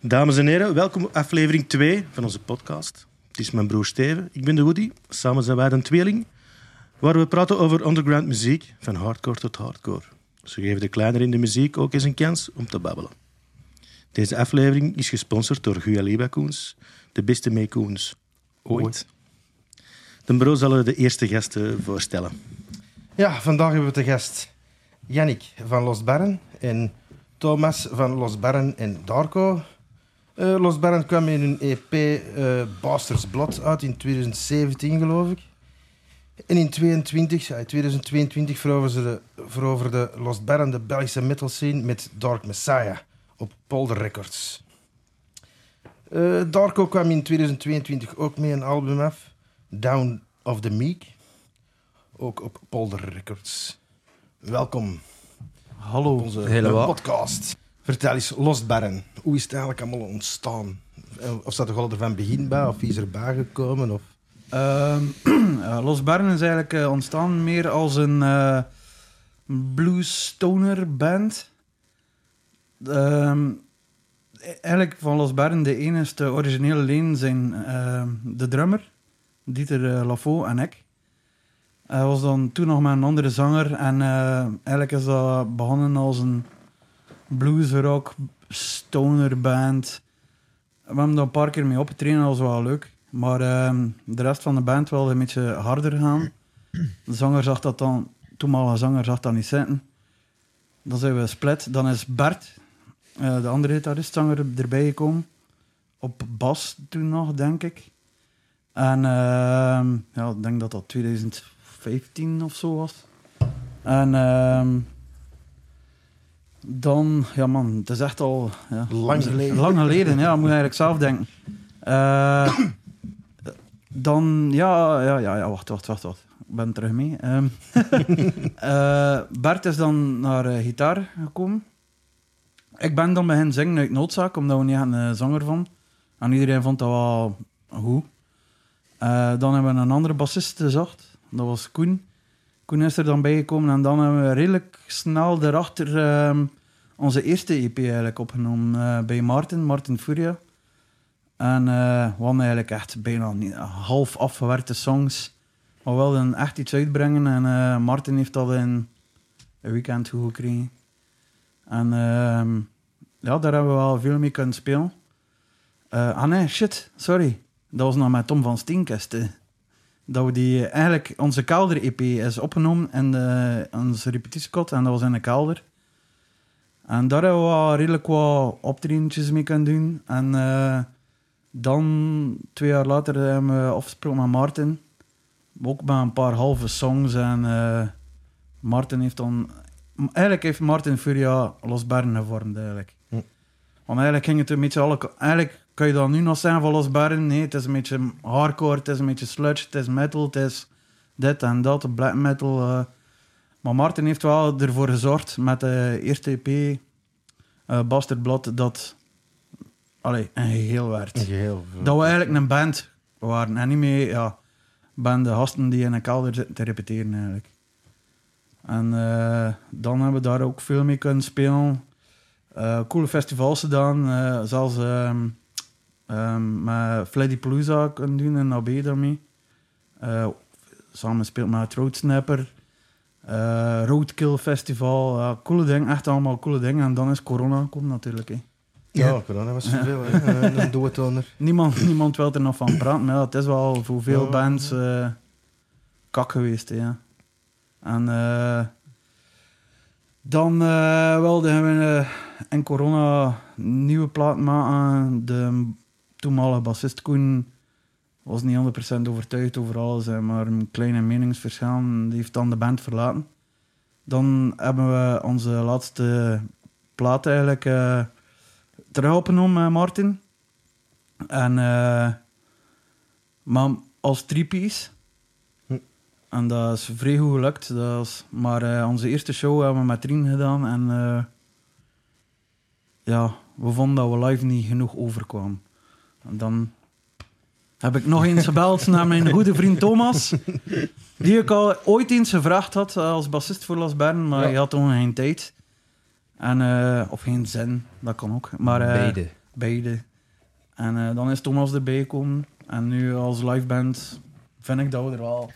Dames en heren, welkom bij aflevering 2 van onze podcast. Het is mijn broer Steven, ik ben de Woody. Samen zijn wij een tweeling. Waar we praten over underground muziek, van hardcore tot hardcore. Ze geven de kleiner in de muziek ook eens een kans om te babbelen. Deze aflevering is gesponsord door Guya Liba Koens, de beste meekoens ooit. Den Bro zal de eerste gasten voorstellen. Ja, vandaag hebben we te gast Jannik van Los Barren en Thomas van Los Barren en Darko. Eh, Los Barren kwam in hun EP eh Bastards Blood uit in 2017, geloof ik. En in 22, ja, in 2022 veroverden ze de, veroverde Los Barren de Belgische metal scene met Dark Messiah op Polder Records. Eh, Darko kwam in 2022 ook mee een album af, Down of the Meek ook op Polder Records. Welkom Hallo. op onze Helemaal. podcast. Vertel eens, Lost Barren, hoe is het eigenlijk allemaal ontstaan? Eh, Of staat er al er van begin bij, of wie is erbij gekomen? Of... Ehm, eh, Los Barren is eigenlijk eh, ontstaan meer als een eh blues stoner band. Ehm, e- eigenlijk van Los Barren de enige originele leden zijn ehm, de drummer, Dieter eh, Lafaux en ik. Hij was dan toen nog met een andere zanger en eh, eigenlijk is dat begonnen als een blues rock stoner band. We hebben daar een paar keer mee opgetreden, dat was wel leuk. Maar ehm, de rest van de band wilde een beetje harder gaan. De zanger zag dat dan, toenmalige zanger zag dat niet zitten. Dan zijn we split. Dan is Bert, eh, de andere gitarist, zanger erbij gekomen. Op bas toen nog, denk ik. En ehm, ja, ik denk dat dat 2015 of zo was. En ehm, dan, ja man, het is echt al ja, Lang geleden. Lang geleden, ja, moet je eigenlijk zelf denken. Eh, dan, ja, ja, ja, ja, wacht, wacht, wacht, wacht. Ik ben terug mee. Ehm, eh, Bert is dan naar eh, gitaar gekomen. Ik ben dan bij hen zingen uit noodzaak, omdat we niet hadden een zanger van. En iedereen vond dat wel goed. Eh, dan hebben we een andere bassist gezocht. Dat was Koen. Koen is er dan bijgekomen en dan hebben we redelijk snel daarachter ehm, onze eerste EP eigenlijk opgenomen eh, bij Martin, Martin Furia. En eh we hadden eigenlijk echt bijna niet, half afgewerkte songs. Maar we wilden echt iets uitbrengen en eh, Martin heeft dat in een weekend goed gekregen. En ehm, ja, daar hebben we wel veel mee kunnen spelen. Eh, ah nee, shit, sorry. Dat was nog met Tom van Steenkesten. Dat we die, eigenlijk, onze kelder-EP is opgenomen in de, in onze repetitiekot en dat was in de kelder. En daar hebben we wel redelijk wat optredentjes mee kunnen doen. En eh, dan, twee jaar later, hebben we afgesproken met Martin. Ook met een paar halve songs. En eh, Martin heeft dan... Eigenlijk heeft Martin Furia Los Bern gevormd, eigenlijk. Hm. Want eigenlijk ging het een beetje... Alle, eigenlijk kan je dan nu nog zeggen van Los Bern. Nee, het is een beetje hardcore, het is een beetje sludge, het is metal, het is dit en dat, black metal... eh. Maar Martin heeft wel ervoor gezorgd met de eerste EP, eh Bastard Blood, dat allee, een geheel werd. Geheel. Dat we eigenlijk een band waren en niet meer ja, banden gasten die in een kelder zitten te repeteren eigenlijk. En eh, dan hebben we daar ook veel mee kunnen spelen. Eh, coole festivals gedaan, eh, zelfs ehm ehm met Fleddy Palooza kunnen doen en AB daarmee. Eh, samen speelt met Roadsnapper. Eh Roadkill Festival, ja, coole dingen, echt allemaal coole dingen. En dan is corona gekomen natuurlijk. Hè. Ja, corona was zoveel, hè. Eh, een doodtoner. Niemand, niemand wil er nog van praten, maar ja, het is wel voor veel Ja. bands eh, kak geweest. hè, Ja. En eh, dan eh, wilden we eh, in corona nieuwe plaat maken. De toenmalige bassist Koen was niet 100% overtuigd over alles, hè, maar een kleine meningsverschil. Die heeft dan de band verlaten. Dan hebben we onze laatste plaat eigenlijk eh terug opgenomen met Martin. En, eh, maar als drie-piece. Hm. En dat is vrij goed gelukt. Dat is, maar eh, onze eerste show hebben we met Rien gedaan. En eh, ja, we vonden dat we live niet genoeg overkwamen. En dan heb ik nog eens gebeld naar mijn goede vriend Thomas. Die ik al ooit eens gevraagd had als bassist voor Las Bern. Maar Ja. hij had toen geen tijd. En, eh, of geen zin, dat kan ook. Maar, eh, Beide. beide. En eh, dan is Thomas erbij gekomen. En nu als liveband vind ik dat we er wel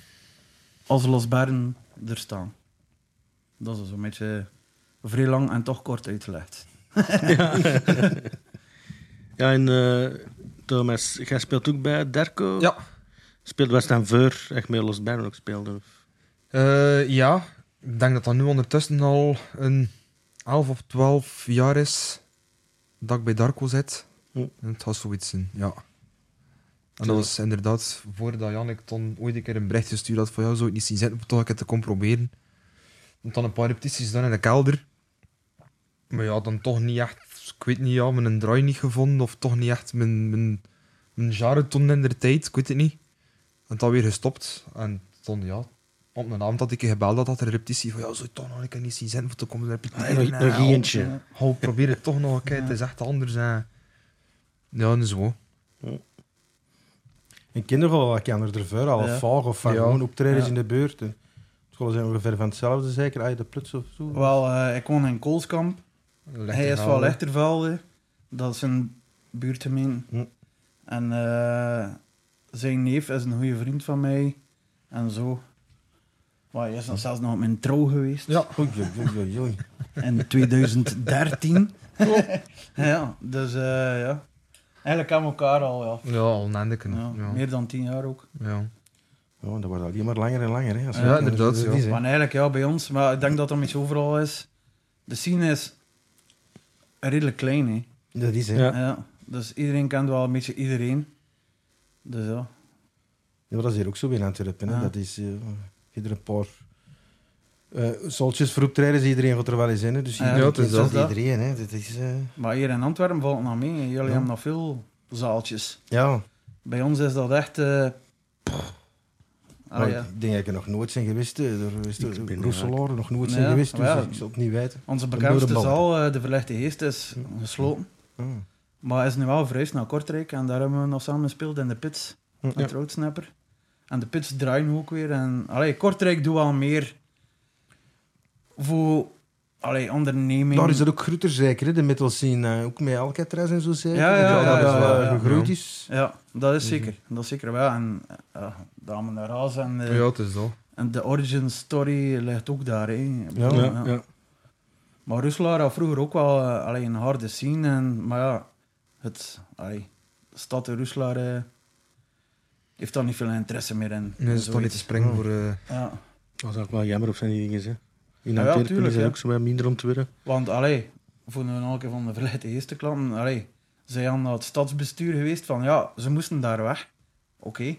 als Los Bern er staan. Dat is zo'n beetje vrij lang en toch kort uitgelegd. ja. ja, en eh, Thomas, jij speelt ook bij Derco? Ja. Speelt West en Veur, echt meer Los Baron ook speelde? of? Eh, ja, ik denk dat dat nu ondertussen al een 11 of 12 jaar is dat ik bij Darko zit. Hm. En het was zoiets zijn, ja. Zo. En dat was inderdaad voordat Jannik dan ooit een keer een bericht gestuurd had van ja, zou ik niet zien zitten, maar toch een keer te komen proberen. Want dan een paar repetities dan in de kelder. Maar ja, dan toch niet echt, ik weet niet, ja, mijn draai niet gevonden of toch niet echt mijn, mijn, mijn genre toen in de tijd, ik weet het niet. En dan weer gestopt. En dan ja, op een avond dat ik je gebeld had, had er een repetitie van ja, zou je toch nog een keer niet zien zitten, want dan komen er Ah, repeteren. Ah, eh, nog, eh, en nog help. eentje. Hou, Oh, probeer het toch nog een keer. Ja. Het is echt anders. Hè. Ja, en zo. En kinderen wel wat kennen er verder al Ja. vaag of van Ja. gewoon optredens Ja. in de buurt. En scholen zijn ongeveer van hetzelfde zeker, als je de pluts of zo. Wel, eh, ik woon in Koolskamp. Hij is van Lechtervelde. Dat is een buurtgemeen. Hm. En eh, zijn neef is een goede vriend van mij. En zo. Maar hij is dan zelfs nog op mijn trouw geweest. Ja. Goed, jong, jong, jong, jong. In 2013. ja, dus eh, ja. Eigenlijk aan elkaar al, ja. Ja, al een endeken. Ja, Ja, ja. Meer dan tien jaar ook. Ja, dat wordt alleen maar langer en langer. Hè, als Ja, we- als we inderdaad, dat ja. niet zijn. Maar eigenlijk ja, bij ons. Maar ik denk dat dat mis overal is. De scene is redelijk klein, hè. Dat is hè. Ja. Ja. dus iedereen kent wel een beetje iedereen. Dus ja. Ja, maar dat is hier ook zo in Antwerpen. hè. Ja. Dat is eh, je er een paar eh soltjes voor optredens. Iedereen gaat er wel eens in. hè. Dus Ja, iedereen dat is kent dat. zelf iedereen. Hè. Dat is, eh, Maar hier in Antwerpen valt het nog mee. hè. Jullie Ja. hebben nog veel zaaltjes. ja. Bij ons is dat echt... eh, Maar Ah, ja. Ik denk dat ik er nog nooit zijn geweest. hè. Er is Ik ben er Roeselaar nog nooit Ja, zijn geweest. Dus maar ja. ik zal het niet weten. Onze De bekendste Boerenband. zaal, eh, de Verlichte Geest, is gesloten. Ah. Maar is nu wel verhuisd naar Kortrijk. En daar hebben we nog samen gespeeld in de Pits. Met Ja. Roudsnapper. En de Pits draaien we ook weer. En, allee, Kortrijk doet wel meer voor allee, onderneming. Daar is het ook groter zeker. Hè. De metal scene. eh, ook met Alcatraz en zo zeker. Ja, ja, dat ja, is ja, wel ja, ja. gegroeid is. Ja, dat is zeker. Dat is zeker wel. En eh, Dame naar Raas en, eh, ja, het is dat. en de origin story ligt ook daar. Hè. Ja, Ja, ja. Maar Roeselaar had vroeger ook wel eh, allee, een harde scene. En, maar ja, het, allee, de stad in Roeselaar eh, heeft daar niet veel interesse meer in. Nu is het toch niet Zoiets. te springen Ja. voor... eh, Ja. Dat is ook wel jammer op zijn die dingen. Hè. In Ja, ja, Antwerpen tuurlijk, is dat ja. ook zo wat minder ontwerpen. Want allee, voor een elke van de verleide eerste klanten, allee, zij aan het stadsbestuur geweest van ja, ze moesten daar weg. Oké.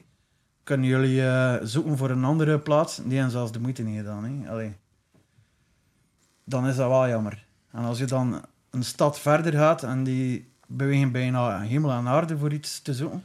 Kunnen jullie eh, zoeken voor een andere plaats? Die hebben zelfs de moeite niet gedaan. Hè? Allee. Dan is dat wel jammer. En als je dan een stad verder gaat en die bewegen bijna hemel en aarde voor iets te zoeken.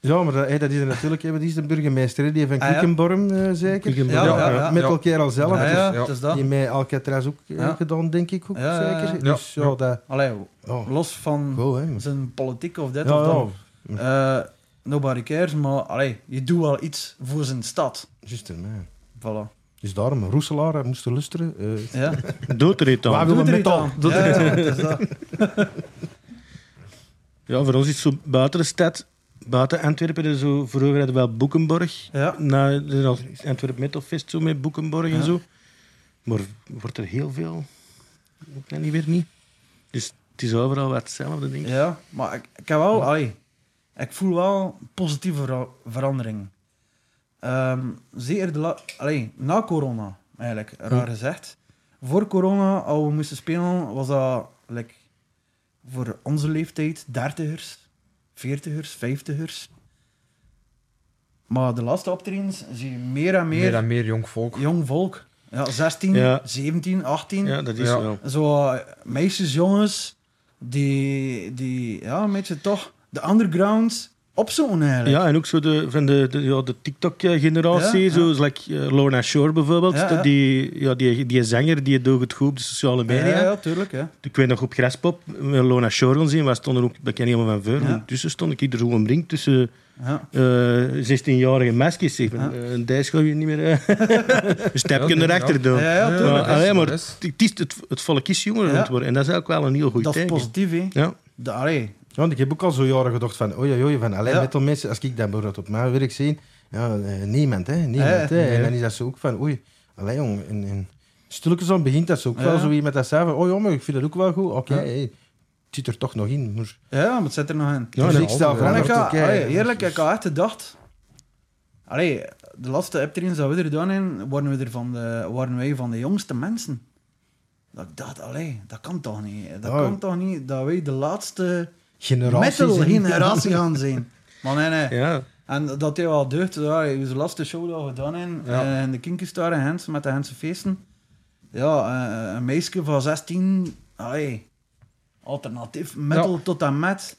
Ja, maar dat, hey, dat is er natuurlijk. hè, want Die is de burgemeester. hè, Die van Ah, ja. Kiekenborm eh, zeker. Kiekenborm, Ja, ja, Met ja. elkaar al zelf. ja, dus- ja, ja. het is dat. Die met Alcatraz ook eh, Ja. gedaan, denk ik ook Ja, ja, ja. zeker. Ja. Dus ja, dat... Allee, Oh, los van cool, hè. zijn politiek of dit Ja, of dat. ja, Eh, nobody cares, maar allee, je doet wel iets voor zijn stad. juist hè, man. Voilà. Dus daarom, Roeselaar, hij moest lusteren. eh. Ja. Doet er iets aan. Waar wil- Doe er met iets al. aan. Doe Ja, ja, het is dat. Ja, voor ons is zo buiten de stad, buiten Antwerpen, er zo, vroeger hadden we wel Boekenborg. Ja. Na, er is al Antwerpen Metal Fest zo met Boekenborg en Ja. zo. Maar wordt er heel veel? Ik weet niet weer niet. Dus het is overal wat hetzelfde, denk ik. ja, maar ik, ik heb wel, allee, ik voel wel positieve vera- verandering. Ehm, zeker de la- allee, na corona, eigenlijk, raar gezegd. Voor corona, als we moesten spelen, was dat like, voor onze leeftijd dertigers, veertigers, vijftigers. Maar de laatste optredens zie je meer en meer, meer en meer jong volk. jong volk. Ja, 16, Ja. 17, 18. Ja, dat is Ja. wel. Zo eh, meisjes, jongens, die, die ja, een beetje toch de underground opzoeken eigenlijk. Ja, en ook zo de, van de, de, ja, de TikTok-generatie, Ja, ja. zoals like, eh, Lorna Shore bijvoorbeeld. Ja, ja. Die, ja, die, die zanger, die doet het goed op de sociale media. ja, ja, tuurlijk. Ja. Ik weet nog op Graspop, eh, Lona Shore gaan zien, waar stonden ook, dat ken je helemaal van voor. Ja. En Tussen stond ik er zo omringd tussen Ja. eh 16-jarige meisjes. Ik ben, Ja. eh, een dijs gaan we hier niet meer. eh, een stapje Ja, erachter doen. Ja, ja, Ja, Maar, tuurlijk. dat is- allee, maar dat is- het, het, is- het volk is jonger aan Ja. het worden. En dat is ook wel een heel goed dat is teken. positief, hè. Ja. De, allee, want ik heb ook al zo jaren gedacht van, oei, oei, van alleen Ja. metal mensen, als ik dat bijvoorbeeld op mijn werk zie, ja, eh, niemand, hè, niemand, Eh, hè. nee. En dan is dat zo ook van, oei, alleen jong, en, en stilletjes aan begint dat zo ook Ja. wel, zo iemand dat zei van, oh ja, maar ik vind dat ook wel goed, oké, Ja. hey, het zit er toch nog in, maar... Ja, maar het zit er nog in. Ja, Dus nee, stel ik stel voor. voor- En ik had- Oké, dus ja, allee, dat eerlijk, is- ik had echt gedacht... Allee, de laatste Epterins dat we er gedaan hebben, waren, we er van de, waren wij van de jongste mensen. Dat ik dacht, allee, dat kan toch niet. Dat Oh. kan toch niet dat wij de laatste Generaties in- metal-generatie gaan zijn. Maar nee, nee. Ja. En dat hij wel deugd, ja, hij was de laatste show dat we gedaan hebben. Ja. eh, in de Kinky Star in Hens, met de Hense feesten. Ja, eh, een meisje van 16, allee, alternatief metal tot en met.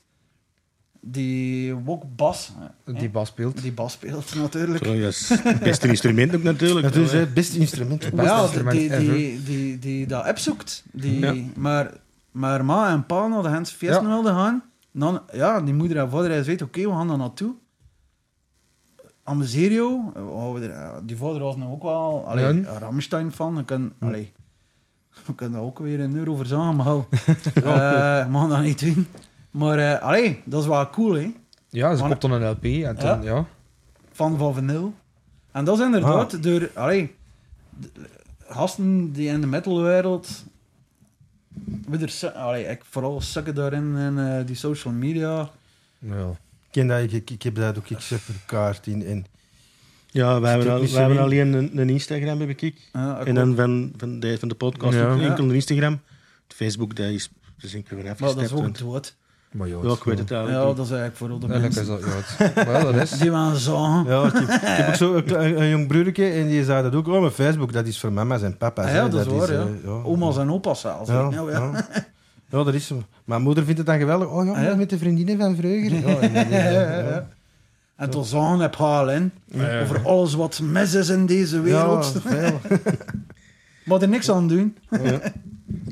Die ook bas, eh, Die bas speelt. die bas speelt natuurlijk. Zo, yes. Het beste instrument ook natuurlijk. Dat is hè, het beste instrument. beste ja, die, instrument die, ever. die, die, die dat opzoekt. Die, Ja. maar, maar ma en pa naar de Hense feesten Ja. wilden gaan. Dan, ja, die moeder en vader hij weet, oké, we gaan daar naartoe. Amuseer je, eh, we houden er- ja, die vader was nu ook wel allee, Ja. een Ramstein van. We kunnen, allee, we kunnen daar ook weer een euro voor zagen, maar hou. Eh, mag dat niet doen. Maar eh, allee, dat is wel cool, hè? Ja, ze Maar- koopt dan een LP en dan, ja. Van Van Vinyl. En dat is inderdaad door, allee, de- eh, gasten die in de metalwereld, we er su- allee, ik vooral sukken daarin en eh, die social media. ja. Ik ken dat, ik, ik heb dat ook, ik zeg voor kaart in. En, Ja, wij hebben, al, Technische wij hebben win. alleen een, een Instagram, heb ik. Eh, ik En ook. dan van, van, de, van de podcast Ja. ook Ja. enkel een Instagram. Het Facebook, dat is, dat is enkel weer maar dat is afgestapt. ook want- dood. Maar ja, Ja, ik weet het Ja, eigenlijk dat niet. is eigenlijk vooral de Eigenlijk mensen is dat, ja, het- maar ja, dat is. die we zagen. ja, ik, heb, ik heb ook zo een, kle- een, een jong broertje en die zei dat ook. Oh, mijn Facebook, dat is voor mama's en papa's. Ah, hè. ja, dat is waar, ja. eh, Oma's en opa's zelfs. Ja, Nou, ja. ja. Ja, dat is zo. Mijn moeder vindt het dan geweldig. Oh ja, Ah, ja? met de vriendinnen van vroeger. Ja, en, en, en, ja, ja. En toen zagen heb halen over alles wat mis is in deze wereld. Ja, veel. Maar er niks aan doen.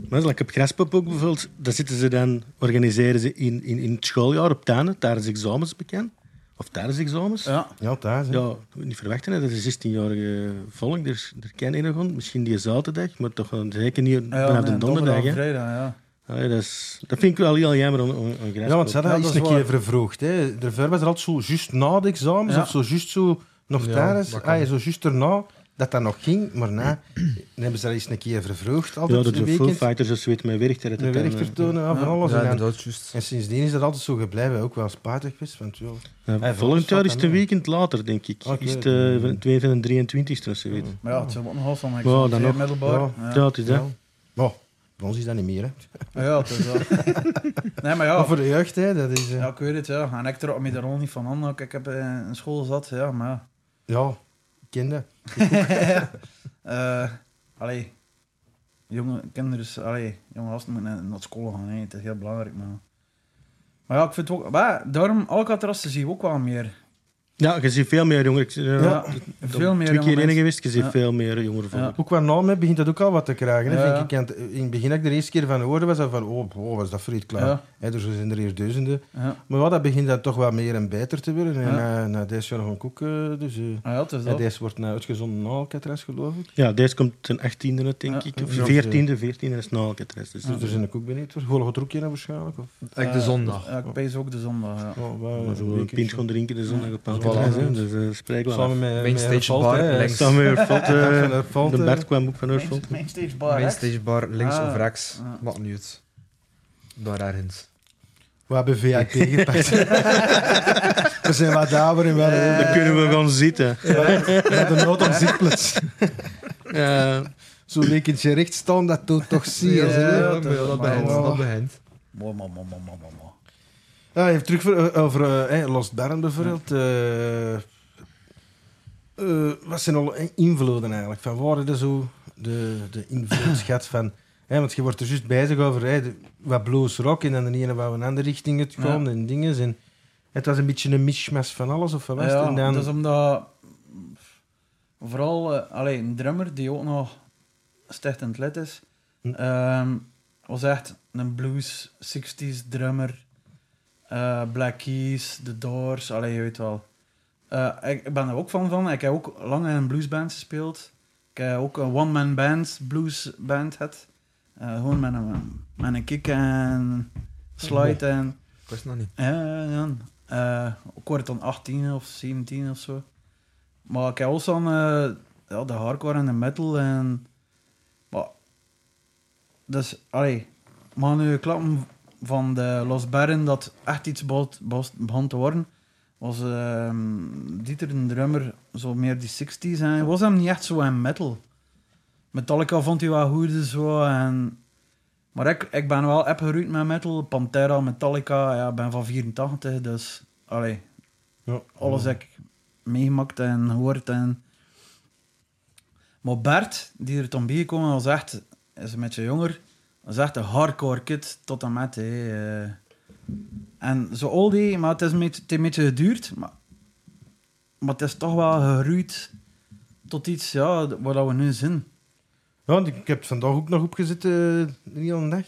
Maar like op Graspop ook bijvoorbeeld, daar zitten ze dan, organiseren ze in, in, in het schooljaar op Tane, tijdens examens bekend. Of tijdens examens. Ja. Ja, thuis. hè. Ja, niet verwachten, hè, dat is 16-jarige volk, daar, daar kennen je nog aan. Misschien die zaterdag, maar toch gewoon zeker niet Ah Ja, vanaf nee, de donderdag. hè. Ah, vrijdag, ja. Ja, dat, is, dat vind ik wel heel jammer om, om, om Ja, want ze hadden Ja, dat dat is is een keer waar. vervroegd. Hè. Daarvoor was er altijd zo juist na de examens Ja. of zo juist zo nog Ja, tijdens. dat kan. Ah, ja, zo juist erna dat dat nog ging, maar na dan hebben ze dat eens een keer vervroegd. Ja, Altijd dat de een Foo weekend. Fighters of zoiets met werchter. Een werkvertonen ja, van alles. Ja, en, dan- inderdaad, juist. en sindsdien is dat altijd zo gebleven. Ook wel spijtig geweest. Want, joh, Ja, Hey, volgend jaar is het een hè. weekend later, denk ik. Oké. Is het eh, van 2 van de 23 of zoiets. Maar ja, het zijn wat nog van mijn Wow, dan examen, nog. middelbaar. Ja. Ja. Ja, het is dat. ja. Maar voor ons is dat niet meer. Hè. Ah, Ja, ja, het is wel. nee, maar Maar ja, voor de jeugd, hè, dat is... eh, ja, ja. ik weet het, ja. En ik trok me daar al niet van aan. ook. Ik heb eh, in school zat, ja, maar ja. ik ken dat. Eh, allee, jonge kinderen, is- allee, jonge gasten moeten naar- naar school gaan, hè. het is heel belangrijk, maar... Maar ja, ik vind het ook... Maar, daarom, Alcatraz zie je ook wel meer. Ja, je ziet veel meer jongeren. Ik- eh, Ja, ik ben veel Twee meer jonge keer in mensen. geweest, je ziet Ja. veel meer jongeren volk. Ja. Ook qua naam hè, begint dat ook al wat te krijgen. Hè, Ja. vind ik. Want eh, In het begin dat ik de eerste keer van hoorde, was dat van... Oh, oh was dat vreed klaar. Ja. Hè, dus er zijn er hier duizenden. Ja, Maar wat, dat begint dat toch wel meer en beter te worden. En Ja. eh, na deze jaar gaan koeken. Dus, eh, Ah, ja het is hè, dat. deze wordt nou uitgezonden na Alcatraz, geloof ik. Ja, deze komt ten 18e, uit, denk Ja. ik. Of Ja. 14e, 14e is na Alcatraz. Dus Dus er zijn er ook benieuwd voor. Gewoon het roekje waarschijnlijk. Of, Eigenlijk Eh, de zondag. Ja, ik pees ook de zondag, ja. oh, wel, Maar een zo een weekendje. pint gaan drinken dus de zondag op Voilà. Alcatraz. hè. Dus eh, spreek wel af. Samen met, Main met stage Hervalt, bar, hè. links. Samen met Valt, eh, Van Hervalt, De hè. Bert kwam ook van Urvalt. Mijn stage bar, hè. Mainstage bar, links Ah. of rechts. Ja. Maakt niet uit. Daar ergens. We hebben VIP gepakt. we zijn wat daver en wat... eh, Dan kunnen we gaan zitten. we hebben de nood op zitplaats. Eh, Zo'n weekendje recht staan, dat doet toch zeer. Ja. hè. dat, dat- dat dat- begint. dat- Dat begint. Mooi, mooi, mooi, mooi, mooi, mooi, mooi. Ja, even terug voor, eh, over eh, hey, Lost Baron bijvoorbeeld. Eh, eh, wat zijn al invloeden eigenlijk? Van waar is zo de, de invloedschat van... hè, want je wordt er juist bezig over hè, de- wat blues rock en dan de ene waar we een andere richting het Ja. kwam en dingen. En het was een beetje een mishmash van alles of wat was het? Ja, En dan, dat is omdat... Vooral eh, allee, een drummer die ook nog stichtend lid is, Hm. ehm, was echt een blues 60s drummer. Eh, Black Keys, The Doors, allee, je weet wel. Eh, ik, ik ben er ook van van. Ik heb ook lang in een bluesband gespeeld. Ik heb ook een one-man band, bluesband had. Eh, gewoon met een, met een kick en slide en... Ik wist dat niet. Ja, ja. Eh, ik word dan 18 of 17 of zo. Maar ik heb ook zo'n, eh, ja, de hardcore en de metal en... Maar, dus, allee, maar nu klappen van de Los Barren dat echt iets bot- bos- begon te worden, was ehm, Dieter, een drummer, zo meer die 60s. En hij was hem niet echt zo in metal. Metallica vond hij wel goed en zo. En maar ik, ik ben wel opgeruimd met metal. Pantera, Metallica, ja, ik ben van 84, dus allee, Ja. alles heb ik meegemaakt en gehoord. En... Maar Bert, die er toen bij gekomen was, echt, is een beetje jonger, was echt een hardcore kid tot en met. hè, eh. En zo al die, maar het is een beetje, het heeft een beetje geduurd, maar, maar het is toch wel geruid tot iets ja, waar we nu zijn. Ja, want ik heb het vandaag ook nog opgezet, eh de hele dag.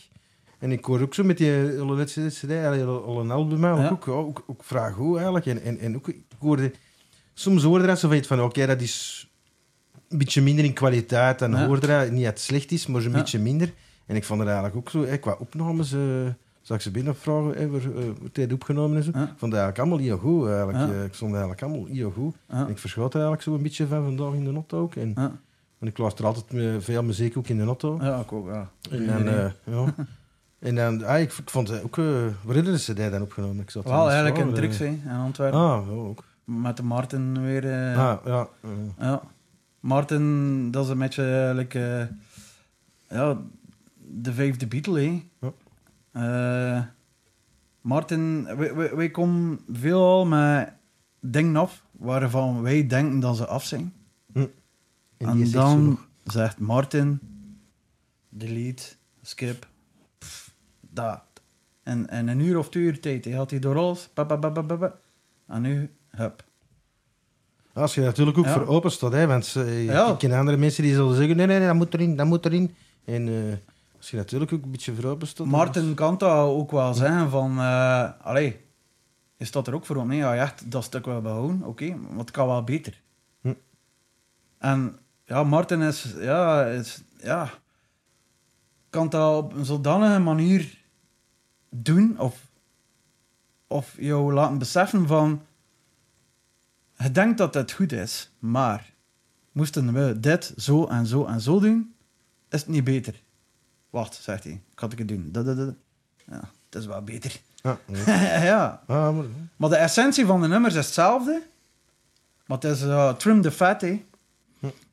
En ik hoor ook zo met die eh, hele laatste CD, eigenlijk al al een album eigenlijk Ja. ook, ja, ook, ook vraag hoe eigenlijk. En, en, en ook, ik hoorde, soms hoorde er zo van, iets van oké, dat is een beetje minder in kwaliteit. Dan Ja. hoorde er niet dat het slecht is, maar zo'n Ja. beetje minder. En ik vond het eigenlijk ook zo, eh, qua opnames, eh zag ik ze binnenvragen, eh, waar, eh, wordt dit opgenomen en zo. Ja. Ik vond het eigenlijk allemaal heel goed eigenlijk. Ja. Eh, ik vond het eigenlijk allemaal heel goed. Ja, En ik verschoot er eigenlijk zo een beetje van vandaag in de auto ook. En, ja, want ik luister altijd eh, veel muziek ook in de auto. ja, ik ook, ja. En dan, eh, ja. En dan, ah, ik v- ik vond het ook, eh waar hadden ze die dan opgenomen? Ik zat Wel in de eigenlijk zaal, een eh. trick zijn in Antwerpen. Ah, ja, ook. Met de Martin weer. eh, Ah, ja. eh. ja. Martin, dat is een beetje eigenlijk. eh, ja, de vijfde Beatle, hè? Ja. Eh, Martin, wij, wij, wij komen veelal met dingen af waarvan wij denken dat ze af zijn. En, En, die is echt zo dan nog- zegt Martin, delete, skip, pff, dat. En, en een uur of twee uur tijd, hij had hij door alles, pa, pa, pa, pa, pa, pa. en nu, hup. Ah, Als je natuurlijk ook Ja. voor open staat, hè, want eh, Ja. ik ken andere mensen die zullen zeggen, nee, nee, nee, dat moet erin, dat moet erin. En eh, als je natuurlijk ook een beetje voor open staat... dan Martin kan dat ook wel zeggen van, eh allee, je staat er ook voor om, nee, ja, je echt dat stuk wel behouden, oké, maar het kan wel beter. Hm. En ja, Martin is, ja, is, ja, kan dat op een zodanige manier doen of, of jou laten beseffen van, je denkt dat het goed is, maar moesten we dit zo en zo en zo doen, is het niet beter. Wacht, zegt hij. Ik had ik het doen. Dat, dat, dat. Ja, dat is wel beter. Ja, ja. ja. Ah, maar, Maar de essentie van de nummers is hetzelfde. Maar het is eh, trim the fat, hè.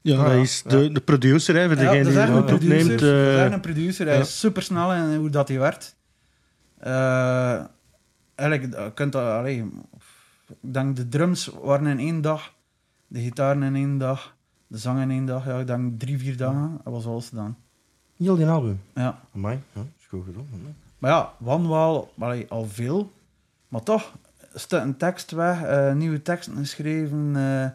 Ja, Ah, dat is de, de producer, hè, voor Ja, degene dat is die echt een het producer. opneemt. dat is eh, echt een producer. Hij ja. is supersnel in hoe dat hij werkt. Eh, eigenlijk, eh, kunt dat... allee, ik denk de drums waren in één dag. De gitaren in één dag. De zang in één dag. Ja, ik denk drie, vier dagen. Dat was alles gedaan. heel die album. Ja. Amai, ja, is goed gedaan. amai. Maar ja, Wan wel allee, al veel. Maar toch, stuk een tekst weg, eh, nieuwe teksten geschreven. eh.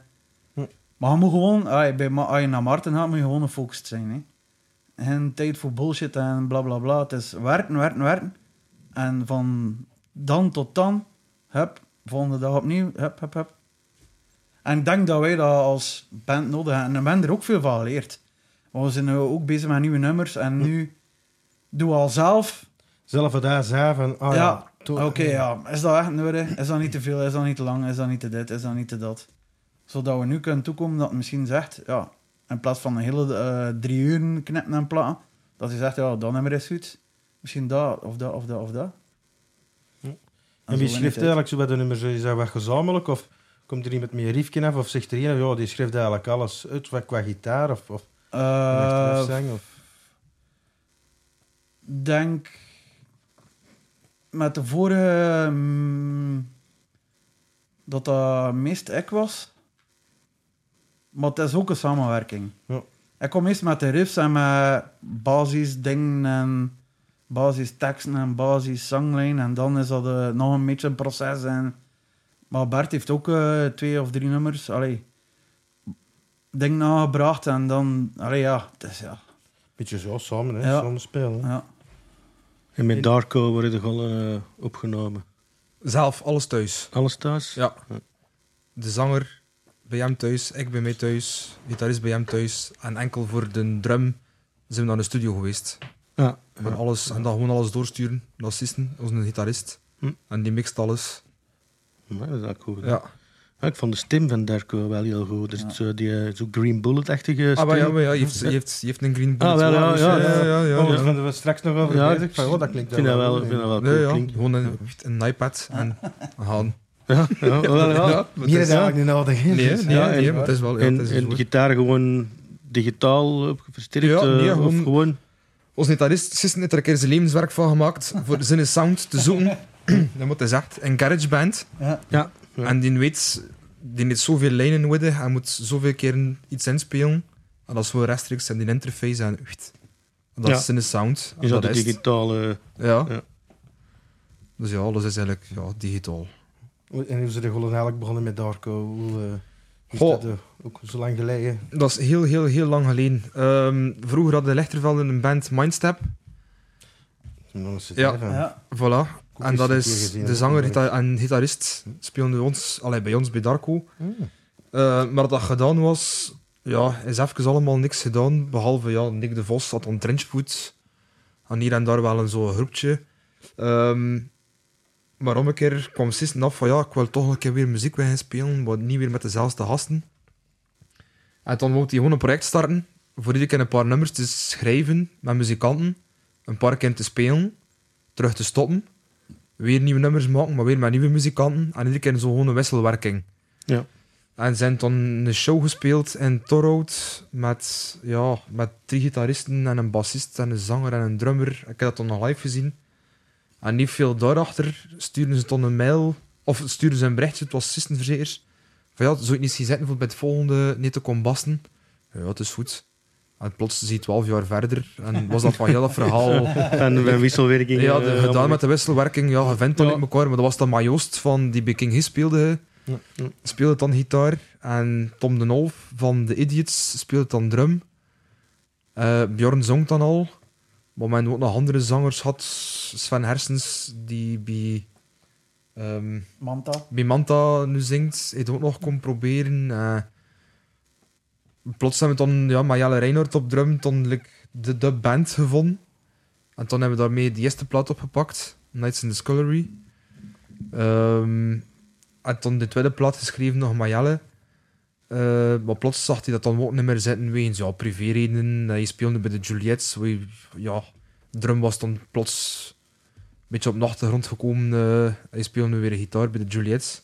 Hm. Maar je moet gewoon, allee, bij, Ma- als je naar Martin gaat, moet je gewoon gefocust zijn. Hè. Geen tijd voor bullshit en bla bla bla. Het is werken, werken, werken. En van dan tot dan, hup, volgende dag opnieuw, hup, hup, hup. En ik denk dat wij dat als band nodig hebben. En we hebben er ook veel van geleerd. Want we zijn nu ook bezig met nieuwe nummers. En nu doen we al zelf Zelf wat hij zei van, ah ja, Ja, to- Oké, ja. Is dat echt nodig? Is dat niet te veel? Is dat niet te lang? Is dat niet te dit? Is dat niet te dat? Zodat we nu kunnen toekomen dat het misschien zegt, ja, in plaats van een hele eh, drie uur knippen en platen, dat hij zegt, ja, dat nummer is goed. Misschien dat, of dat, of dat, of dat. Hm. zo En wie in schrijft de tijd. eigenlijk zo bij de nummers? Is dat wat gezamenlijk? Of komt er iemand met een riefje af? Of zegt er een, ja, die schrijft eigenlijk alles uit wat qua gitaar of, of Eh, uh, zang? Of... denk met de vorige mm, dat dat meest ik was. Maar het is ook een samenwerking. Ja. Ik kom eerst met de riffs en met basisdingen en basisteksten en basiszanglijn. En dan is dat eh, nog een beetje een proces. En... Maar Bert heeft ook eh, twee of drie nummers. Allee, ding nagebracht en dan... Allee, ja, het is ja... Beetje zo samen, hè? Ja. samen spelen. hè. ja. En met Darko worden de gollen eh, opgenomen. Zelf, alles thuis. Alles thuis? Ja. Ja. De zanger bij hem thuis, ik bij mij thuis, gitarist bij hem thuis. En enkel voor de drum zijn we naar de studio geweest. Ja. En, alles, en dan gewoon alles doorsturen, de assisten, onze gitarist. Hm. En die mixt alles. Maar Nou, dat is eigenlijk goed. Ja. Ja, ik vond de stem van Derko wel heel goed. Dus Ja. zo die eh, zo Green Bullet-achtige stem. Ah, maar ja, maar ja, je heeft, je heeft, je heeft een green Ah, bullet. wel, ja, dus, ja, ja, ja, ja, Oh, ja. daar vinden we straks nog over Ja, bezig. Van, oh, dat klinkt Ik vind dat wel, goed. vind dat wel Nee, cool ja, klinken. Gewoon een, een iPad en gaan. Ja, ja, wel, ja. maar Hier het is Ja. eigenlijk niet nodig. hè. is- Nee, nee, Ja, nee, en- maar het is wel. Ja, het En, is en zo. de gitaar gewoon digitaal eh, versterkt? Ja, nee, eh, of gewoon- gewoon... Ons gitarist Sissen heeft er een keer zijn levenswerk van gemaakt voor zijn sound te zoeken. dat moet hij zegt. Een GarageBand. Ja. Ja. Ja. En die weet, die heeft zoveel lijnen nodig. Hij moet zoveel keer iets inspelen. En dat is gewoon rechtstreeks in die interface. En echt. Dat Ja. is zijn sound. En Is dat de is het. digitale... Ja. Ja. Dus ja, alles is eigenlijk ja, digitaal. Hoe- En hoe ze de gewoon eigenlijk begonnen met Darko? Hoe, eh, hoe is Goh. dat, eh, ook zo lang geleden. Dat is heel, heel, heel lang geleden. Ehm, vroeger hadden Lechtervelden een band, Mindstep. Ja. Ja. Voilà. Koekjes En dat een is keer gezien, de zanger natuurlijk. gita- en gitarist speelden ons, allee, bij ons bij Darko. Hmm. Eh, maar dat gedaan was, ja, is even allemaal niks gedaan. Behalve ja, Nick de Vos had een trenchfoot. En hier en daar wel een zo'n groepje. Ehm, maar om een keer kwam Sissen af van ja, ik wil toch een keer weer muziek bij gaan spelen, maar niet weer met dezelfde gasten. En dan wou hij gewoon een project starten, voor iedere keer een paar nummers te schrijven met muzikanten, een paar keer te spelen, terug te stoppen, weer nieuwe nummers maken, maar weer met nieuwe muzikanten, en iedere keer zo gewoon een wisselwerking. Ja. En zijn dan een show gespeeld in Torhout met, ja, met drie gitaristen en een bassist en een zanger en een drummer. Ik heb dat dan nog live gezien. En niet veel daarachter sturen ze dan een mail, of sturen ze een berichtje, het was systeemverzekers. Van ja, zou ik niet zien zitten voor bij het volgende niet te komen basten? Ja, het is goed. En plots zie je twaalf jaar verder en was dat van heel dat verhaal. En van wisselwerking... ja, eh, de, gedaan allemaal- met de wisselwerking, ja, je vindt dan Ja. niet elkaar, maar dat was dan maar Joost van die Big King His speelde. hij. Ja, ja. Speelde dan gitaar en Tom de Nolf van The Idiots speelde dan drum. Eh, Bjorn zong dan al. Maar men ook nog andere zangers had. Sven Hersens, die bij, ehm, Manta. bij Manta nu zingt, heeft ook nog komen proberen. eh. plots hebben we dan ja, Marjelle Reinhardt op drum, dan like, de, de band gevonden. En toen hebben we daarmee de eerste plaat opgepakt, Nights in the Scullery. Ehm, en toen de tweede plaat geschreven nog Marjelle. Eh, maar plots zag hij dat dan ook niet meer zitten wegens ja, privéredenen. Hij speelde bij de Juliets. waar hij- Ja, drum was dan plots een beetje op de achtergrond gekomen. eh, hij speelde nu weer een gitaar bij de Juliets.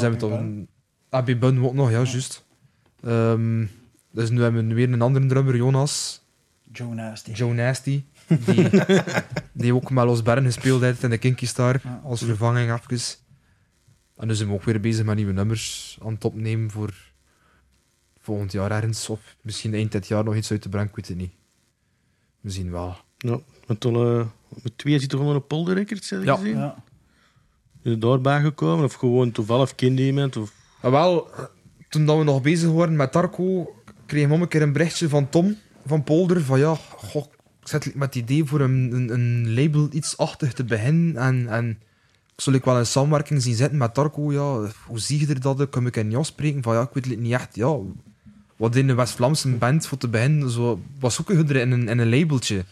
Happy hebben we dan... Abby Bun ook nog, ja, juist. Ehm, dus nu hebben we weer een andere drummer, Jonas. Joe Nasty. Joe Nasty, die, die ook met Los Bern gespeeld heeft in de Kinky Star Ja. als vervanging even. En dus zijn we ook weer bezig met nieuwe nummers aan het opnemen voor volgend jaar ergens. Of misschien eind dit jaar nog iets uit te brengen, ik weet het niet. We zien wel. Ja, met, alle, met twee zitten gewoon op polderrecords, heb ik Ja. gezien. Ja. Is het daarbij gekomen? Of gewoon toevallig kende iemand? Of... Ah, wel, toen dat we nog bezig waren met Tarko, kreeg ik om een keer een berichtje van Tom van Polder van ja, goh, ik zit met het idee voor een, een, een label iets achtig te beginnen en, en ik zal ik wel een samenwerking zien zitten met Tarko, ja, hoe zie je er dat? Kan ik in jou spreken? Van ja, ik weet het niet echt, ja, wat in de West-Vlaamse band voor te beginnen, zo, wat zoeken je er in een, in een labeltje?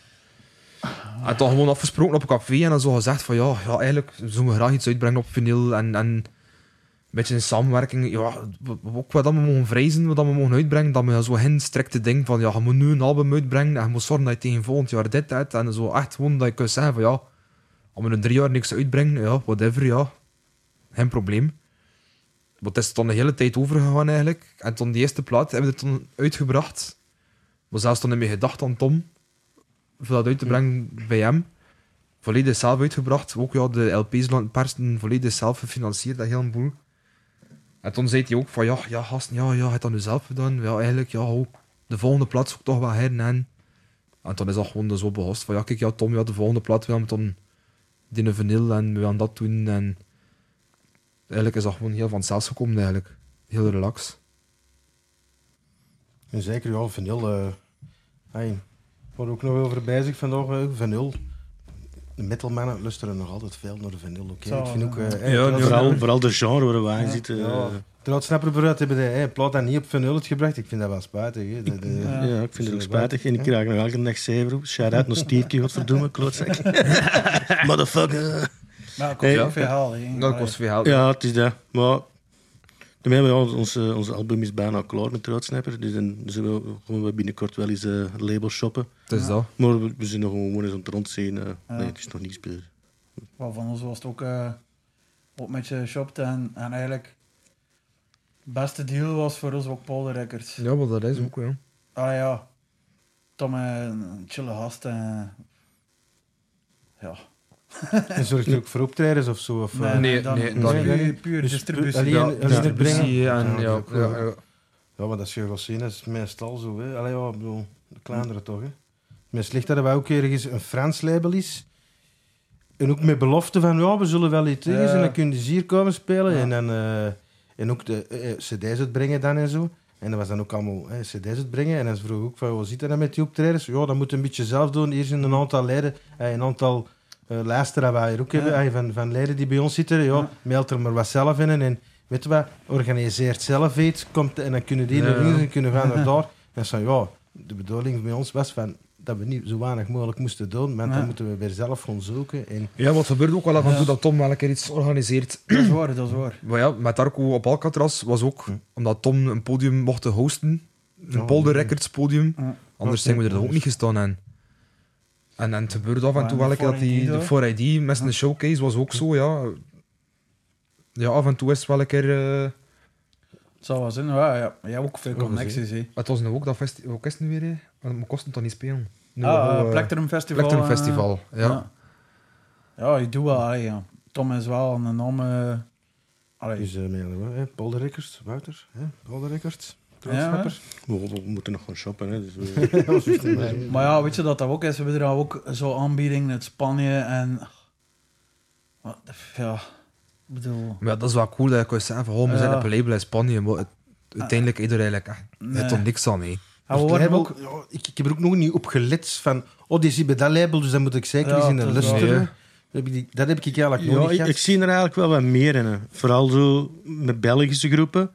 En dan gewoon afgesproken op een café en dan zo gezegd van ja, ja eigenlijk zouden we graag iets uitbrengen op vinyl en, en een beetje in samenwerking, ja, w- w- ook wat dat we mogen vrezen, wat dat we mogen uitbrengen, dat we zo geen strikte ding van, ja, je moet nu een album uitbrengen en je moet zorgen dat je tegen volgend jaar dit hebt en zo echt gewoon dat je kunt zeggen van, ja, om in drie jaar niks uitbrengen, ja, whatever, ja, geen probleem. Want het is dan de hele tijd overgegaan eigenlijk en toen die eerste plaat hebben we het dan uitgebracht, maar zelfs toen heb je gedacht aan Tom, voor dat uit te brengen bij hem. Volledig zelf uitgebracht, ook ja, de LP's laten persen, volledig zelf gefinancierd, dat hele boel. En toen zei hij ook van, ja, ja gasten, ja, ja, heb dat nu zelf gedaan? Ja, eigenlijk, ja, ho, de volgende plaat zoek toch wel her en hen. En toen is dat gewoon zo behost van, ja, kijk, ja, Tom, ja, de volgende plaat wil hem dan die vinyl en we gaan dat doen. En eigenlijk is dat gewoon heel vanzelf gekomen, eigenlijk. Heel relax. En zeker, ja, vanil. eh hey, ik word ook nog over bezig vandaag. eh, vanil. De metalmannen luisteren nog altijd veel naar de vanil. Oké, Zo, ik vind ook... eh, ja. eh, Ja, trouwens- nu- Vooral, vooral de genre waar we aan Ja. zitten. Ja. eh, Terwijl Snapper vooruit hebben de hey, plaat dat niet op vanil het gebracht. Ik vind dat wel spijtig. hè. De- de- Ja. Ja. ik vind het ook Zullen we spijtig. En ik wachten, krijg nog elke dag zeven roep. Shout-out naar Stierke, godverdomme, klootzak. Motherfucker. Maar dat Hey. kost wel veel haal. hè. Dat kost veel geld. Ja, het is dat. Maar dan hebben we al- onze, onze album is bijna klaar met Roudsnapper. Dus dan zullen we, gaan we binnenkort wel eens eh label shoppen. Het is dat. Maar we, we zijn nog gewoon eens aan het rondzien. eh. Ja. Nee, het is nog niets bezig. Wel, van ons was het ook eh, op met je shopt en, en eigenlijk het beste deal was voor ons ook Polder Records. Ja, maar dat is ook, ja. Ah ja, Tom eh, een chille gast en ja. En zorgt u ook voor optredens of zo? Of, eh, nee, nee, dat dat is niet. puur, puur Dus distributie. alleen- Ja, dat is er brengen. distributie en ja, dat is ook ja, ja. Ja, maar dat is Jugosine, dat is meestal zo. Hè. Allee, ja, ik bedoel, de kleinere toch, hè. Men slecht dat wij ook ergens een Frans label is. En ook met belofte van, ja, we zullen wel iets ergens Ja. en dan kun je hier komen spelen. Ja. En, dan, eh, en ook de eh, eh, cd's uitbrengen dan en zo. En dat was dan ook allemaal eh, cd's uitbrengen. En dan vroeg ik ook van, hoe zit dat dan met die optredens? Ja, dat moet je een beetje zelf doen. Hier Mm. zijn een aantal leden, eh, een aantal eh lijsten dat wij hier ook Ja. hebben, eh, van, van leden die bij ons zitten. Ja, Ja. meld er maar wat zelf in. En Weet je wat, organiseert zelf iets, komt, en dan kunnen die naar Ja. hier en kunnen we gaan naar daar. En zo, ja, de bedoeling bij ons was van, dat we niet zo weinig mogelijk moesten doen, maar Ja. dan moeten we weer zelf gaan zoeken. En, ja, want het gebeurt ook wel af en Ja. toe dat Tom wel een keer iets organiseert. Dat is waar, dat is waar. Maar ja, met Darko op Alcatraz was ook, omdat Tom een podium mocht hosten, een Hm. Ja, Polder nee. Records podium, Ja. anders zijn we er toch ook niet gestaan en En, en het gebeurde af en Ja, toe en wel een de keer dat die, 4ID de 4ID met een showcase was ook zo, ja. Ja, af en toe is het wel een keer... eh, Het zal wel zijn, ja, ja. Maar jij hebt ook veel Ongezien. connecties. hè. het was nu ook dat festival... Wat is het nu weer? hè? Want Mijn kosten toch niet spelen? Nu ah, wel, eh, eh, Plectrum Festival. Plectrum eh, Festival, ja. ja. Ja, je doet wel. allee, ja. Tom is wel een naam. eh, allee, dus, eh mailen we, hè, Paul de Rikkers, Wouter, hè, Paul de Rikkers, ja, We, we moeten nog gaan shoppen. Hè, dus we- Maar ja, weet je dat dat ook is? We hebben daar ook zo'n aanbieding uit Spanje en... Wat, ja, ik bedoel... Maar ja, dat is wel cool dat je kunt zeggen van, oh, we zijn Ja. Ah. op een label in Spanje, maar het- uiteindelijk is er eigenlijk echt Nee. nee. toch niks aan mee. Ja, we worden ook... ik, ik heb er ook nog niet op gelet van, oh, die zit bij dat label, dus dan moet ik zeker Ja, eens in dat de is luisteren. wel- Dat heb ik die- Dat heb ik eigenlijk nog ja, niet ik, gehad. ik zie er eigenlijk wel wat meer in. hè. Vooral zo met Belgische groepen.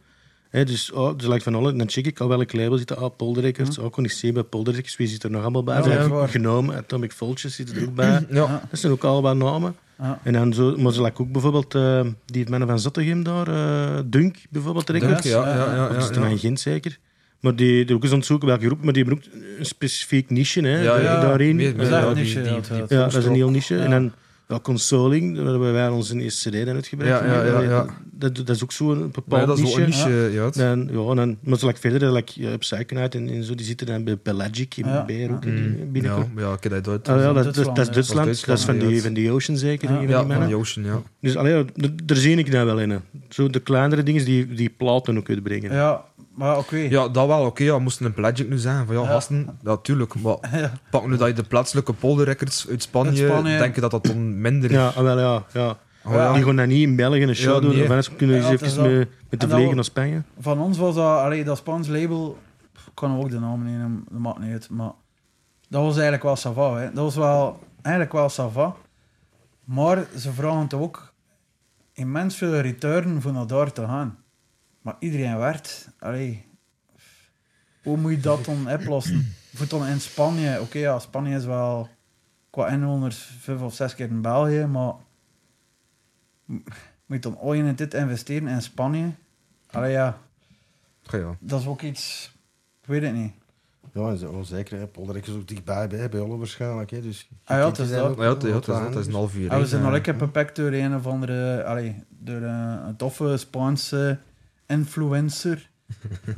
hè dus, oh, dus like van alle, dan check ik al welk label zit er. Ah, Polder Records. Hm. Ook kon ik zien bij Polder Records. dus Wie zit er nog allemaal bij? Ja, Zijn dat is waar. genomen. Atomic Vultures zit er ook bij. Ja. Dat zijn ook al wat namen. Ja. En dan zo, maar zo like ook bijvoorbeeld eh, die mannen van Zottegem daar, eh, Dunk bijvoorbeeld Denk Records. ik, ja, ja, eh, ja, Of ja, is het ja. in Gent zeker? Maar die, die ook eens aan het zoeken welke groep, maar die hebben ook een specifiek niche hè, Ja, ja. daarin. eh, Meer- Dat is eh, Ja, echt die- niche, die- dat, die- dat. Ja, dat is een heel niche. Ja. En dan ja, consoling, daar hebben wij onze eerste CD dan uitgebracht. Ja, ja, ja, ja. Dat, dat is ook zo'n Maar ja, bepaald dat is wel niche. een niche, ja. het- Dan, ja, en dan, maar zo like verder, like, ja, Psychonaut en, en zo, die zitten dan bij Pelagic in Ah, Ja. Beier ook Mm, in- binnenkort. Ja, maar ja, ik heb dat uit. Ah, ja, dat, dat, Duitsland, dat is hè. Duitsland, Dat is dat is van die, Duitsland, van die Ocean zeker. Ja. een van die Ja, mannen. van die Ocean, ja. Dus allee, ja, d- daar zie ik daar wel in. hè. Zo de kleinere dingen die, die platen ook uitbrengen. Ja, maar oké. Ja, dat wel, oké. ja, we moesten een pledge nu zeggen van ja, Ja. gasten, ja, tuurlijk. Maar Ja. pak nu dat je de plaatselijke polderrecords uit Spanje, Uit Spanje. denk je dat dat dan minder is. Ja, ah, wel, ja, ja. Oh, ja. Die gaan dan niet in België een show Ja, doen. nee. Of anders kunnen Ja, ze dat is even wel- met, met de en dat vliegen ook- naar Spanje. Van ons was dat, allee, dat Spaans label, pff, ik kan ook de naam nemen, dat maakt niet uit, maar dat was eigenlijk wel sava, hè. Dat was wel, eigenlijk wel sava, maar ze vragen toch ook immens veel return voor naar daar te gaan. Maar iedereen werd, allee, hoe moet je dat dan oplossen? Voor dan in Spanje, oké ja, Spanje is wel qua inwoners vijf of zes keer in België, maar moet je dan ooit in dit investeren in Spanje? Allee ja. Ja, ja. Dat is ook iets. Ik weet het niet. Ja, en ze- oh, zeker. hè. Paul de Rikkers is ook dichtbij bij, bij Olle waarschijnlijk. Hè, dus, Ah ja, het is dat. Maar ja, het- ja, het is, het is een half uur. En Ah, we hè. zijn al lekker beperkt door een of andere. Allee, door eh, een toffe Spaanse influencer.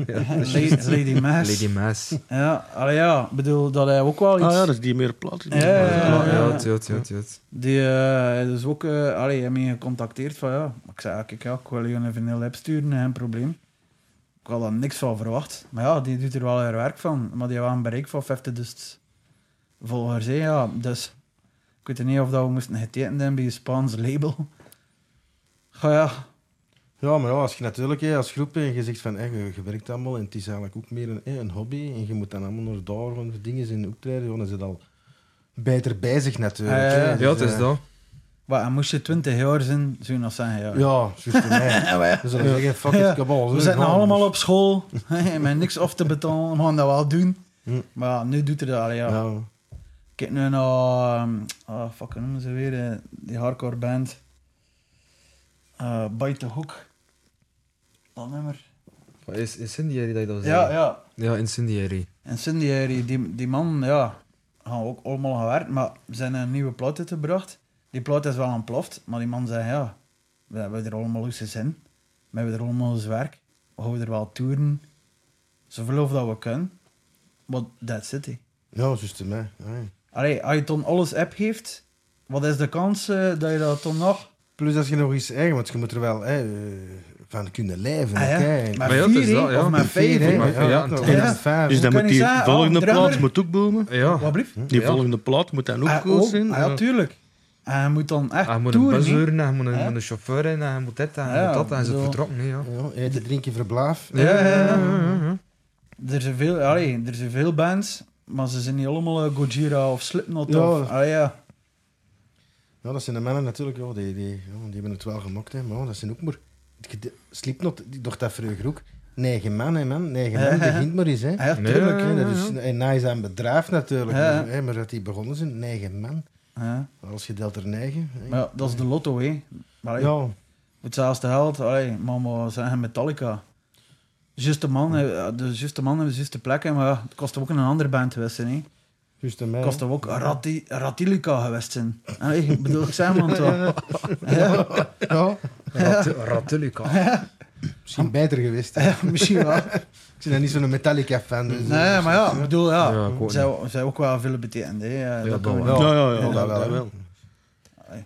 Ja. Lady, Lady Maas. Lady Maas. Ja, allee, ja, ik bedoel dat hij ook wel iets. Ah ja, dat is die meer plat. Ja, ja, ja. Ja, ja, het- ja, het- ja, het- ja, het. Die eh dus ook. eh allee, hij mij gecontacteerd van ja. Ik zei, kijk, ja, ik wil je een vinyl opsturen, geen probleem. Ik had daar niks van verwacht. Maar ja, die doet er wel haar werk van. Maar die had een bereik van 50 dus volgers. hè, ja. Dus ik weet niet of dat we moesten getekend hebben bij een Spaans label. Ga ja. Ja, maar ja, als je natuurlijk hè, als groep hè, en je zegt van hè, je, je werkt allemaal en het is eigenlijk ook meer een, hè, een hobby en je moet dan allemaal naar daar gaan voor dingen en optreden, ja, dan zit al beter bezig natuurlijk. Ja, hè. ja, ja. Dus, Ja, het is eh, dat. Maar dan moest je 20 jaar zijn, zou je nog zeggen. Ja. Ja, juist voor mij. We zullen zeggen, fuck Ja. it, kabal. We zitten allemaal dus. op school. Met niks af te betalen. We gaan dat wel doen. Hm. Maar ja, nu doet er dat. allee, Ja. ja. Kijk nu naar... ehm, ah, fuck, hoe noemen ze weer? eh, die hardcore band. eh Bite the Hook. Dat nummer. Wat Is Incendiary dat je dat zei? Ja, ja. ja, Incendiary. Incendiary, die, die man, ja, gaan we ook allemaal gewerkt, maar we zijn een nieuwe plaat uitgebracht. Die plaat is wel ontploft, maar die man zei, ja, we hebben er allemaal eens zin. We hebben er allemaal eens werk. We houden er wel toeren. Zoveel of dat we kunnen. Maar that's it, hè. Ja, juist te mij. Ah, ja. Allee, als je dan alles hebt, wat is de kans eh, dat je dat dan nog... Plus als je nog iets eigen, want je moet er wel hè, eh, van kunnen leven. Ah, ja. kijk. Maar Maar ja, het vier, is wel, hè, ja. of maar vijf, hè. hè. Ja, Ja, toch. ja. vijf, Dus hè. dan kan moet je die zeggen, volgende oh, drummer. plaat moet ook bomen. Ja. Wat blieft? Die Ja. volgende plaat moet dan ook Ah, goed ook. zijn. Ah, ja, tuurlijk. En je moet dan echt Hij eh. Ah, moet een toeren, bus hè. huren, hij moet een, Ja. moet een chauffeur in, hij moet dit, hij Ja, moet dat, hij is bedoel- vertrokken. hè, Ja. Ja, eten, drinken, verblijf. Ja, ja, ja, ja. ja. Er zijn veel, allee, er zijn veel bands, maar ze zijn niet allemaal eh, Gojira of Slipknot Ja. of... Allee, ja. Ja, dat zijn de mannen natuurlijk, ja, die, die, ja, die hebben het wel gemokt, hè, maar ja, dat zijn ook maar... Slipknot, die dacht dat vroeger ook. Negen man, hè, man. Negen man, begint maar eens, hè. Ah, ja, Nee. tuurlijk. Ja, dat is een nice aan bedrijf natuurlijk, Ja. maar, hè, maar dat die begonnen zijn, negen man. Ah, Ja. Alles gedeeld door negen. hè. Maar ja, dat is de lotto, hè. Maar allee, Ja, hetzelfde geld, allee, mama, zeggen Metallica. De juiste man, Hm. hè, de juiste man en de juiste plek, hè, maar ja, het kostte ook een andere band geweest zijn, hè. juist aan mij. Het hè. kostte ook Rati, Ratilica geweest zijn. Allee, ik bedoel, ik zeg maar zo. Ja, Ja, Rat- Ratelica. misschien beter geweest. hè. ja, misschien wel. Ik ben niet zo'n Metallica-fan. Dus, Nee, maar ja, ik bedoel, ja. Ja, ik ook zij, zij ook wel veel betekend, hè. Ja, dat kan wel. wel. Ja, ja, ja, Ja, dat, dat wel. wel. Ik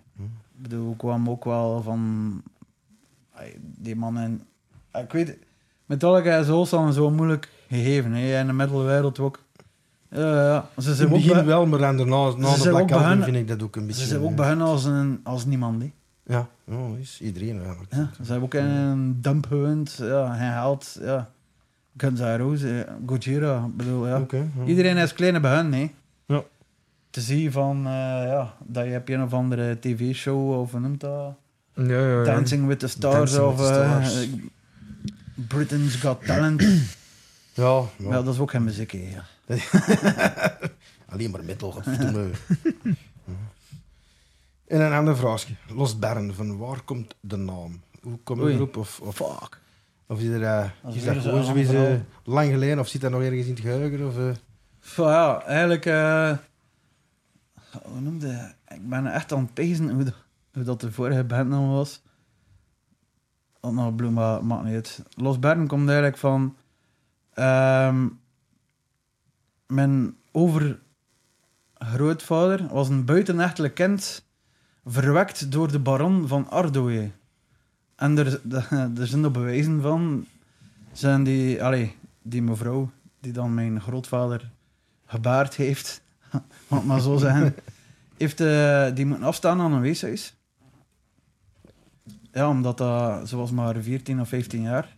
bedoel, ik kwam ook wel van... Ai, Die mannen... Ik weet... Metallica is Holstam zo moeilijk gegeven, hè. En de metalwereld ook. Ja, ja. Ze Ze zijn ook, begin bij, wel, maar aan de na, na zijn de ook Black Album begonnen- vind ik dat ook een beetje... ze zijn ook eh, bij hen als, een, als niemand, hè. Ja, ja is iedereen eigenlijk. Ja, ze hebben ook in een dump gewend. Ja, geen geld. Ja. Guns N' Roses, eh, Gojira, ik bedoel, ja. Oké, ja. Iedereen is kleine bij hen, hè. Ja. Te zien van, eh, ja, dat je hebt een of andere tv-show, of hoe noemt dat? Ja, ja, ja. Dancing with the Stars, Eh, Dancing of with the eh, Stars. Britain's Got Talent. Ja, ja. ja. dat is ook geen muziek, hè. ja. alleen maar metal. godverdomme. en een ander vraagje. Los Bern, van waar komt de naam? Hoe komt Oei. die groep? Of, of, Fuck. of is, er, eh, Dat is is weer dat zo'n gewoon zoiets verhaal. eh, lang geleden? Of zit dat nog ergens in het geheugen? Of, eh, Fuck, ja, eigenlijk... eh, hoe noemde hij? Ik ben echt aan het pezen hoe, dat- hoe dat de vorige bandnaam was. Oh, nou, Bloem, maar maakt niet uit. Los Bern komt eigenlijk van... ehm, mijn overgrootvader was een buitenechtelijk kind... verwekt door de baron van Ardooie. En er, er zijn er bewijzen van... Zijn die... Allee, die mevrouw die dan mijn grootvader gebaard heeft... Moet ik maar zo zeggen. Heeft, eh, die moeten afstaan aan een weeshuis. Ja, omdat dat... Ze was maar 14 of 15 jaar.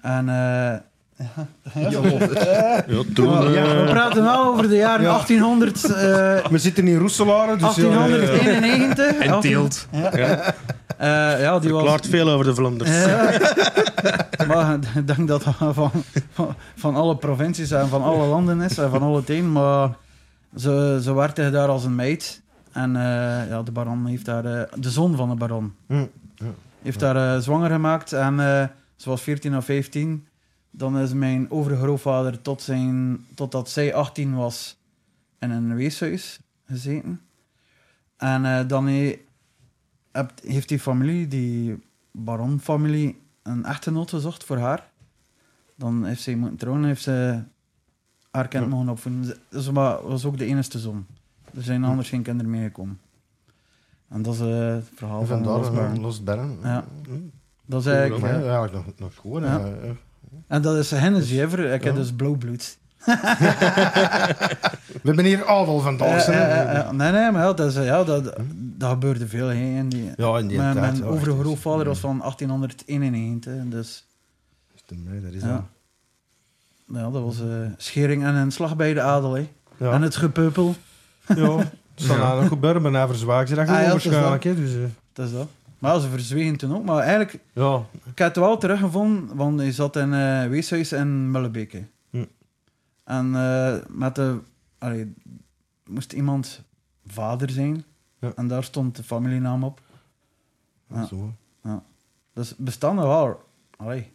En... eh ja, Ja, toen... eh, we praten wel over de jaren Ja. 1800... eh, We zitten in Roeselare, dus... ja, 1891. En teelt. Eh, ja, die was... verklaart veel over de Vlaanders. Ja. maar ik denk dat dat van, van, van alle provincies en van alle landen is en van alle tien. Maar ze, ze werkte daar als een meid. En eh, ja, de baron heeft daar... eh, de zoon van de baron Hm, ja. heeft daar eh, zwanger gemaakt. En eh, ze was 14 of 15. Dan is mijn overgrootvader tot zijn, totdat zij 18 was in een weeshuis gezeten. En eh, dan he- hebt- heeft die familie, die baronfamilie, een echtgenoot gezocht voor haar. Dan heeft zij moeten trouwen, heeft ze haar kind Ja. mogen opvoeden. Ze- Ze wa- was ook de enige zoon. Er zijn anders geen kinderen meegekomen. En dat is eh, het verhaal van Vandaar Los eh, Bern. Los Bern. Ja. Hm. Dat is Ja, eigenlijk... eigenlijk nog, nog gewoon. Ja. eh, eh. En dat is Hennessy, hè, voor- ik heb Ja. dus blauwbloed. We hebben hier Adel van Dalsen. Eh, hè. eh, eh, eh, nee, nee, maar ja, dat, is, eh, ja, dat, dat gebeurde veel. Hè, in die, Ja, in die mijn tijd, mijn ja, overgrootvader ja. was van 1891, dus Juist aan mij, Dat is Ja. dan- ja, dat was eh, schering en een slag bij de adel. Hè. Ja. En het gepeupel, Ja, het zal nou nog gebeuren, maar na verzwaak ze dat gewoon Ah, ja, dat is waarschijnlijk. hè, Dus, eh, dat is dat. Maar ja, ze verzwegen toen ook. Maar eigenlijk, ja, ik heb het wel teruggevonden, want hij zat in eh Weeshuis in Mullebeke. Hm. En eh, met de... allee, moest iemand vader zijn. Ja. En daar stond de familienaam op. Ja. Zo. Dus bestaan er wel allee,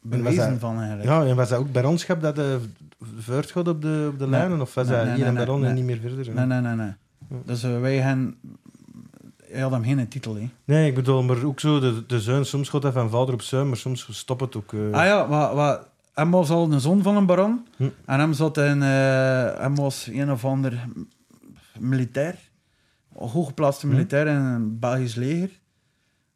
bewezen zijn- van eigenlijk. Ja, en was dat ook bij ons schap dat de voortgod op de, op de Nee. lijnen? Of was Nee, dat nee, hier nee, en bij nee, ons en nee. niet meer verder? Nee, nee, nee. nee. Dus eh, wij gaan... Hij had hem geen titel, hè. Nee, ik bedoel, maar ook zo, de, de zoon, soms gaat dat van vader op zoon, maar soms stopt het ook. eh. Ah ja, wat, wat, hem was al een zoon van een baron. Hm. En hem, zat in, eh, hem was een of ander militair. Een Hm. hooggeplaatste militair in een Belgisch leger.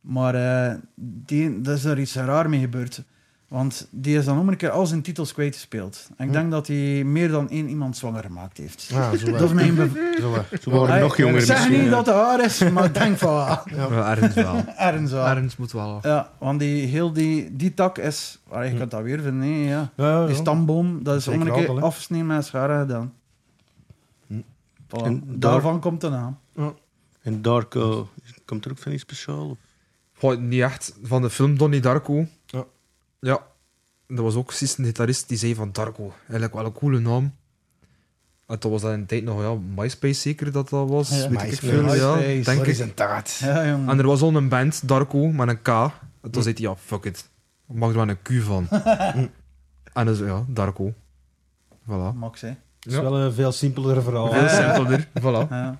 Maar eh die, dat is er iets raar mee gebeurd. Want die is dan om een keer al zijn titels kwijtgespeeld. En ik Hm. denk dat hij meer dan één iemand zwanger gemaakt heeft. Ah, zo Dat is waar. mijn bev- Zo waar. Ze worden Hey, nog jonger Ik zeg misschien. niet ja. dat het haar is, maar ik denk van wel. Ja, ergens wel. Ergens wel. Ergens moet wel af. Ja, want die, heel die, die tak is... Allee, je kunt dat weer vinden, hè, ja. Ja, ja, Die ja. stamboom, dat is Zeker om een keer altijd, hè. afgesneden met scharen gedaan. Hm. Voilà. En daar- Daarvan komt de naam. En Darko, komt er ook van iets speciaal? Goh, niet echt. Van de film Donnie Darko. Ja. Ja. Dat was ook precies een gitarist die zei van Darko. Eigenlijk wel een coole naam. En toen was dat in de tijd nog, ja, MySpace zeker dat dat was. Ja, Weet ik MySpace. veel, ja, MySpace. denk Wat is ik. een taart? Ja, jongen. En er was al een band, Darko, met een K. En Hm. toen zei hij, ja, fuck it. Ik mag er wel een Q van. Hm. en dus, ja, Darko. Voilà. Max, hè. Het is wel een veel simpeler verhaal. Veel simpeler. Voilà. Ja,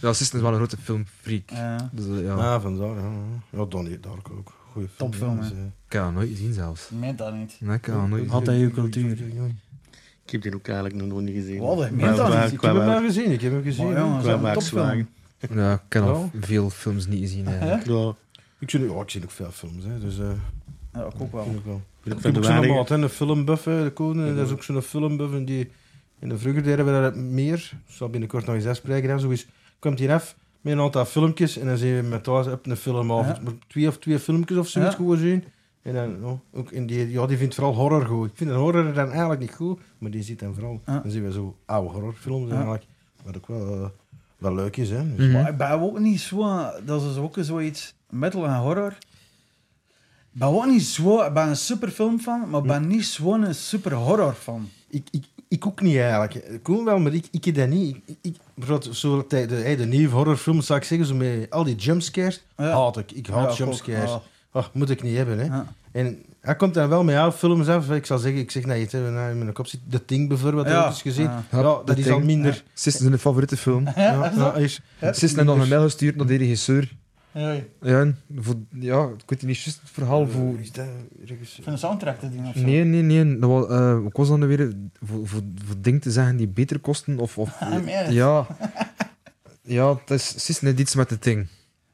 Ja, Sisten is wel een grote filmfreak. ja. Dus eh, ja, Ah, vandaar. Ja, ja Donnie Darko ook. Goeie film. Topfilm, ja, hè. dus, eh. ik heb dat nooit gezien zelfs. Ik meen dat niet. Nee, ik heb dat nooit Oh. gezien. Had hij uw cultuur? Ik heb die ook eigenlijk nog nooit gezien. Wat, dat Qua- meen dat qua- niet. Ik qua- heb hem nou gezien, ik heb hem gezien. Maar jongens, Qua dat is een topfilm. Max-wagen. Ja, ik heb al Ja. veel films niet gezien. Eh? eigenlijk. Ja? Ja, Ik zie, oh, ik zie ook veel films, hè, dus eh, Ja, ik ook wel. vind ik wel. vind ik van Ik heb de ook zo'n weinige. maat, hè, een filmbuff, hè, de koning, dat is ook zo'n filmbuff. En die, in de vroeger deden we dat meer, ik zal binnenkort nog eens afspreken. hè, Zo is, komt hier af met een aantal filmpjes en dan zien we met thuis op een filmavond. Ja. Maar twee of twee filmpjes of zoiets Ja. gewoon zien. En dan, oh, ook in die, ja, die vindt vooral horror goed. Ik vind een horror dan eigenlijk niet goed, maar die ziet dan vooral. Ja. Dan zien we zo oude horrorfilms Ja. eigenlijk, wat ook wel, eh, wel leuk is. Hè. Dus- Mhm. Maar ik ben ook niet zo... Dat is ook zoiets... Metal en horror. Ik ben ook niet zo... Ik ben een super film van, maar ik ben niet zo'n super horror van. Ik, ik, ik ook niet eigenlijk. Ik wil wel, maar ik, ik heb dat niet. Ik, ik, bijvoorbeeld, zo, de, de, hey, de nieuwe horrorfilms, zou ik zeggen, zo met al die jumpscares, Ja. haat ik. Ik haat jumpscares. Ja. Ach, moet ik niet hebben, hè. Ja. En hij komt dan wel met jouw films af. Ik zal zeggen, ik zeg nou, iets, hè, nou, in mijn kop zit The Thing bijvoorbeeld, Ja. ook eens gezien. Ja. Ja, Ja, dat The is Thing. al minder. Sisten Eh, is een favoriete film. Ja. ja, is- Sisten heeft nog een mail gestuurd naar de regisseur. Ja, Ik Ja, en voor, ja ik weet niet juist het verhaal voor... Is dat regisseur? vind de soundtrack te doen of zo. Nee, nee, nee. Dat was, eh, ik was dan weer voor, voor, voor dingen te zeggen die beter kosten of... of Ah, meer. ja. Ja, het is Sisten heeft iets met de ding.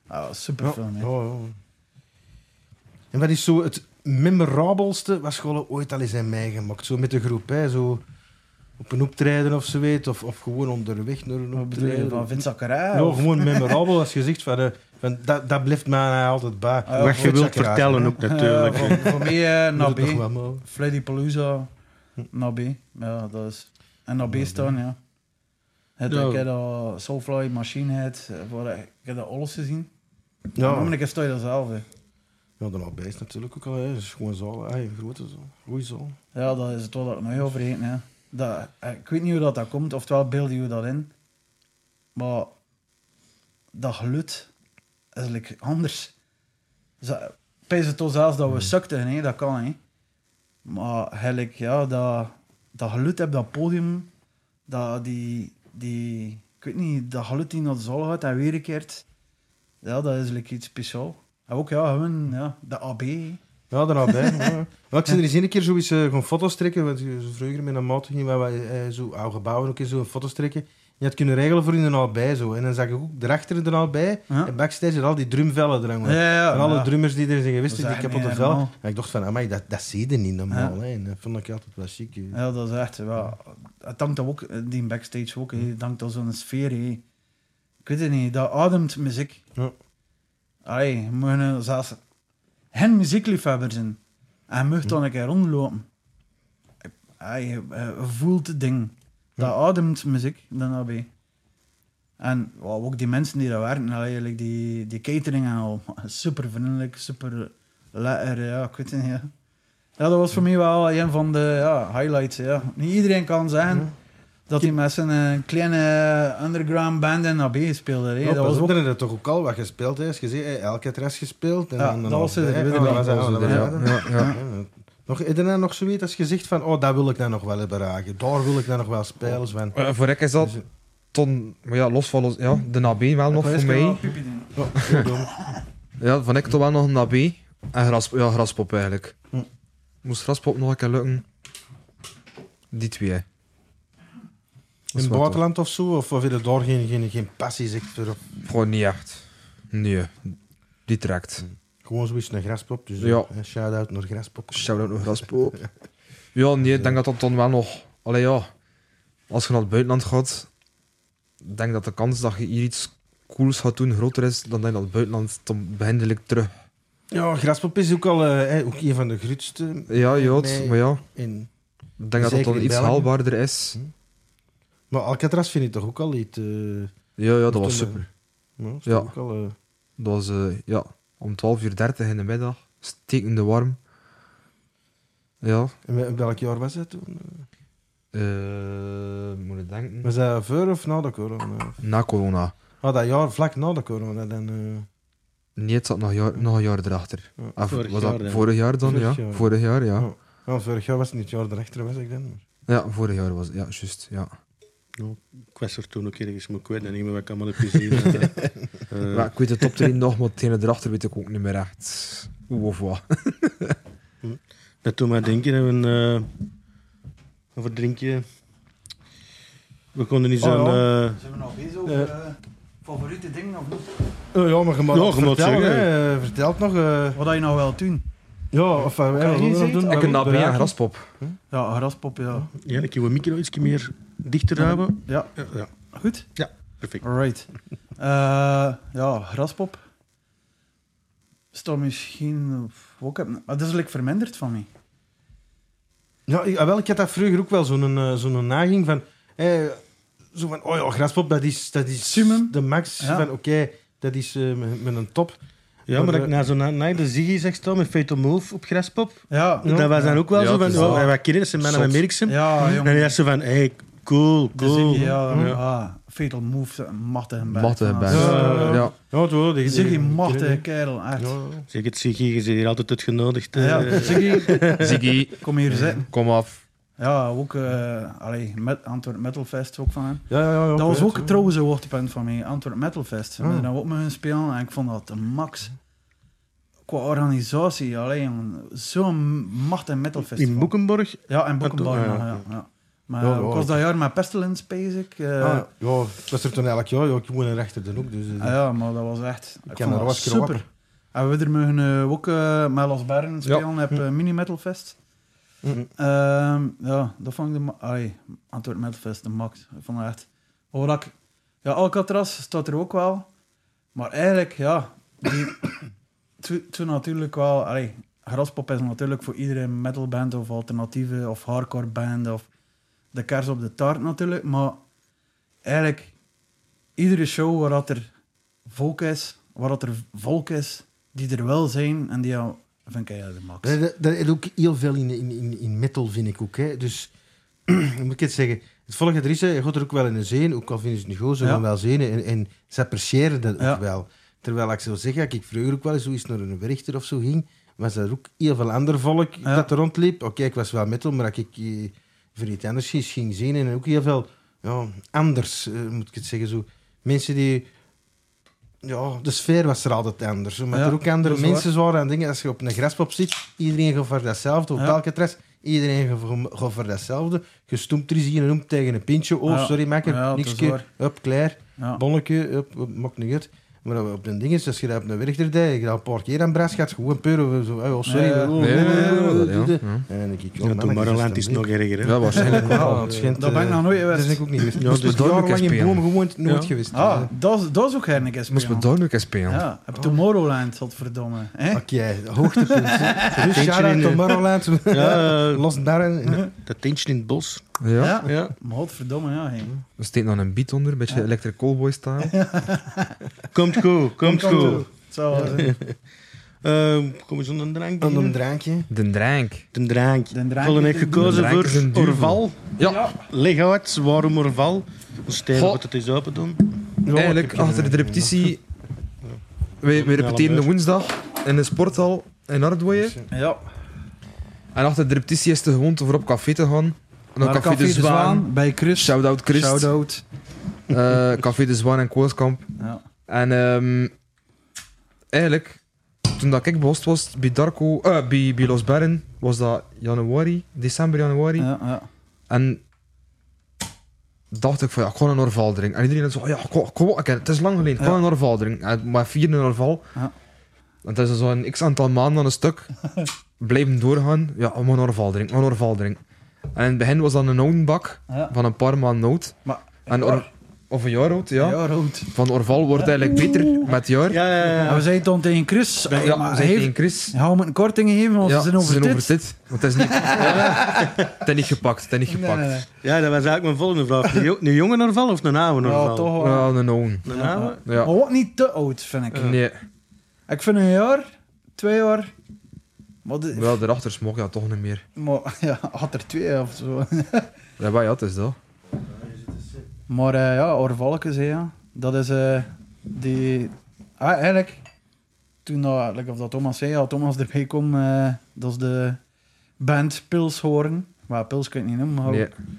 Ah, super film, hè. Ja, ja. En wat is zo het memorabelste wat scholen ooit al eens hebben meegemaakt? Zo met de groep, hè? Zo op een optreden of zo weet, of, of gewoon onderweg naar een Wat bedoel je, optreden. van Vincent Ja, Carré? of- gewoon memorabel als je zegt van, eh, van dat, dat blijft mij altijd bij. Ah, Wat je goed, wilt vertellen ook natuurlijk. Eh, voor, voor mij eh, Moet naar het toch B. wel Hm. mogen. Freddy Palooza, naar B. Ja, dat is... En naar B staan, ja. Het, Ja. Ik heb dat Soulfly, Machine Head, eh, voor, ik heb dat alles gezien. Ja. Ja, Maar ik sta je dat zelf, hè. ja dan al beest natuurlijk ook al. Hè. Dat is gewoon zaal, hè. een grote zaal. Goeie zaal. Ja, dat is het wat ik nog heel vergeten, hè. Dat, eh, ik weet niet hoe dat, dat komt, oftewel beeld je dat in. Maar dat geluid is like, anders. Ze- Pijs het toch zelfs dat we sukten, hè? dat kan. Hè? Maar eigenlijk, ja, dat, dat geluid op dat podium, dat, die, die, ik weet niet, dat geluid die naar de zaal gaat en weerkeert, ja, dat is like, iets speciaals. En ook, ja, gewoon, ja, de AB. hè. Ja, dan al bij. ja. Maar ik zit er eens een keer zo eens, eh, gewoon foto's trekken. Want je- zo vroeger met een maat gingen we eh, zo oude gebouwen ook eens zo foto's trekken. En Je had kunnen regelen voor in de al bij zo. En dan zag ik ook erachter de al bij. Ja. En backstage had al die drumvellen er hangen. Ja, ja, ja. en alle ja. drummers die er zijn geweest, Dat is die echt kapotte niet vellen. normaal. En ik dacht van, amai, dat, dat zie je niet normaal. Ja. Hè. En dat vond ik altijd wel chic. eh. hè. Ja, dat is echt. Ja. Het hangt dan ook, eh, die backstage ook, hè. het hangt al zo'n sfeer. hè. Ik weet het niet, dat ademt muziek. Ja. Allee, je mag nu zelfs geen muziekliefhebber zijn. En je mag dan een keer rondlopen. Allee, je je eh, voelt het ding. Dat ademt muziek, dan AB. En ja, ook die mensen die daar werken, allee, like die, die catering en al. Super vriendelijk, super lekker, ja, ik weet het niet. ja. Ja, dat was voor mij wel een van de ja, highlights. Ja. Niet iedereen kan zeggen dat hij met zijn eh, kleine underground band in AB speelde. hè. Oh, dat was ook Dan heb je toch ook al wat gespeeld. Hè. Als je zei, hey, elke rest gespeeld. En Ja, dan, dan dat was nog- het, hey, dat weet oh, ik dan nog. zijn we- dan Ja, zijn we- ja, ja. Ja. Nog, is er nou nog zoiets als je zegt van, oh, dat wil ik dan nog wel hebben raken. Daar wil ik dan nog wel spelen. Sven. Eh, voor ik is dat Dus, ton, maar ja, los van los, ja, de NAB wel nog voor mij. oh, pardon. Ja, van ik toch wel nog een NAB en gras, ja, graspop eigenlijk. Hm. Moest graspop nog een keer lukken? Die twee. hè. In het Dat is wel buitenland of zo? Of, of heb je daar geen, geen, geen passie zeg, voor? tof. Gewoon niet echt. Nee, die trekt. Gewoon zoiets naar graspop. Dus Ja. een shout-out naar graspop. Shout-out naar graspop. ja, nee, ik denk dat dat dan wel nog... Allee ja, als je naar het buitenland gaat, ik denk dat de kans dat je hier iets cools gaat doen groter is dan denk ik dat het buitenland dan behendelijk terug... Ja, graspop is ook al eh, hè, ook een van de grootste Ja, ja, het- Nee. maar ja, in... ik denk dat dat Zeker dan in iets België. haalbaarder is. Maar Alcatraz vind ik toch ook al iets... eh, Ja, ja, dat Toen, was eh, super. nou, is Ja. toch ook al, eh, Dat was eh, ja, om 12.30 uur in de middag, stekende warm. Ja, en wel- welk jaar was dat toen? eh, moet ik Mhm. denken. Was dat voor of na de corona? Na corona. Ah, dat jaar vlak na de corona. Dan, eh, Nee, het zat nog, jaar, nog een jaar erachter. Ja, Of vorig was jaar dat dan. vorig jaar dan? Vorig ja, jaar. vorig jaar, ja. Ja. ja, vorig jaar was het niet, het jaar erachter was ik dan. maar- Ja, vorig jaar was het. Ja, juist. Ja. Ik was er toen ook ergens, maar ik weet het niet meer wat ik allemaal heb gezien. eh. Eh, Maar ik weet de top 3 nog, maar hetgene erachter weet ik ook niet meer echt. Hoe of wat. Dat doet mij denken dat we een, eh, een verdrinkje... We konden niet Oh, zo'n... ja. eh, Zijn we nog bezig over, eh, favoriete dingen of niet? Oh, ja, maar je mag Ja, het je mag het vertellen, zeggen. hè. Eh, Vertel het nog. eh, Wat had je nou wel doen? ja, of wat Kan wij je willen iets nog doen. eten? wat Ik we een AB en beraken. graspop. Ja, graspop, ja. ja, ik wil micro iets meer dichter houden. Ja, Ja, ja, goed. perfect. Alright. Eh, ja, graspop. Is dat misschien... Ook, ah, dat is like verminderd van mij. Ja, ik, ah, wel, ik had dat vroeger ook wel zo'n eh, zo'n naging van... eh, zo van, oh ja, graspop, dat is, dat is Summum. de max. Ja. Van, oké, dat is eh, met met een top. Ja, maar Maar, dat ik eh, na zo'n night de Ziggy zeg staan met Fatal Move op Graspop, Ja. dat was dan ook wel Ja, zo van, het is oh, wel- wij kennen dat zijn mannen met Zot. Merksen. Ja, En dan jongen. was ze van, hey, cool, De Ziggy, cool. ja, Ja. ah, Fatal Move, machtige band. Matte Ah, bij. Ja, ja, ja. Ja. Ja, toch, die- Ziggy, die- machtige die- kerel, echt. Ja, Ja, ja. Zeg het Ziggy, je zit hier altijd uitgenodigd. eh. Ziggy, Ziggy, kom hier zitten. kom af. Ja, ook eh allee, met Antwerp Metal Fest ook van hem. Ja, ja, ja, Dat was oké, ook zo. trouwens een hoogtepunt van mij, Antwerp Metal Fest. Ah. Ik ben ook met hun spelen en ik vond dat de max. Qua organisatie, alleen zo'n machtig metalfest. In Boekenborg. Ja, en Boekenbar. Ah, Ja, toch? ja, Ja, ja. Maar Ja, ja, ik was dat jaar met Pestilence bezig. eh, Ah, ja, ik was er toen elk jaar. Ja, ik woon er achter de hoek. Dus, eh, ah ja, maar dat was echt ik ken vond daar dat wel eens keer op. super. En we er mogen eh, ook eh, met Los Bern spelen Hm. heb eh, Mini Metal Fest. Mm. Ehm, ja, dat vond ik de ma- Allee, Antwerp Metal Fest, de max. Ik vond dat echt... Hoor ik... Ja, Alcatraz staat er ook wel. Maar eigenlijk, ja... Die, toen- toen natuurlijk wel... Allee, graspop is natuurlijk voor iedere metalband of alternatieve of hardcore band of de kers op de taart natuurlijk. Maar eigenlijk, iedere show waar dat er volk is, waar dat er volk is, die er wel zijn en die al- vind ik ja, de max. Er- er- Er is ook heel veel in, in, in, in metal, vind ik ook. Hè. Dus, hoe moet ik het zeggen? Het volk dat er is, hè, je gaat er ook wel in een zeen. Ook al vinden ze het niet goed, ze Ja. gaan wel zien. En, en ze appreciëren dat ook Ja. wel. Terwijl ik zou zeggen, als ik vroeger ook wel eens zoiets naar een werchter of zo ging, was er ook heel veel ander volk Ja. dat er rondliep. Oké, ik was wel metal, maar als ik eh, voor iets anders ging, ging zien en ook heel veel ja, anders, eh, moet ik het zeggen. Zo, mensen die... Ja, de sfeer was er altijd anders. Maar Ja, er ook andere dat is waar. mensen waren en dingen. Als je op een graspop zit, iedereen gaat voor datzelfde. Op Ja. Alcatraz, iedereen gaat voor- gaat voor datzelfde. Je stoemt er eens hier en om tegen een pintje. Oh, Ja. sorry, makker. Ja, dat is Nikske. waar. Up, klaar. Ja. Bonneke. Up, up, maakt niet uit. Maar op den ding is, als je daar op een werchter deed, je daar een paar keer aan bras gaat, gewoon peuren. Zo, oh, sorry. Nee, oh, Nee, nee, nee, nee, dat, nee, nee. ja. Ja. En dan denk ik, joh, Ja, mannetjes, toen Maroland is dat nog erger, hè. Ja, waarschijnlijk wel. Ja, het schijnt, Dat ben ik eh, nog nooit Dat geweest. is ik ook niet geweest. Ja, dus dus ik daar ook jarenlang in spelen. Bomen gewoond, nooit Ja. geweest. Ah, dat is- dat is ook geen keer Moest me spelen. daar nu spelen. Ja, heb Tomorrowland, godverdomme. hè? Oké, hoogtepunt. Dus shout-out in, eh, to Maroland. Ja, eh, Los Barren. dat tentje in het bos. Ja. Ja, Ja. maar godverdomme, ja. hè. Er steekt nog een beat onder, een beetje Electric Callboy staan. Komt goed, komt Kom, kom, goed. Het zou wel zijn. Eh, kom eens aan een drank. Aan een beginnen? drankje. De drank. Een drank. De draak- Colin heeft gekozen drank is een voor duivel. Orval. Ja, Leg uit, waarom Orval? Steven Goh. moet het eens open doen. eigenlijk achter de repetitie. Wij, wij repeteren de woensdag in de sporthal in Ardwooien. Ja, En achter de repetitie is de gewoonte voor op café te gaan. Naar naar café, de Zwaan. bij Chris. Shout-out Christ. Shout-out. Eh, café de Zwaan en Kooskamp. Ja. En ehm, eigenlijk, toen dat ik behost was bij Darko, eh, bij, bij Los Barren, was dat januari, december, januari. Ja, ja. En dacht ik van ja, ik ga een Orval drinken. En iedereen had zo, oh ja, kom, kom op, het is lang geleden, ik ga Ja. een Orval drinken. En maar vier een Orval. Ja. Want dat is dan zo'n x aantal maanden aan een stuk. Blijven doorgaan, ja, we gaan een Orval drinken, we gaan een Orval drinken. En in het begin was dat een oude bak ja. van een paar maanden oud. Maar- en Or- of een jaar oud, ja. Ja, rood. Van Orval wordt eigenlijk beter met jaar. Ja, ja, ja. En we zeiden dan tegen Chris, Ja, ja, we maar zijn heeft, tegen Chris. hou me een korting geven, want ja, ze zijn over dit. Want het is niet, het is niet gepakt, het is niet gepakt. Nee, nee, nee. Ja, dat was eigenlijk mijn volgende vraag. Een jo- Een jonge Orval of een oude Orval? Ja, toch wel. Ja, een own. Een oude? Ja. Maar wat niet te oud, vind ik. Nee, Ik vind een jaar, twee jaar... Maar, de- wel, daarachter smog ja toch niet meer. maar ja, had er twee of zo. Ja, maar ja, het is dat. Maar eh, ja, Orvalkes, hè, ja. dat is eh, die... Ah, eigenlijk, toen dat, like of dat Thomas zei, ja, Thomas erbij kwam, eh, dat is de band Pilshoorn. Maar Pils kun je het niet noemen, maar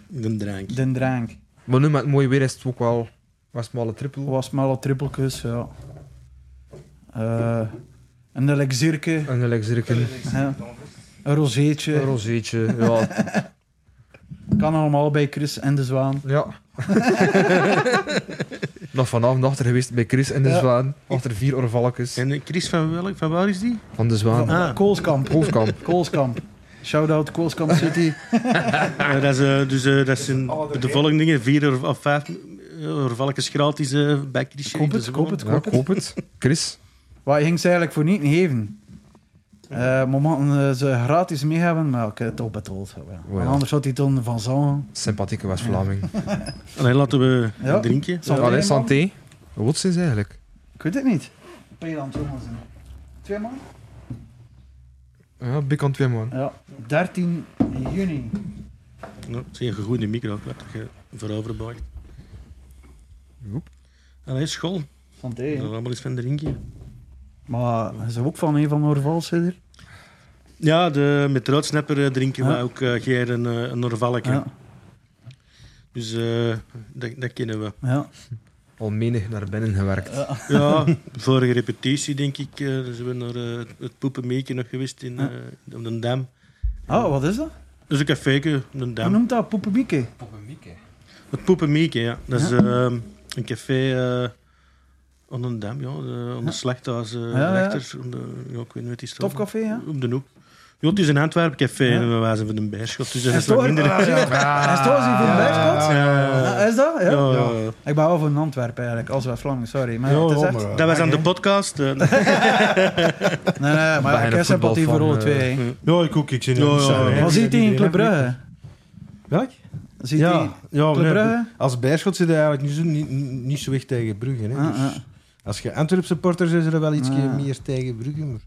Nee. Een drank. Den Drank. Maar nu met het mooie weer is het ook wel was smalle triple. was maar al trippelkus, ja. Eh, een elixierke, En een lekkere hè. een rozeetje. een rozeetje. Ja. kan allemaal bij Chris en de Zwaan. ja. Nog vanavond achter geweest bij Chris en de Ja. Zwaan. Achter vier orvalkes En eh, Chris van welk? Van waar is die? van de Zwaan. Ah. Koolskamp. Hoofdkamp. Koolskamp. Shout-out Koolskamp City. Ja, dat is, eh, dus eh, dat zijn de volgende dingen. Vier of, of vijf eh, Orvalkes gratis eh, bij Chris. Koop het, koop het, Ja, koop het. koop het. Chris. Waar ging ze eigenlijk voor niet geven? Eh momenten eh, ze gratis mee hebben, maar ik heb het opbetoeld. Ja. Oh ja. Anders had hij dan van zon. Sympathieke West-Vlaming. Allee, laten we Ja. drinken. Zal- Allee, man. santé. Wat is eigenlijk? Ik weet het niet. Peeland, jongens. Twee man? Ja, bekant twee man. Ja, 13 juni. Nou, het is een goede micro, ik weet dat je voorover buigt. Joep. Allee, school. Santé. Dat is allemaal eens van drinken. Maar ze ook van een van Orvals, er? Ja, de, met roodsnapper eh, drinken Ja. wij ook eh geen een, eh, een Orvalke. Ja. Dus eh, dat, dat kennen we. ja. Al menig naar binnen gewerkt. Ja, vorige repetitie denk ik. eh, dus we zijn naar eh, het Poepenmeekje nog geweest in, Ja. eh, op den Dam. Oh, wat is dat? Dus een café op den Hoe Dam. noemt dat? Poepenbieke? Het Poepenmeekje, ja. Dat is ehm, een café eh op den Dam, ja. De, om Ja. Ah, de slachthuis eh, ja, ja. rechter. om de- ja, ik weet niet wat die Tof café, ja? Op de hoek. Ja, het is een Antwerp café Ja. en we wijzen van de bijschot. Dus dat Hij is is wat toch hij is minder. toch- hij is toch zien van de Ja, Bergkot? Ja, Ah, Is dat? Ja. ja, ja. Ik ben wel van Antwerpen eigenlijk, als we Vlaming, sorry. Maar Ja, het is ja, echt... maar- Dat was aan de podcast. eh, Nee, nee, Bijna maar ik heb sympathie voetbal voor alle van, eh, twee. hè. Ja, ik ook. Ik zit in Ja, de ja, sauna, ja. hè. Wat ziet hij in Club Brugge? Welk? Ziet hij Ja, Oh, ja Club nee, Brugge? als bijschot zit hij eigenlijk niet zo, niet, niet zo weg tegen Brugge. Hè. Ah, Dus ah. Als je Antwerp supporters is er wel iets Ah. meer tegen Brugge. Maar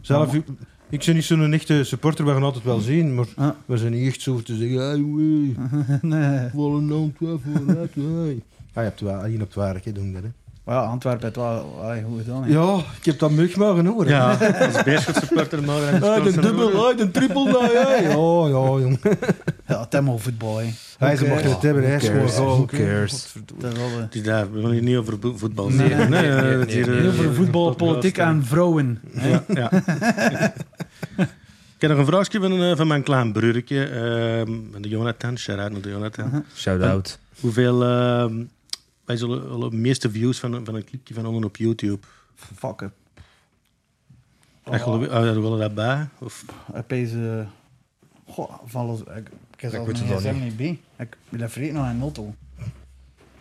zelf, ik, ik ben niet zo'n echte supporter, we gaan altijd wel zien. Maar Ah. we zijn niet echt zo te zeggen, hey, wee, Nee. vol een Antwerp, vooruit, wee." Ah, je hebt wel, hier op het werk, hè, doen dat, hè. Maar ja, Antwerpen heeft wel allee, goed gedaan. hè. Ja, ik heb dat mug mogen horen. ja, dat is bijschot supporter. maar dat is Ah, de constant- dubbel, ah, de triple, nou, ja. Ja, ja, jong. Ja, Temmel voetbal, hè. Hij ze Who mochten het hebben, hij is gewoon cares? zo. Who cares? Dat is wel de- Dus daar, we gaan hier niet over bo- voetbal Nee, zeggen. nee, eh, nee, dat nee, hier, nee. eh, Heel veel voetbal, podcast, politiek eh. en vrouwen. hè. Ja, ja. Ik heb nog een vraagje van, eh, van mijn klein broertje, ehm, van de Jonathan. Shout-out naar de Jonathan. Shout-out. Hoeveel... ehm, wij zullen wel de meeste views van, van een clipje van onder op YouTube. Fuck it. Dat geloof ik- ah, dat willen we daarbij? Of, Opeens... eh, Goh, van los... Ik, ik heb zelfs weet mijn het al gsm niet bij. Ik ben dat vergeten nog in de auto.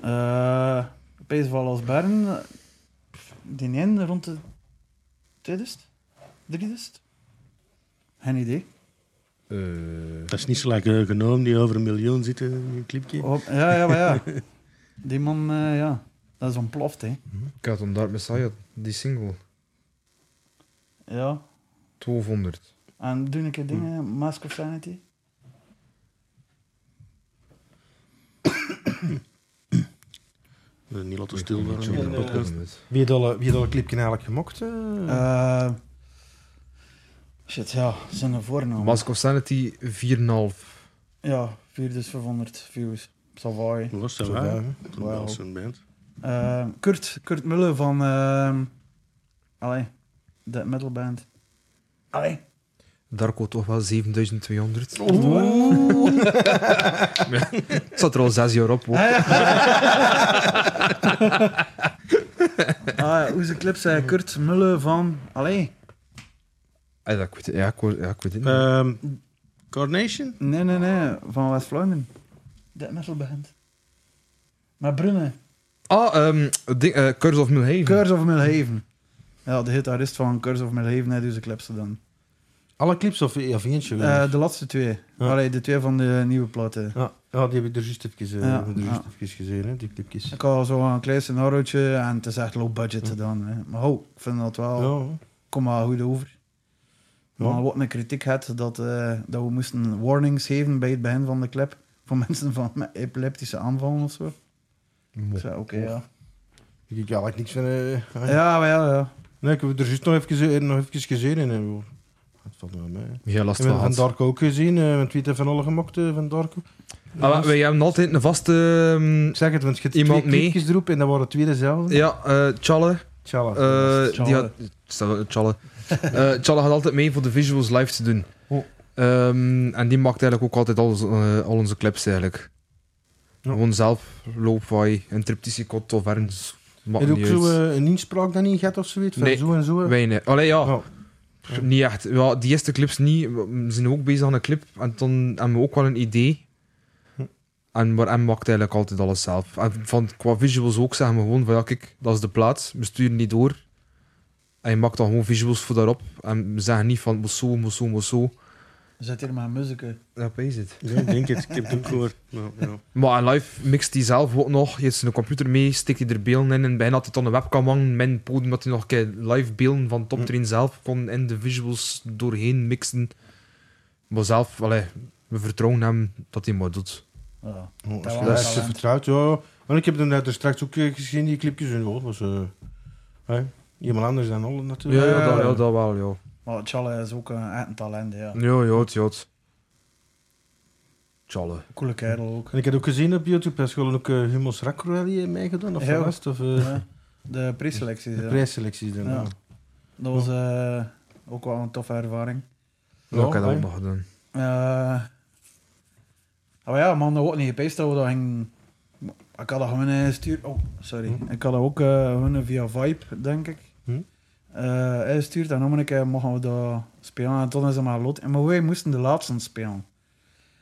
Eh, Opeens van los Bern... eh, Die een rond de... Tweedest? Driedest? Geen idee. dat is niet zo lekker genomen, die over een miljoen zitten in een clipje. Oh, ja, ja, maar ja. Die man, eh, Mhm. ja. Dat is ontploft, hè. Ik had om Dark Messiah, die single. Ja. 1200. En doe ik dingen, Mask of Sanity. We zijn Eh, niet laten stil Ik worden. weet in niet de eh, podcast. Wie heeft al, wie heeft al een clipje eigenlijk gemokt? eh? Eh, shit, ja, zijn een voornaam. Mask of Sanity 4,5. Ja, 4 dus 500 views. Savoy. Wat was dat? Zo, waar? ja. Toen Wauw. was een band. Eh, Kurt, Kurt Muller van. ehm allee, de metalband. Allee. Darko toch wel 7200. Oeh. Het zat er al zes jaar op. hoor. Ah, hoe ze clip zei Kurt Muller van. Allee. Ah, dat- ik weet het- Ja, ik hoor- ja, ik weet het niet. Ehm, Carnation? Nee, nee, nee, van West-Vluimen. De metalband. Maar Brunne. Ah, ehm, het ding, eh, Curse of Milhaven. Curse of Milhaven. Ja, de gitarist van Curse of Milhaven heeft dus de clips gedaan. Alle clips of, of eentje? Eh, de laatste twee. Ja. Allee, de twee van de nieuwe platen. Ja, ja, die heb ik er juist even, eh, Ja, hebben we er juist ja. even gezien, hè, die clipjes. Ik had zo een klein scenariootje en het is echt low budget gedaan. Hè. Maar ho, ik vind dat wel... Ja. Kom maar goed over. Ja. Maar wat een kritiek had, dat, eh, dat we moesten warnings geven bij het begin van de clip. Voor mensen van met epileptische aanvallen of zo. Ik zei, oké, ja. Ik heb eigenlijk niks van... eh, Ja, maar ja, ja. Nee, ik heb het er juist nog even, eh, nog even gezien. En, eh, joh, het valt wel mee. Ja, last Ik heb van Van gehad. Darko ook gezien. eh want wie heeft van alle gemokt eh, van Darko? Ah, maar wij hebben altijd een vaste... ehm, Ik zeg het, want je hebt Iemand twee mee? clipjes erop en dat waren twee dezelfde. ja, eh Challe. Tjalla. Eh, Challe. die had, stel, Challe. Eh, Challe gaat altijd mee voor de visuals live te doen. Oh. Ehm, en die maakt eigenlijk ook altijd al, onze- eh, al onze clips eigenlijk. Ja. Gewoon zelf, loopwaai, een triptychicot of ergens. Maakt Heb je niet ook zo uit. eh, een inspraak dan in gehad of zoiets? Van Nee. zo en zo. eh? Weinig. Allee, ja. Oh. Pff, Niet echt. Ja, die eerste clips niet. We zijn ook bezig aan een clip. En dan hebben we ook wel een idee. Hm. En maar M maakt eigenlijk altijd alles zelf. En van, qua visuals ook zeggen we gewoon van ja, kijk, dat is de plaats. We sturen niet door. En je maakt dan gewoon visuals voor daarop. En we zeggen niet van moet zo, moet zo, moet zo. Zet hier maar muziek. Ja, is het. Ja, ik denk het. Ik heb het ook gehoord. Ja, ja. Maar en live mixt hij zelf ook nog. Je hebt zijn computer mee, stikt hij er beelden in. En bijna had hij dan een webcam hangen. Mijn podium dat hij nog een keer live beelden van Top Train zelf kon in de visuals doorheen mixen. Maar zelf, allee, we vertrouwen hem dat hij maar doet. Ja. Oh, Dat als je was als je talent. vertrouwt, ja. Want ik heb hem net er straks ook eh, gezien, die clipjes. En, oh, dat was, eh, hè, iemand anders dan Holland natuurlijk. Ja, ja, dat, ja, ja, dat wel, ja. Maar Challe is ook een, echt een talent, ja. Ja, ja, het, ja. het. Tjalle. Coole kerel ook. En ik heb ook gezien op YouTube, hij is gewoon ook eh Hummels Raccroerie meegedaan, of Ja. de rest, of eh, Ja. De preselecties, de ja. prijsselecties dan. Ja. Ja. Dat was eh, ook wel een toffe ervaring. Ja, ik heb dat hè. ook nog gedaan. Eh oh ja, man, dat wordt niet gepijst dat we dat gingen... Ik had dat gewoon eh, gestuurd... Oh, sorry. Ik had dat ook eh, gewoon via Vibe, denk ik. Hm. Eh, hij stuurt en nog een keer mogen we dat spelen. En toen is het maar lot. En Maar wij moesten de laatste spelen.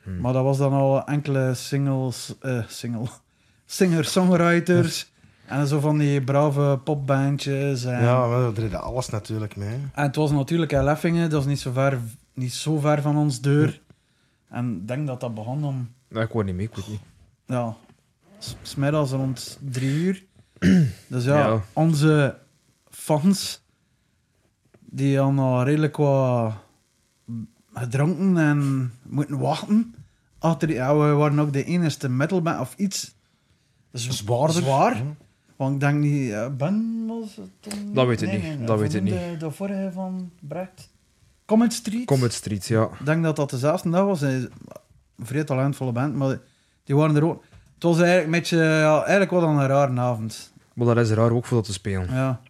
Hm. Maar dat was dan al enkele singles... eh single. Singer-songwriters. en zo van die brave popbandjes. En, Ja, maar dat deden alles natuurlijk mee. hè. en het was natuurlijk in Leffingen. Dat is niet zo ver, niet zo ver van ons deur. En ik denk dat dat begon om Nee, ik word niet mee, ik weet niet. ja, s- smiddags rond drie uur. dus ja, Ja. onze fans, die hadden al redelijk wat gedronken en moeten wachten. Achter, ja, we waren ook de enige metalband of iets z- Zwaarder. Zwaar. Ja. Want ik denk niet, eh, Ben was het toen? Dat weet ik niet, dat van weet ik de, niet. De vorige van Brecht. Comet Street. Comet Street, ja. Ik denk dat dat dezelfde dag was. Hij is Een vrij talentvolle band, maar die waren er ook. Het was eigenlijk een beetje, ja, eigenlijk wel een rare avond. Maar dat is raar ook voor dat te spelen. Ja.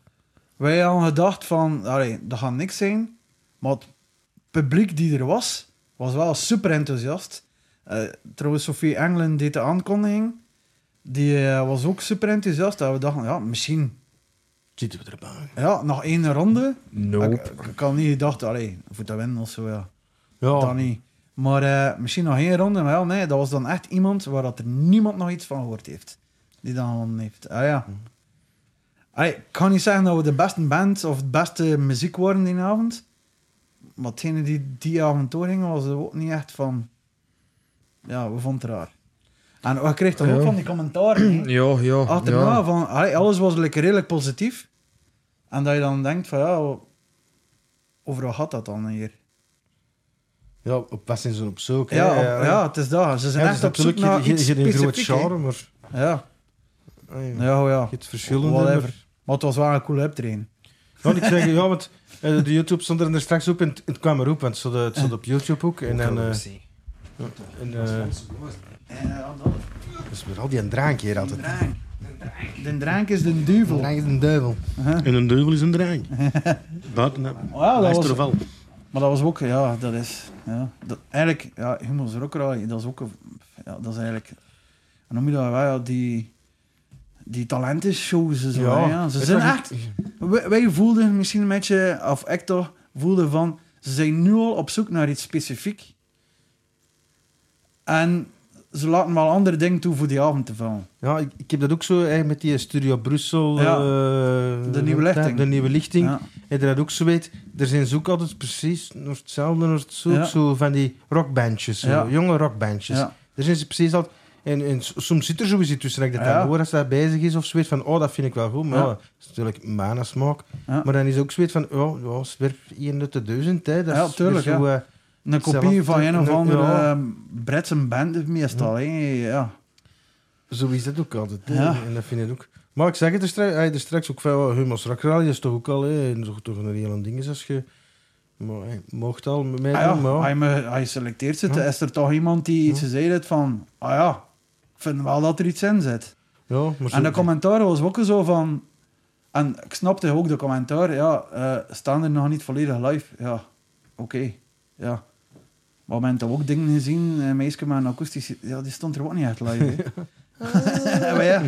Wij hadden gedacht van, allee, dat gaat niks zijn, maar het publiek die er was, was wel super enthousiast. Eh, trouwens, Sophie Engelen deed de aankondiging. Die eh, was ook super enthousiast. En we dachten, ja, misschien Zitten we erbij. ja, nog één ronde. Nope. Ik, ik, ik had niet gedacht, allee, voor te winnen of zo, ja. Ja, Dat niet. Maar eh, misschien nog één ronde, maar wel, nee, dat was dan echt iemand waar dat er niemand nog iets van gehoord heeft. Die dan gewonnen heeft. Ah ja. Mm. Allee, ik kan niet zeggen dat we de beste band of de beste muziek waren die avond. Maar hetgene die die avond doorging, was er ook niet echt van... Ja, we vonden het raar. En we kregen dan ook Ja. van die commentaren. hè. Ja, ja. Achterna, ja. van, allee, alles was like, redelijk positief. En dat je dan denkt van, ja, overal had dat dan hier. Ja, op wat zijn ze op zoek? hè? Ja, op- Ja, ja, het is daar. Ze zijn Ja, echt dus op zoek natuurlijk naar geen- iets geen- geen groot specifiek, hè. genre, maar Ja, ah, ja. ja, oh ja. het verschillende. Whatever. maar- Maar het was wel een coole optreden. Ja, ik zeg, ja, want eh, de YouTube stond er straks op en het- het kwam erop, want het stond, eh, het stond op YouTube ook. En, dan, eh, en, eh, Ja, dat dat is weer al die drankje hier altijd. drank. De drank is de duivel. Drank is een duivel. En een duivel is een draai. Dat, nou, Oh ja, dat lijst was, er wel. maar dat was ook, ja, dat is. Ja, dat, eigenlijk, ja, Humus Rockraai, dat is ook. een- Ja, dat is eigenlijk. En noem je dat wel, ja, die. Die talentenshows en zo. hè, Ja, Ze weet zijn je wat echt. Wij, wij voelden misschien een beetje, of ik toch, voelde van. Ze zijn nu al op zoek naar iets specifiek. En ze laten wel andere dingen toe voor die avond te vallen. Ja, ik, ik heb dat ook zo eigenlijk met die Studio Brussel. Ja. eh, De Nieuwe Lichting. De nieuwe lichting. Ja. Heb je dat ook zo weet? Er zijn zo ook altijd precies nog hetzelfde, nog het zo, Ja. zo van die rockbandjes, zo, Ja. jonge rockbandjes. Ja. Er zijn ze precies altijd. En, en s- soms zit er sowieso tussen dat ik dat Ja. dan hoor als dat bezig is of zo weet van, oh dat vind ik wel goed, maar Ja. ja, dat is natuurlijk mijn smaak. Ja. Maar dan is ook zo weet van, oh, ja, zwerf 1 uit de duizend, hè. Dat Ja, is tuurlijk, weer zo, eh, Een kopie Zelf- van een of Ja. andere eh, Britse band meestal. hè, Ja. Zo is dat ook altijd. hè. Ja. En dat vind ik ook. Maar ik zeg het er straks, hij er straks ook van Humas Rakraal, is toch ook al, hè, en toch, toch een hele ding is als je. Maar hij mocht al met mij Ah ja, doen, maar hij, me, hij selecteert ze. Ja. Is er toch iemand die iets gezegd heeft van... Ah ja, ik vind wel dat er iets in zit. ja, maar zo- En de commentaar was ook zo van... En ik snapte ook de commentaar. Ja, eh, staan er nog niet volledig live? Ja, oké. Ja. Maar we hebben toch ook dingen gezien. Een meisje met een akoestisch... Ja, die stond er ook niet echt live. hè. Ah, maar ja,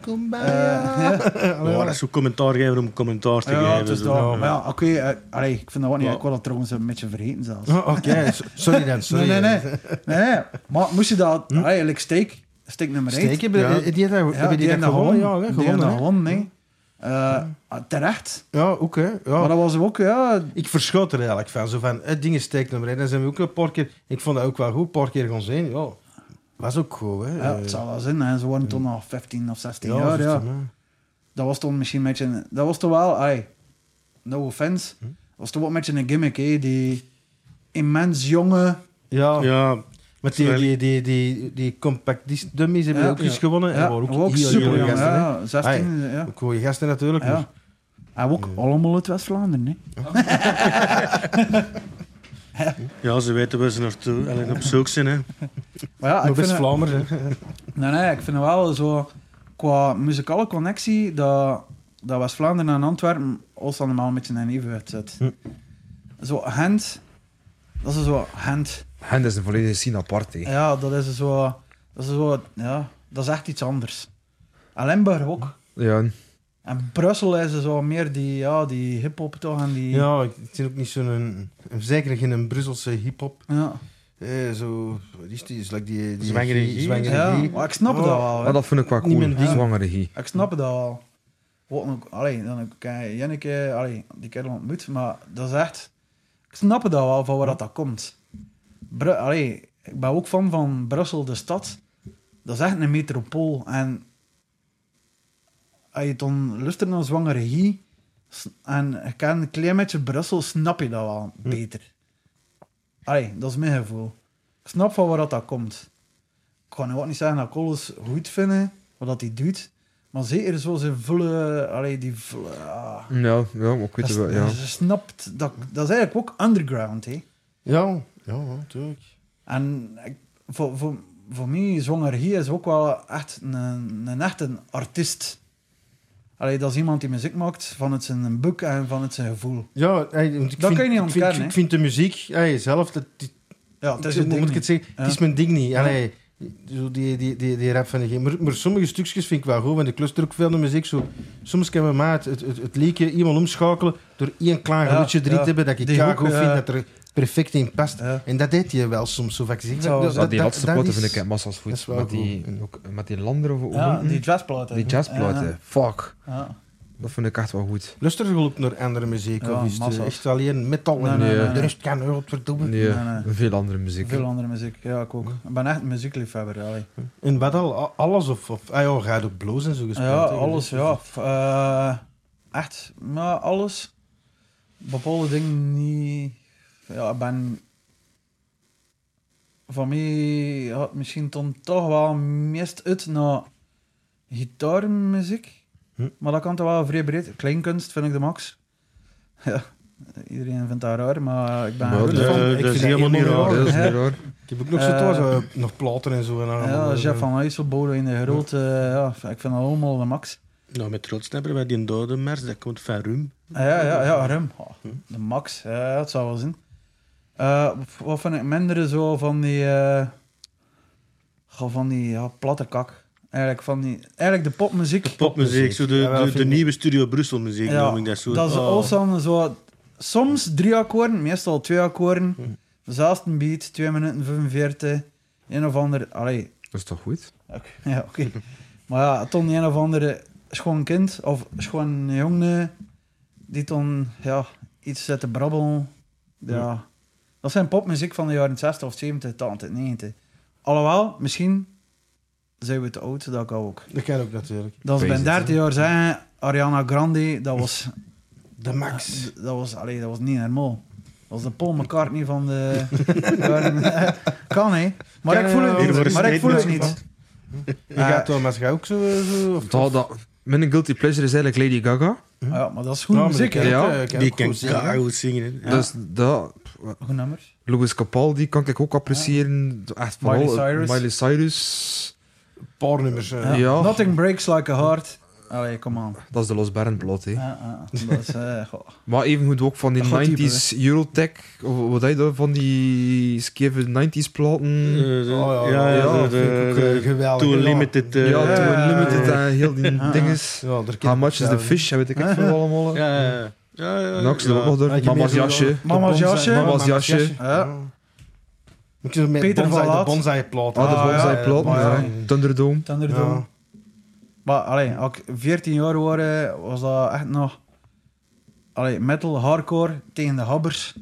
Kom bij. eh, ja. Ja, dat is zo'n commentaar geven om commentaar te Ja, geven. het is zo. dat. ja. Maar ja, oké. eh, allee, ik vind dat ook niet. Ja. Ik wil dat trouwens een beetje vergeten zelfs. Oh, Oké, so- sorry dan, sorry. nee, nee, nee, nee, nee. Maar moest je dat... Eigenlijk steek. Steek nummer 1. Steek, Hm? heb je, Ja. heb je dat, heb je die dat gewonnen? Ja, hè, Die hebben gewonnen. dat hè. gewonnen, nee. Eh, Terecht. Ja, ook hè. Ja. Maar dat was ook, ja... Ik verschoot er eigenlijk van. Zo van, eh, het ding is steeknummer 1. Dan zijn we ook een paar keer... Ik vond dat ook wel goed, een paar keer gaan zien. Ja, was ook goed, hè. Ja, Eh, het zal wel zijn. Hè. Ze waren toen nog 15 of 16 jaar. zo is Ja. het, hè. Dat was toen misschien een beetje... Dat was toch wel... Ay, no offense. Hm? Dat was toch wel een beetje een gimmick, hè. Die immens jonge... Ja, Ja, Met die, die, die, die, die compact disc dummies hebben Ja. ook eens gewonnen. en Ja, waren ook, ook heel super jonge jong. gasten. hè. Ja, 16, ja. Ook goede gasten natuurlijk. dus Ja. Ah, maar- En ook allemaal uit West-Vlaanderen, hè. ja, ze weten waar ze naartoe en op zoek zijn. Hè. Maar ja, Maar ik vind eh, best het- Vlaanderen. hè. Nee, nee, ik vind wel zo qua muzikale connectie dat, dat West-Vlaanderen en Antwerpen ons allemaal een beetje in evenwicht zit. Hm. Zo, Gent, dat is zo, Gent. Hen is een volledige scene apart, hè. Ja, dat is zo, dat is zo, ja, dat is echt iets anders. En Limburg ook. Ja, En Brussel is zo meer die, ja, die hip-hop toch en die. Ja, ik ik ben ook niet zo'n... Zeker geen Brusselse hip-hop. ja. Eh, zo... Wat is die? Is like die, die Zwangere G. zwangere Ja, G. maar ik snap Oh, dat wel. hè. maar Ah, dat vind ik wel Niet cool. mijn ding. Zwangere Guy. Ik snap dat al. Wat ook, allee, dan kan je Janneke, allee, die kerel ontmoet, maar dat is echt... Ik snap dat wel, van waar dat, dat komt. Bru allee, ik ben ook fan van Brussel, de stad. Dat is echt een metropool. En als je dan luistert naar zwangere regie en je kent een klein beetje Brussel, snap je dat wel beter. Allee, dat is mijn gevoel. Ik snap van waar dat, dat komt. Ik kan ook niet zeggen dat ik alles goed vind, wat dat hij doet. Maar zeker zo zijn volle... Allee, die volle... ah. Ja, ja, maar ik weet het wel, Dat- ja. Ze snapt dat. Dat is eigenlijk ook underground, hè? Ja, ja, natuurlijk. En ik- voor, voor, voor mij, zwanger hier is ook wel echt een, een echt een artiest. Allee, dat is iemand die muziek maakt vanuit zijn boek en vanuit zijn gevoel. Ja, hey, want ik Dat vind, kan je niet ik vind- ontkennen, Ik hè. vind, de muziek hey, zelf... Dat, die- Ja, dat is ik, het moet ding ik het niet. zeggen? Ja. Het is mijn ding niet. Ja. Allee, zo die, die, die, die rap van de game. Maar, maar sommige stukjes vind ik wel goed, want ik luister ook veel naar muziek. Zo. Soms kan mijn maat het, het, het liedje iemand omschakelen door één klein Ja, geluidje erin ja. te hebben dat ik Die ja, hoek, goed ja. vind, dat er perfect in past. Ja. En dat deed je wel soms, zo vaak gezegd. Ja, dat- Dat, die laatste platen is- vind ik echt massa's dat is goed. wel Met die, goed. ook, met die lander of Ja, die die, jazzplaten. die jazzplaten. Ja, Fuck. ja. Dat vind ik echt wel goed. Luister je ook naar andere muziek, Ja, of is het massa's. eh, echt alleen metal Nee, en nee, eh, nee. de rest kan godverdomme. Nee, nee, nee. veel andere muziek. Veel andere muziek, ja, ik ook. Ik ben echt een muziekliefhebber, allee. In wat al? A- Alles? Of, of ah ja, ga je ook blues Dus en zo gespeeld? Ja, hè? alles, ja. F- eh, echt, maar alles. bepaalde dingen niet. Ja, ik ben. Van mij had misschien dan toch wel meest uit naar gitaarmuziek. Hm. Maar dat kan toch wel vrij breed. Kleinkunst vind ik de max. Ja, iedereen vindt dat raar, maar ik ben. Maar er goed de- van. dat vind is dat helemaal niet helemaal raar. Ja, dat is hè? niet raar. Ik heb ook nog zo Eh, thuis, eh, nog platen en zo. En Ja, allemaal, Jeff eh, van IJsselboden in de grote. Ja, ik vind dat allemaal de max. Nou, met trots hebben wij die dode mers, dat komt van Rum. Ah, Ja, ja, ja, Rum. Oh, de Max, ja, dat zou wel zijn. Eh, wat vind ik minder zo van die, eh, goh, van die ja, platte kak. Eigenlijk, van die, eigenlijk de popmuziek. De popmuziek, zo de, Ja, wel, de, de vind ik. nieuwe Studio Brussel muziek Ja, noem ik dat zo. dat is Oh. alles dan zo, soms drie akkoorden, meestal twee akkoorden. Hm. Zelfs een beat, 2 minuten 45. Een of ander. Allee, Dat is toch goed? Oké, Ja, oké. maar ja, toen een of andere schoon kind of schoon jongen die toen ja, iets zit te brabbelen. Ja. Dat zijn popmuziek van de jaren 60 of 70, 80, 90. Alhoewel, misschien zijn we te oud, dat kan ook. Dat ken ik ook natuurlijk. Dat is Wees bij het, 13 jaar zijn, Ariana Grande, dat was, De Max. dat was, allee, dat was niet normaal. Dat was de Paul McCartney van de... jaren- kan, hè. Maar Kan, ik voel eh, Hier wordt het niet. een Maar ik voel het statement niet. Je Eh, gaat Thomas, ga ook zo... eh, zo of, Dat, dat, mijn guilty pleasure is eigenlijk Lady Gaga. Ja, maar dat is goed Nou, maar muziek, die hè. ja. kan het, eh, kan Die ook kan goed zingen, hè. goed zingen. hè. Ja. Dus dat, Goed nummers. Louis Capaldi kan ik ook appreciëren. Echt Miley vooral eh, Cyrus. Miley Cyrus. Een paar nummers. eh. Ja. Ja. Nothing breaks like a heart. Allee, come on. Dat is de Los Baron plot, hè. Ja, ja, dat is, eh, goh. Maar evengoed ook van die Dat gaat 90s Eurotech, of wat hij daar van die skeve 90s platen. Eh, de- Oh, ja, ja, ja, de- vind ik ook, de- eh, de geweldig, Too ja. Limited. eh, ja, eh, Too eh, Unlimited eh, en heel die Ah. dinges. Ja, daar ken How ik much is the zelf niet. fish? Ja, weet ik het veel allemaal. Ja, ja, ja. ja, Nox, ja. dat ook nog Ja, door. je Mama's meer- jasje. de Mama's eh, bonsai- jasje. Mama's jasje. Ja. Moet je met Peter Peter van bonsai, de Laat. bonsai plaat. Ah, de Ah, ja, bonsai platen. maar ja. ja. Thunderdome. Thunderdome. Ja. Maar allee, als ik 14 jaar waren, was dat echt nog... Allee, metal, hardcore, tegen de habbers.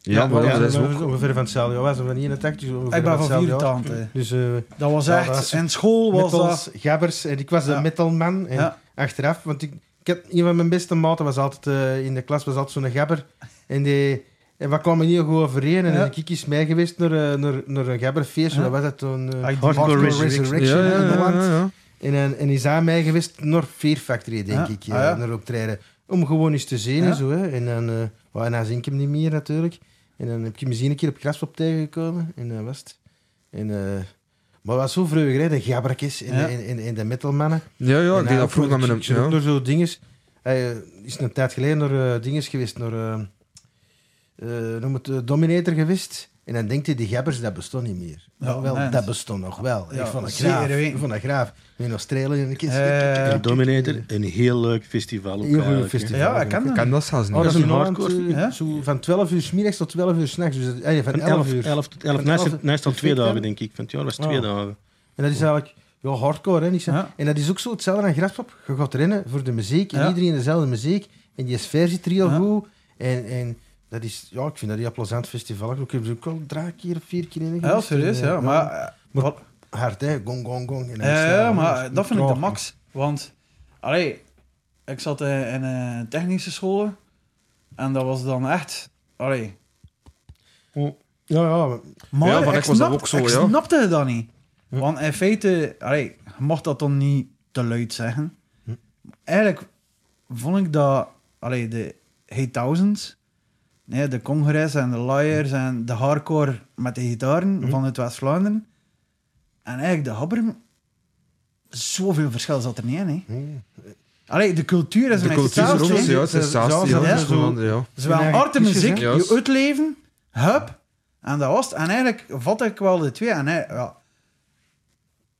Ja, maar dat is ook... ongeveer van hetzelfde jaar. Wij zijn van 81, dus ongeveer Ik ben van van hetzelfde jaar. 84. Dus eh Dat was Ja, echt... dat is- in school was dat... metals, gabbers. En ik was Ja. een metalman. En Ja. Achteraf, want ik, ik had, een van mijn beste maten was altijd eh, in de klas, was altijd zo'n gabber. En, die, en we kwamen niet goed overeen. En Ja. dan ben ik eens mee geweest naar, eh, naar, naar een gabberfeest. Ja. Dat was dat toen? eh, Hardcore Resurrection. Ja, ja, in ja, Holland. ja, ja. En, eh, en, en is aan mij geweest naar Fear Factory, denk Ja. ik, Ah, ja. eh, naar optreden. Om gewoon eens te zien Ja. en zo. Hè. En dan, eh well, en dan zie ik hem niet meer natuurlijk. En dan heb ik hem eens een keer op Graspop tegengekomen. En dat was het. En, eh, maar het was zo vreugd, hè, de gabbertjes en, Ja. en, en, en de metalmannen. Ja, ja, En ik hij deed dat ook vroeger nog- met mijn... ik zit ook Ja. Door zo'n dinges. Hij eh, is een tijd geleden naar eh, dinges geweest, naar eh, eh, noem het eh, Dominator geweest. En dan denkt hij, die gabbers, dat bestond niet meer. Ja, Nou, wel, mens. dat bestond nog wel. Ja, ik vond dat zeker graaf. weten. Ik vond dat graaf. In Australië en een keer. Eh, En Dominator, een heel leuk festival. ook Heel goed eigenlijk, hè. festival. Ja, ik ken Ik dat. ken dat zelfs Oh, niet. dat is dat is een in Holland, hardcore. eh, Ja. zo van 12 uur 's middags tot 12 uur s'nachts. Dus, eh, ja, van Van 11 uur. 11 tot 11. Van Naast 11 het- naast al twee tot- dagen, denk ik. Van het jaar was het twee Oh. dagen. En dat is eigenlijk ja, hardcore. Hè, niks aan- Ja. En dat is ook zo hetzelfde aan Graspop. Je gaat rennen voor de muziek. En Ja. iedereen dezelfde muziek. En die sfeer zit er heel Ja. goed. En, en dat is, ja, ik vind dat heel plezant festival. Ik heb ze ook al drie keer of vier keer in. Ja, geweest. serieus, En, eh, ja. Maar, eh, wat- Hard, hè. Gong, gong, gong. En dan Ja, snel, hè. maar is dat vind ik de traag. max. Want, allee, ik zat eh, in een technische school en dat was dan echt, allee. Ja, ja. maar- Maar Ja, maar ik was dat snap- ook zo, ik ja. Hm? snapte dat niet. Want in feite, allee, je mocht dat dan niet te luid zeggen. Hm. Eigenlijk vond ik dat, allee, de 8000s, nee, de congres en de Hm? lawyers en de hardcore met de gitaren Hm. vanuit West-Vlaanderen. En eigenlijk de habber, zoveel verschil zat er niet in, hè. Nee. Allee, de cultuur is De een cultuur is cultuur rond, hè. ja, het is saas, Ja, ja. het is zo- gewoon, ja. Zowel Ja, arte precies, muziek, hè. je Juist. uitleven, hup, en dat was het. En eigenlijk vat ik wel de twee. En hij, ja,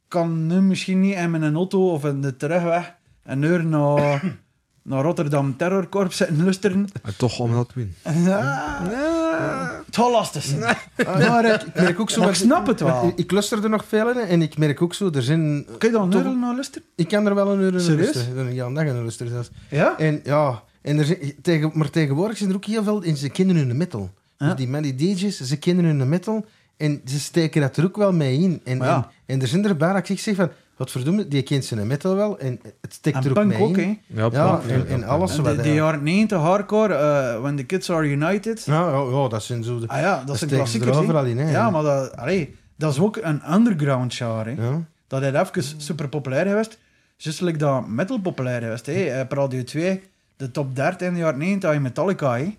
kan nu misschien niet in mijn auto of in de terugweg een uur naar, naar Rotterdam Terrorkorps zitten luisteren. En toch om dat te winnen. Ja, Het zal lastig zijn. Maar ik, ik merk ook zo... Maar ik dat- snap het wel. Ik, ik luister er nog veel in en ik merk ook zo, er zijn... Kun je dan Toch- een uur naar luisteren? Ik kan er wel een uur in Serieus? luisteren. Dan ja, een dag in luisteren zelfs. Ja? En ja, en er, zijn- tegen, maar tegenwoordig zijn er ook heel veel... En ze kennen hun metal. Ja. Dus die man, die DJ's, ze kennen hun metal. En ze steken dat er ook wel mee in. En, Maar ja. en, en er zijn er bijna, ik zeg van... Wat verdomme, die kent zijn metal wel en het stikt En er ook punk mee ook, in. hè? Ja, Ja, punk, en, en ja, alles En wat... De, ja. de jaren 90 hardcore, eh, When the Kids Are United. Ja, ja, ja, dat zijn zo... Dus De, Ah ja, dat is steken een ze er klassieker. hè. overal in, hè. Ja, maar dat, allee, dat is ook een underground genre. hè. Ja. Dat hij even super populair geweest. Just like dat metal populair geweest. hè. Eh, per Radio 2, de top 30 in de jaren 90 had je Metallica. hè.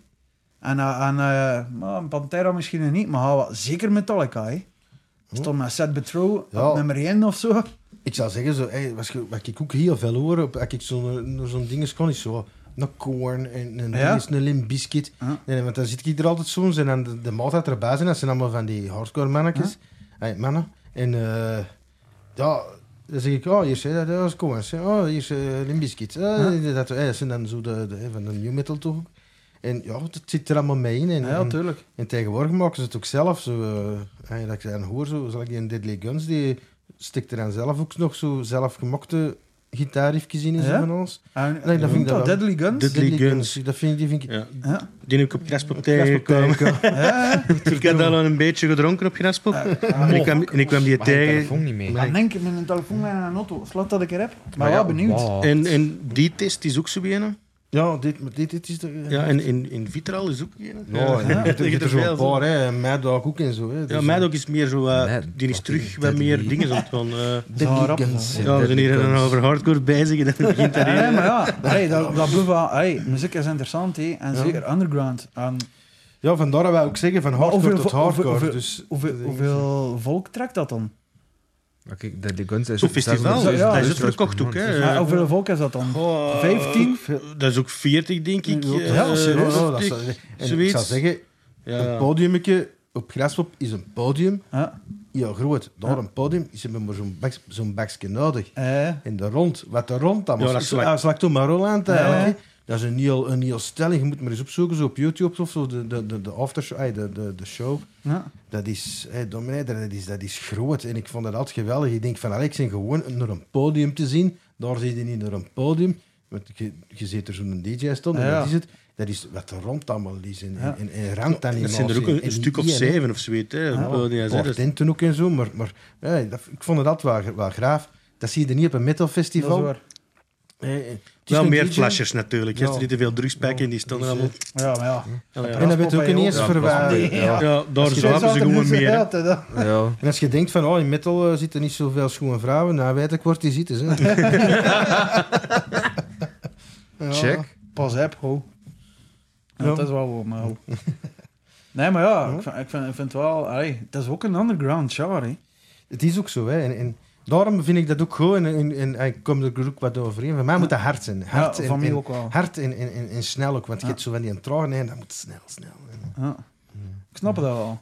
En, eh, en eh, maar Pantera misschien nog niet, maar hou wat- zeker Metallica. hè. Stond met Seth Betrow Oh. Ja. op nummer 1 of zo. Ik zou zeggen, zo, hey, wat, ik- wat ik ook heel veel hoor, op, als ik zo'n naar zo'n ding kon, is zo een corn en een, Ja? dinges, een limp biscuit. Ja. Nee, want dan zit ik er altijd soms en dan de, de maaltijd erbij zijn, dat zijn allemaal van die hardcore mannetjes. Hey, mannen. En eh, ja, dan zeg ik, oh, hier is, hè, dat is corns. hè. Oh, hier is eh, limp biscuit. Eh, dat, eh, dat zijn dan zo de, de, van de new metal toch ook. En ja, dat zit er allemaal mee in. En, Ja, en- tuurlijk. en tegenwoordig maken ze het ook zelf. Zo, eh, hey, dat ik dan hoor, zo, zal ik die in Deadly Guns, die stikt er dan zelf ook nog zo zelfgemokte gitaarriffjes in en zo Ja? van alles. En, dat vind ik dat wel. Deadly Guns. Deadly Guns. Dat vind, ik- die vind ik... Ja. Ja. Die heb ik op Graspop tegengekomen. Ja, Ja. Ik had al een beetje gedronken op Graspop. Ah. en, ik kwam, en ik kwam die Maar je tegen. telefoon niet mee. Dan denk ik met een telefoon en een auto. Slaat dat ik er heb. Maar, ja, wel benieuwd. wow. En, en die test is ook zo een. ja dit, maar dit, dit is de... Ja, en in, in Vitral is ook een. Oh, Ja, en ja. je hebt er- je hebt er veel zo'n van. paar, hè. Mad Dog ook en zo. Hè. Ja, Dus, mij ook is meer zo. eh, Nee, die is dat terug niet, wat dat meer niet. dingen. Zo, van, eh, Zo Deadly rap, Guns. man. ja, we zijn hier Deadly dan Guns. over hardcore bezig. En dan begint dat Ja, hier. maar ja, hey, dat, dat blijft wel. Hey, muziek is interessant, hè, en zeker underground. En Ja, vandaar dat wij ook zeggen van hardcore hoeveel- tot hardcore. hoeveel- dus, hoeveel, hoeveel volk trekt dat dan? Maar kijk, Deadly Guns is Zo'n ook festival. 7000 ja, dat is het verkocht ook, hè. Ja, Ah, Eh, hoeveel volk is dat dan? Goh, 15? Dat is ook 40, denk ik. Ja, Eh, serieus. Ja, dat rustig. zou- en ik zoiets. zou zeggen, een Ja. podiumetje op Graspop is een podium. Ja. Ja, groot. Daar Ja. een podium, ze hebben maar zo'n baks- zo'n bakje nodig. Eh, En de rond, wat er rond dan Ja, dat was. is Ja, leuk. dat slakt toen maar Roland eigenlijk. Ja. hè. Dat is een heel, een heel stelling. Je moet maar eens opzoeken zo op YouTube of zo, de, de, de, de aftershow, ay, de, de, de show. ja. Dat is, hey, Dominee, dat is, dat is groot. En ik vond dat altijd geweldig. Ik denk van, Alex, en gewoon naar een podium te zien. Daar zit je niet naar een podium. Want je, je zit er zo'n DJ stond en Ja. dat is het. Dat is wat er rond allemaal is. En, Ja. en, en randanimatie. Dat zijn er ook een, En een stuk of die, hè. zeven of zoiets. hè, op Ja. podium, Ja, hè. dat Dat- tinten ook en zo, maar, maar ja, dat, ik vond dat wel, wel graaf. Dat zie je er niet op een dat is metalfestival. waar. Eh, eh, het is Wel een meer DJ. flashers natuurlijk. Ja. Gisteren die te veel drugs pakken, die stonden Dus, eh, allemaal... Ja, maar ja. Allee, En ja. dat werd ook Ja, ineens dat was- verwaard. Nee, ja. Ja, daar je zaten ze gewoon mee. hè. Ja, Ja. En als je denkt van, oh, in metal eh, zitten niet zoveel schoen vrouwen, nou weet ik wordt die zitten. Hè. Ja. Check. pas heb, ho. Ja. Ja, Dat is wel wel, maar ho. Nee, maar ja, ik vind, ik vind, ik vind het wel... Hey, het is ook een underground genre, hè. Het is ook zo, hè. En, en daarom vind ik dat ook gewoon, en, en, en ik kom er ook wat overeen. Voor mij moet dat hard zijn. Ja, Hard, en, van mij en- ook wel. hard en, en, en, en snel ook, want je hebt zo van die een traag, nee, dat moet snel, snel. Ja. Ik snap dat wel.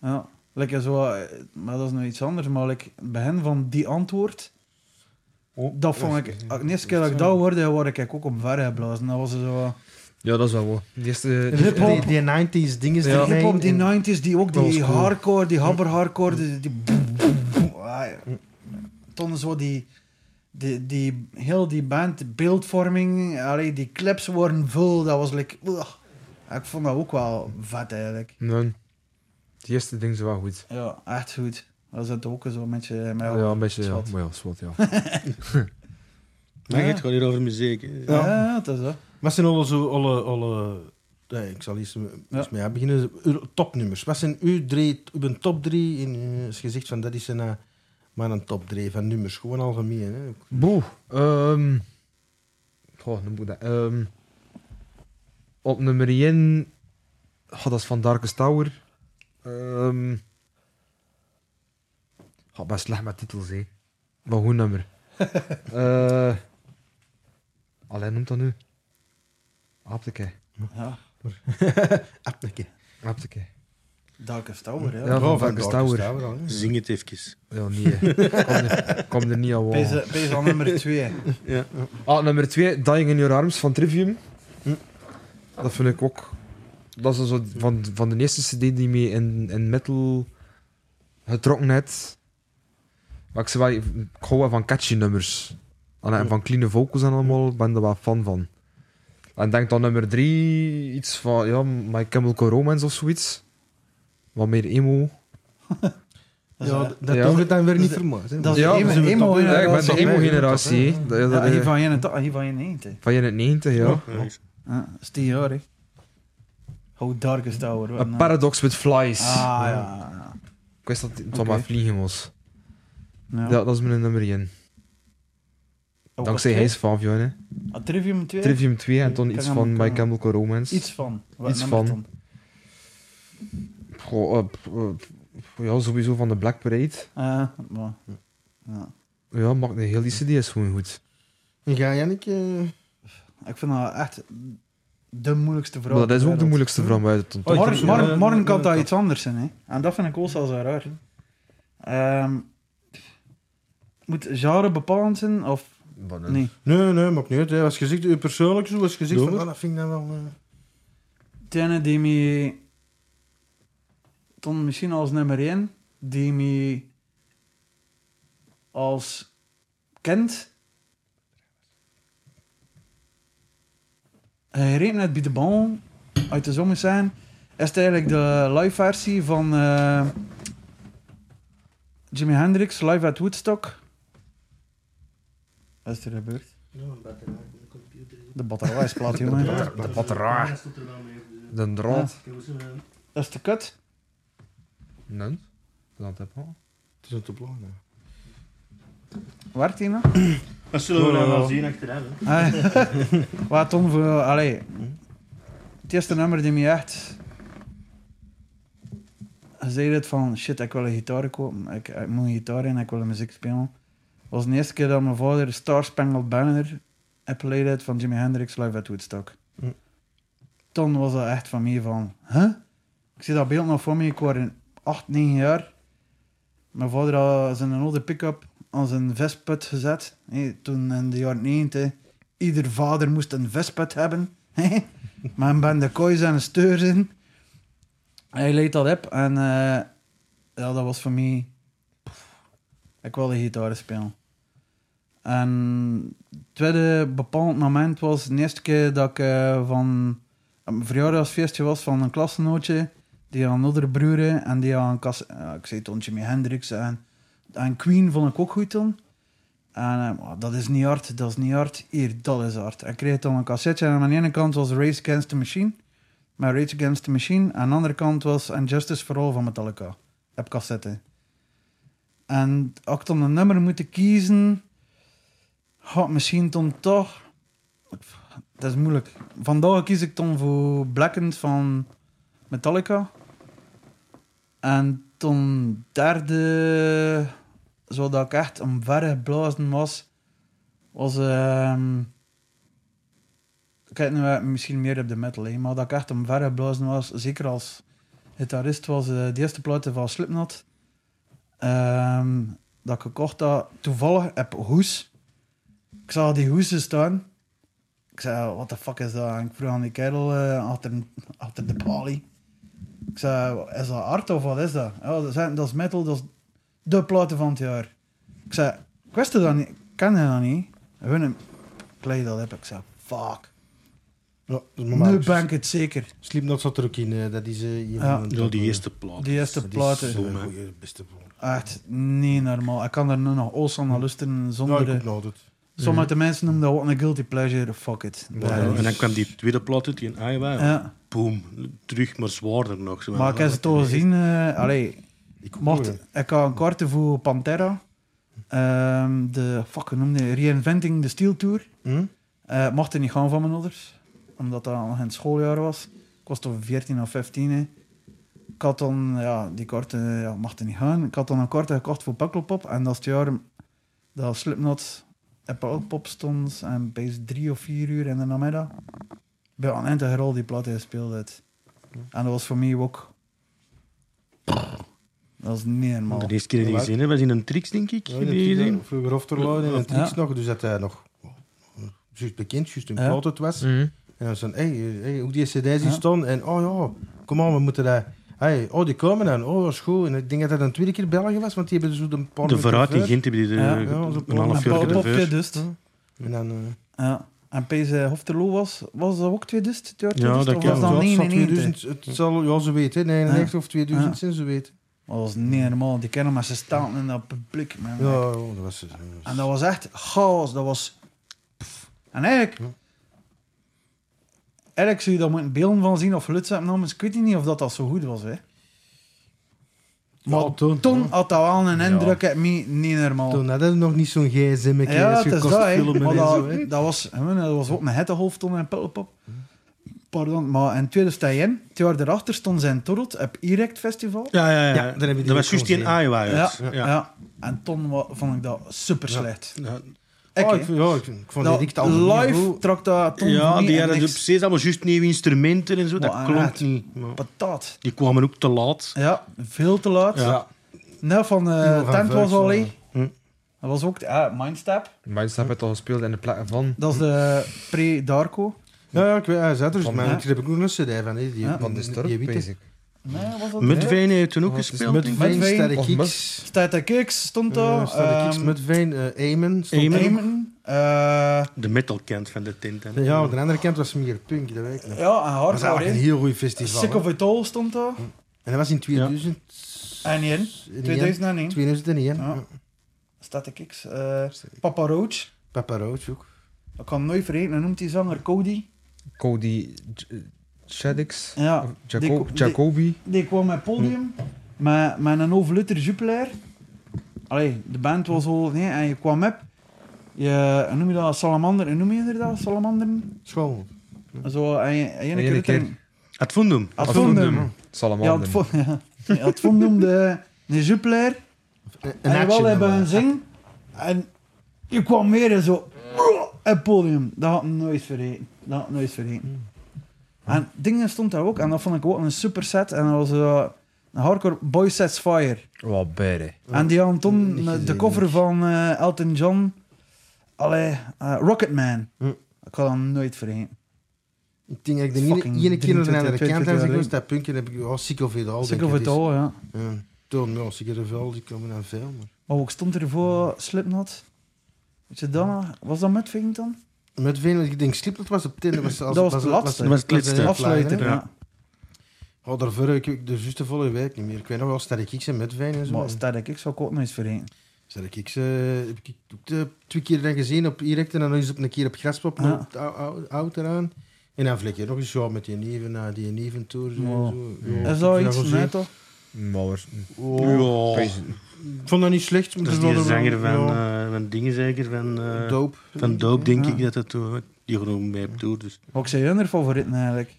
Ja. Like zo, eh, maar dat is nog iets anders. Maar like, bij hen van die antwoord, Oh, dat vond ik... ah, De eerste keer dat ik dat hoorde, word ik ook omver geblazen. Dat was zo... ja, dat is wel waar. Die eerste... Die, die- Hip-hop. die, die 90s dingen. Die ermee hip-hop, die en- 90s, die ook, Dat was die cool. hardcore, die habber hardcore, die... die boem, boem, boem. Ah, ja. Toen zo die... Die, die, heel die band, de beeldvorming, allee, die clips worden vol, dat was like... ugh. Ik vond dat ook wel vet eigenlijk. Nee. Die eerste ding is wel goed. Ja, echt goed. Dat zit ook zo met je... Met Ja, een beetje, ja. zwart. Maar ja, zwart, ja. Maar Ja. het gaat hier over muziek. eh, hè. Ja, ja, dat is dat. Wat zijn alle zo, alle, alle nee, ik zal eerst eens mee aan beginnen. Uw Topnummers. Wat zijn uw drie, uw top drie in eh, als je zegt van dat is een, eh, maar een top drie van nummers, gewoon algemeen. Hè. Boe. Ehm goh, noem ik dat. Ehm, op nummer 1 oh, dat is van Darkest Tower. Ehm oh, best slecht met titels, hé. Maar goed nummer. Eh alleen noemt dat nu. Apteke. Ja, Apneke. Apteke. Darkest Tower, ja. Ja, van Oh, Darkest Darkest Tower. al, hè. Zing het even. Ja, nee. hè. Kom er, kom er niet aan. wal. Deze deze al nummer 2. Ah, nummer 2, Dying in Your Arms van Trivium. Hm. Dat vind ik ook. Dat is zo van, van de eerste CD die mee in, in metal getrokken heeft. Maar ik, zei wel, ik hou wel van catchy nummers. En en van clean vocals en allemaal, ik ben er wel fan van. En ik denk dan nummer 3, iets van ja, My Chemical Romance of zoiets. Wat meer emo. Dat is, eh, Ja, dat Ja. hoeft het dan weer niet Dat- voor mij. hè. dat is Ja, Zo maar zijn we emo- toch, hè. Ja, ik ben de Ja, emo-generatie. hè. Dat- dat- ja, dat- hier van je en hier van je eentje. Van in het 90, ja. Ja, dat is tien jaar, hè. How Oh, dark is that, hoor. Wat Een nou? paradox with flies. Ah, ja, ja. Ik wist dat het Oké. van maar vliegen was. ja. Ja. dat is mijn nummer 1. Oh, Dankzij wat Hijs van Vion, hè. twee? Ah, Trivium 2? Trivium 2 en toen Ik iets ken van hem, My ik ken hem. Chemical Romance. Iets van. Wat Iets nummer van. dan? Goh, eh, p- eh, p- ja, sowieso van de Black Parade. Eh, maar, ja. Ja, maakt de hele CD is gewoon goed. Ja, Jannik, eh, Ik vind dat echt de moeilijkste vrouw. Maar dat is ook de Hm? moeilijkste vrouw uit het Oh, ik Morgen, heb- morgen, eh, morgen kan eh, dat dat- iets anders zijn, hè. En dat vind ik ook zelfs wel raar. Ehm, moet genre bepalend zijn, of... Nee. Nee, nee, maakt niet uit. Hè. Als je zegt, eh, persoonlijk zo, als je zegt, Doe van, maar. ah, dat vind ik dan wel... eh, Tene die me... Dan misschien als nummer 1, die me als kind herinnert net bij de bal uit de zomer zijn, is het eigenlijk de live versie van eh, Jimi Hendrix live at Woodstock. Wat is er gebeurd? De batterij is plat, jongen. De batterij. De draad. Dat is te kut. Nee. Dat heb ik al. Het is een te belangrijk. Werkt die nog? Dat zullen we dan wel zien achteraf. hè. Ah, Wat Tom voor. Allee. Het eerste nummer die mij echt. zei het van shit, ik wil een gitaar kopen. Ik, ik moet een gitaar in, ik wil muziek spelen. was de eerste keer dat mijn vader Star Spangled Banner appleed het van Jimi Hendrix live at Woodstock. Hm. Toen was dat echt van mij van, huh? Ik zie dat beeld nog voor me, ik was in 8, 9 jaar. Mijn vader had zijn oude pick-up aan zijn vestput gezet. Hé, toen in de jaren 90, ieder vader moest een vestput hebben. Hé, Maar ben de koois en de steurs in. Hij leed dat op en eh, ja, dat was voor mij... Ik wilde gitaar spelen. En het tweede bepaald moment was de eerste keer dat ik eh, van een verjaardagsfeestje was van een klasgenootje. Die had een andere broer en die had een kas... ja, ik zei toen Jimi Hendrix en, en Queen vond ik ook goed toen. En eh, maar dat is niet hard, dat is niet hard. Hier, dat is hard. Ik kreeg dan een cassetje en aan de ene kant was Race Against the Machine. Maar Rage Against the Machine. Aan de andere kant was And Justice for All van Metallica. Op cassette. En als ik dan een nummer moet kiezen, had misschien dan toch. Dat is moeilijk. Vandaag kies ik dan voor Blackened van Metallica. En toen derde, zodat ik echt omvergeblazen was, was. ehm ik kijk nu eh, misschien meer op de metal, hè, maar dat ik echt omvergeblazen was, zeker als gitarist, was eh, de eerste platen van Slipknot. Ehm, dat ik gekocht had, toevallig heb hoes. Ik zag die hoesen staan. Ik zei, what the fuck is dat? En ik vroeg aan die kerel eh, achter, achter de balie. Ik zei, is dat hard of wat is dat? Ja, dat, zijn, dat is metal, dat is de platen van het jaar. Ik zei, ik wist het dat niet, ik kende dat niet. En hun kleed dat heb ik zei, fuck. Ja, dat is Nu normaal. ben ik het zeker. Slipknot zat er ook in. eh, dat is eh, een Ja. van de Wel die top, eerste plaat. Die eh, eerste Dat is platen. zo'n goeie, beste plaat. Echt niet normaal. Ik kan er nu nog oos aan lusten Ja, zonder... ik nou ook nog altijd. Sommige mensen noemen dat ook een guilty pleasure. Fuck it. Ja, Ja, en dan kwam die tweede plaat uit, die in Iowa. ja. Boom, terug, maar zwaarder nog. Zo, Maar ik heb ze toch gezien. eh allee, Ik mocht, hoor, ik had een korte voor Pantera. Ehm, de, fuck, hoe noemde die? Reinventing the Steel Tour. hm? Eh, mocht er niet gaan van mijn ouders, omdat dat nog in het schooljaar was. Ik was toen 14 of 15. hè. Ik had dan, ja, die korte, ja, mocht er niet gaan. Ik had dan een korte gekocht voor Pukkelpop. En dat is het jaar dat Slipknot op Pukkelpop stond. En bij drie of vier uur in de namiddag. Bij een integral die platte gespeeld had. En dat was voor mij ook... Dat is niet normaal. De eerste keer dat die gezien hebben, was in een tricks, denk ik. Ja, die in gezien. het Trix- eh, Vroeger Hofterloon en het Ja. Trix nog, dus dat hij nog eh, juist bekend, juist een Ja. plaat het was. En dan zei hey, hey, hoe die cd's hier Ja. staan. En oh ja, kom aan, we moeten dat... Hey, oh, die komen dan. Oh, dat is goed. En ik denk dat dat een tweede keer België was, want die hebben dus een paar De minuten vooruit in voor. Gent hebben die de, Ja, ja, zo'n een half En jaar Paul Popje geleden. dus. En dan... eh, Ja. En Pees eh, Hofterloo was, was dat ook 2000? het jaar Ja, 2000, dat of kan. was dat ja, het zal 99? 2000, het zal, ja, ze weten, 99 of 2000 Ja. zijn ze weten. Maar Dat was niet normaal. Die kennen maar ze staan in dat publiek. Man. Ja, dat was... dat was- En dat was echt chaos. Dat was... Pff. En eigenlijk... Eigenlijk zou je daar moeten beelden van zien of luts hebben genomen. Dus ik weet niet of dat, dat zo goed was, hè. Maar Ja, toen, toen, ja. had dat wel een Ja. indruk op mij, niet normaal. Toen hadden we nog niet zo'n gsm ik ja, het is dat, hè. filmen Maar en dat, zo, hè. dat, was, hè, dat was ook een hettehoofd toen en Pulpop. Pardon, maar in 2001, twee jaar erachter, stonden ze in Torrot op Erect Festival. Ja, ja, ja. Ja, dan heb je die dat was ook juist in gezien. Iowa. Ja, juist. ja. En toen wa- vond ik dat super slecht. Ja. Oké. Oh, ik, vind- ja, ik, vind- ik vond Dat die Rick al live trok dat toen Ja, voor mij die echt hadden niks. precies allemaal juist nieuwe instrumenten en zo. Maar Dat klonk echt. niet. maar patat. Die kwamen ook te laat. Ja, veel te laat. Ja. Net van Ja, eh van Tent was Vught, al ja. leeg. Hm. Dat was ook de, ah, Mindstep. Mindstep heeft al gespeeld in de plekken van. Dat is de pre-Darko. Ja, ja, ik weet, hij zat er dus, Van- maar Ja. ik heb ook nog een cd van. hè, Die, Ja. Van de die Storp, witte. basic. Nee, was dat Mudveen heeft toen ook Oh, het is gespeeld. Met denk ik. Mudveen, Veen, Sterre of Kieks. Mus. Staat de Kiks stond eh, daar. Sterre Kieks, ehm, Met Veen, eh, Amen. stond Amen. er. Eamon, eh, De metalkant van de tint. hè. Ja, aan de andere kant was meer punk, dat weet ik nog. ja, en Dat was Hardcore. eigenlijk een hè. heel goed festival. Sick hè. of It All stond daar. En dat was in 2000. En in 2001. 2001. Ja. Ja. Staat de Kiks. eh, Papa Roach. Papa Roach ook. Ik kan hem nooit vergeten. Hij noemt die zanger Cody. Cody J- eh, Shaddix. Ja, Of die- Jaco- die- Jacobi. Die kwam met podium, met, met een overlutter Jupiler. Allee, de band was al... Nee, en je kwam op. Je, hoe noem je dat? Salamander? Hoe noem je dat? Salamanderen? School. Zo, en je, en je Ene een keer... keer. het- Het Fundum. het Advondum. Ja, Salamander. Advo- ja. Ja, Advondum, de, de Jupiler. Een En je wel Ah, hebben een zing. En je kwam meer en zo... Het podium. Dat had ik nooit vergeten. Dat had ik nooit vergeten. En dingen stond daar ook. En dat vond ik ook een super set. En dat was eh, een hardcore Boy Sets Fire. Wat beter. En die hadden toen Niet eh, de gezien, cover niet. van eh, Elton John. Allee, eh, Rocketman. Hm. Ik kan dat nooit vergeten. Ik denk dat ik de Fucking ene- ene keer naar de 23, andere kant 22 en ik jaar moest dat punkje heb ik oh, sick of it all. Sick denk of ik, it dat is. all, ja. Ja. Toen, ja, sick of it all, die komen dan veel. Maar. Maar ook stond er voor Slipknot. Weet je dat nog? Was dat met dan? Met Veen, ik denk Slipknot was op Tinder. Was, als, Dat was het laatste. Dat was het laatste. een Afsluiter, flyer, ja. hè. Oh, daarvoor heb ik de juiste volle week niet meer. Ik weet nog wel Sterre Kieks en Met Veen en zo. Maar stel ik, ik zou ik ook nooit vergeten. Sterre Kieks eh, heb ik ook de- twee keer dan gezien op Erect en dan nog eens op een keer op Graspop. Ja. Ja. Oud, oud, oud eraan. En dan vlek je nog eens ja, met die neven, naar die neven tour. Zo, Ja. zo. Ja, Is dat ik iets? zou Eh, Nee, zeggen- toch? Maar Oh, Ja. Ik vond Dus dat niet slecht. maar Dat is het was die wel- zanger van, ja, eh, van dingen zeker, van, eh, Dope. van Doop, denk Ja. ik dat dat toen... Die gewoon mee op tour, dus... Wat zijn hun favorieten eigenlijk?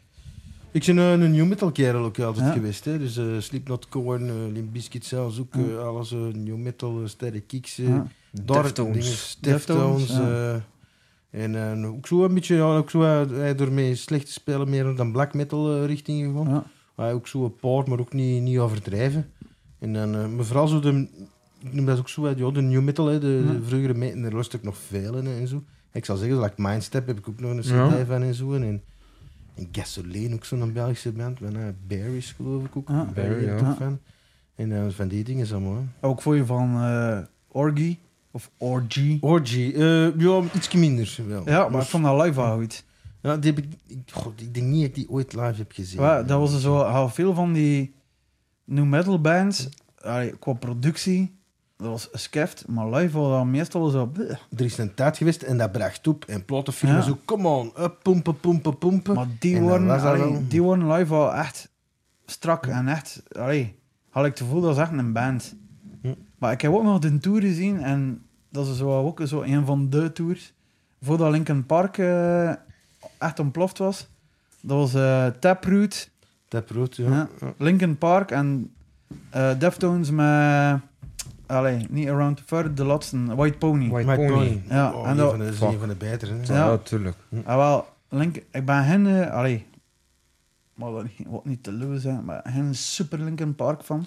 Ik ben eh, een new metal kerel ook altijd Ja. geweest. Hè. Dus eh Slipknot, Korn, eh Limp Bizkit zelfs ook. Ja. eh, alles eh, new metal, uh, sterre kicks. eh, Ja. Dark Deftones. dinges, Deftones, Deftones. ja. eh, en eh, ook zo een beetje, ja, ook zo, eh, hij daarmee slecht te spelen, meer dan black metal eh, richting gegaan. Ja. Hij ook zo een paar, maar ook niet, niet overdrijven. En dan, eh, maar vooral zo de, ik noem dat ook zo, eh, ja, de new metal, hè, de, Ja. de vroegere me- en daar luister ik nog veel in hè, en zo. Ik zal zeggen, like Mindstep heb ik ook nog een cd Ja. van en zo. En, en, Gasoline, ook zo'n Belgische band. Van, eh, Barry's geloof ik ook. Ja. Barry, Barry, heb ik ja. ook van. En eh, van die dingen allemaal. hè. Ook voor je van eh, Orgy of Orgy. Orgy, eh, ja, iets minder wel. Ja, maar ik vond dat live wel goed. Ja, die heb ik, ik, god, ik denk niet dat ik die ooit live heb gezien. Ja, dat was zo, al veel van die new metal bands, allee, qua productie, dat was skeft, maar live was dat meestal zo... bleh. Er is een tijd geweest en dat bracht op. En plotte filmen Ja. zo, come on, up, pompen, pompen, pompen. Maar die En dan worden, was dat allee, wel- die worden live wel echt strak en echt, allee, had ik het gevoel dat is echt een band. Ja. Maar ik heb ook nog de tour gezien en dat is zo, ook zo een van de tours, voordat Linkin Park eh, echt ontploft was. Dat was eh, Taproot, Dat brood, ja. Ja. Linkin Park en eh, Deftones met... Allee, niet Around the Fire, de laatste, White Pony. White My Pony. Ja, Oh, en een dat- van de- dat is Fuck. een van de betere. hè. Ja. Ja, tuurlijk. Ah, wel, Link, ik ben hen... eh, allee, maar dat niet- wat niet te luwe zijn, maar hen een super Linkin Park van.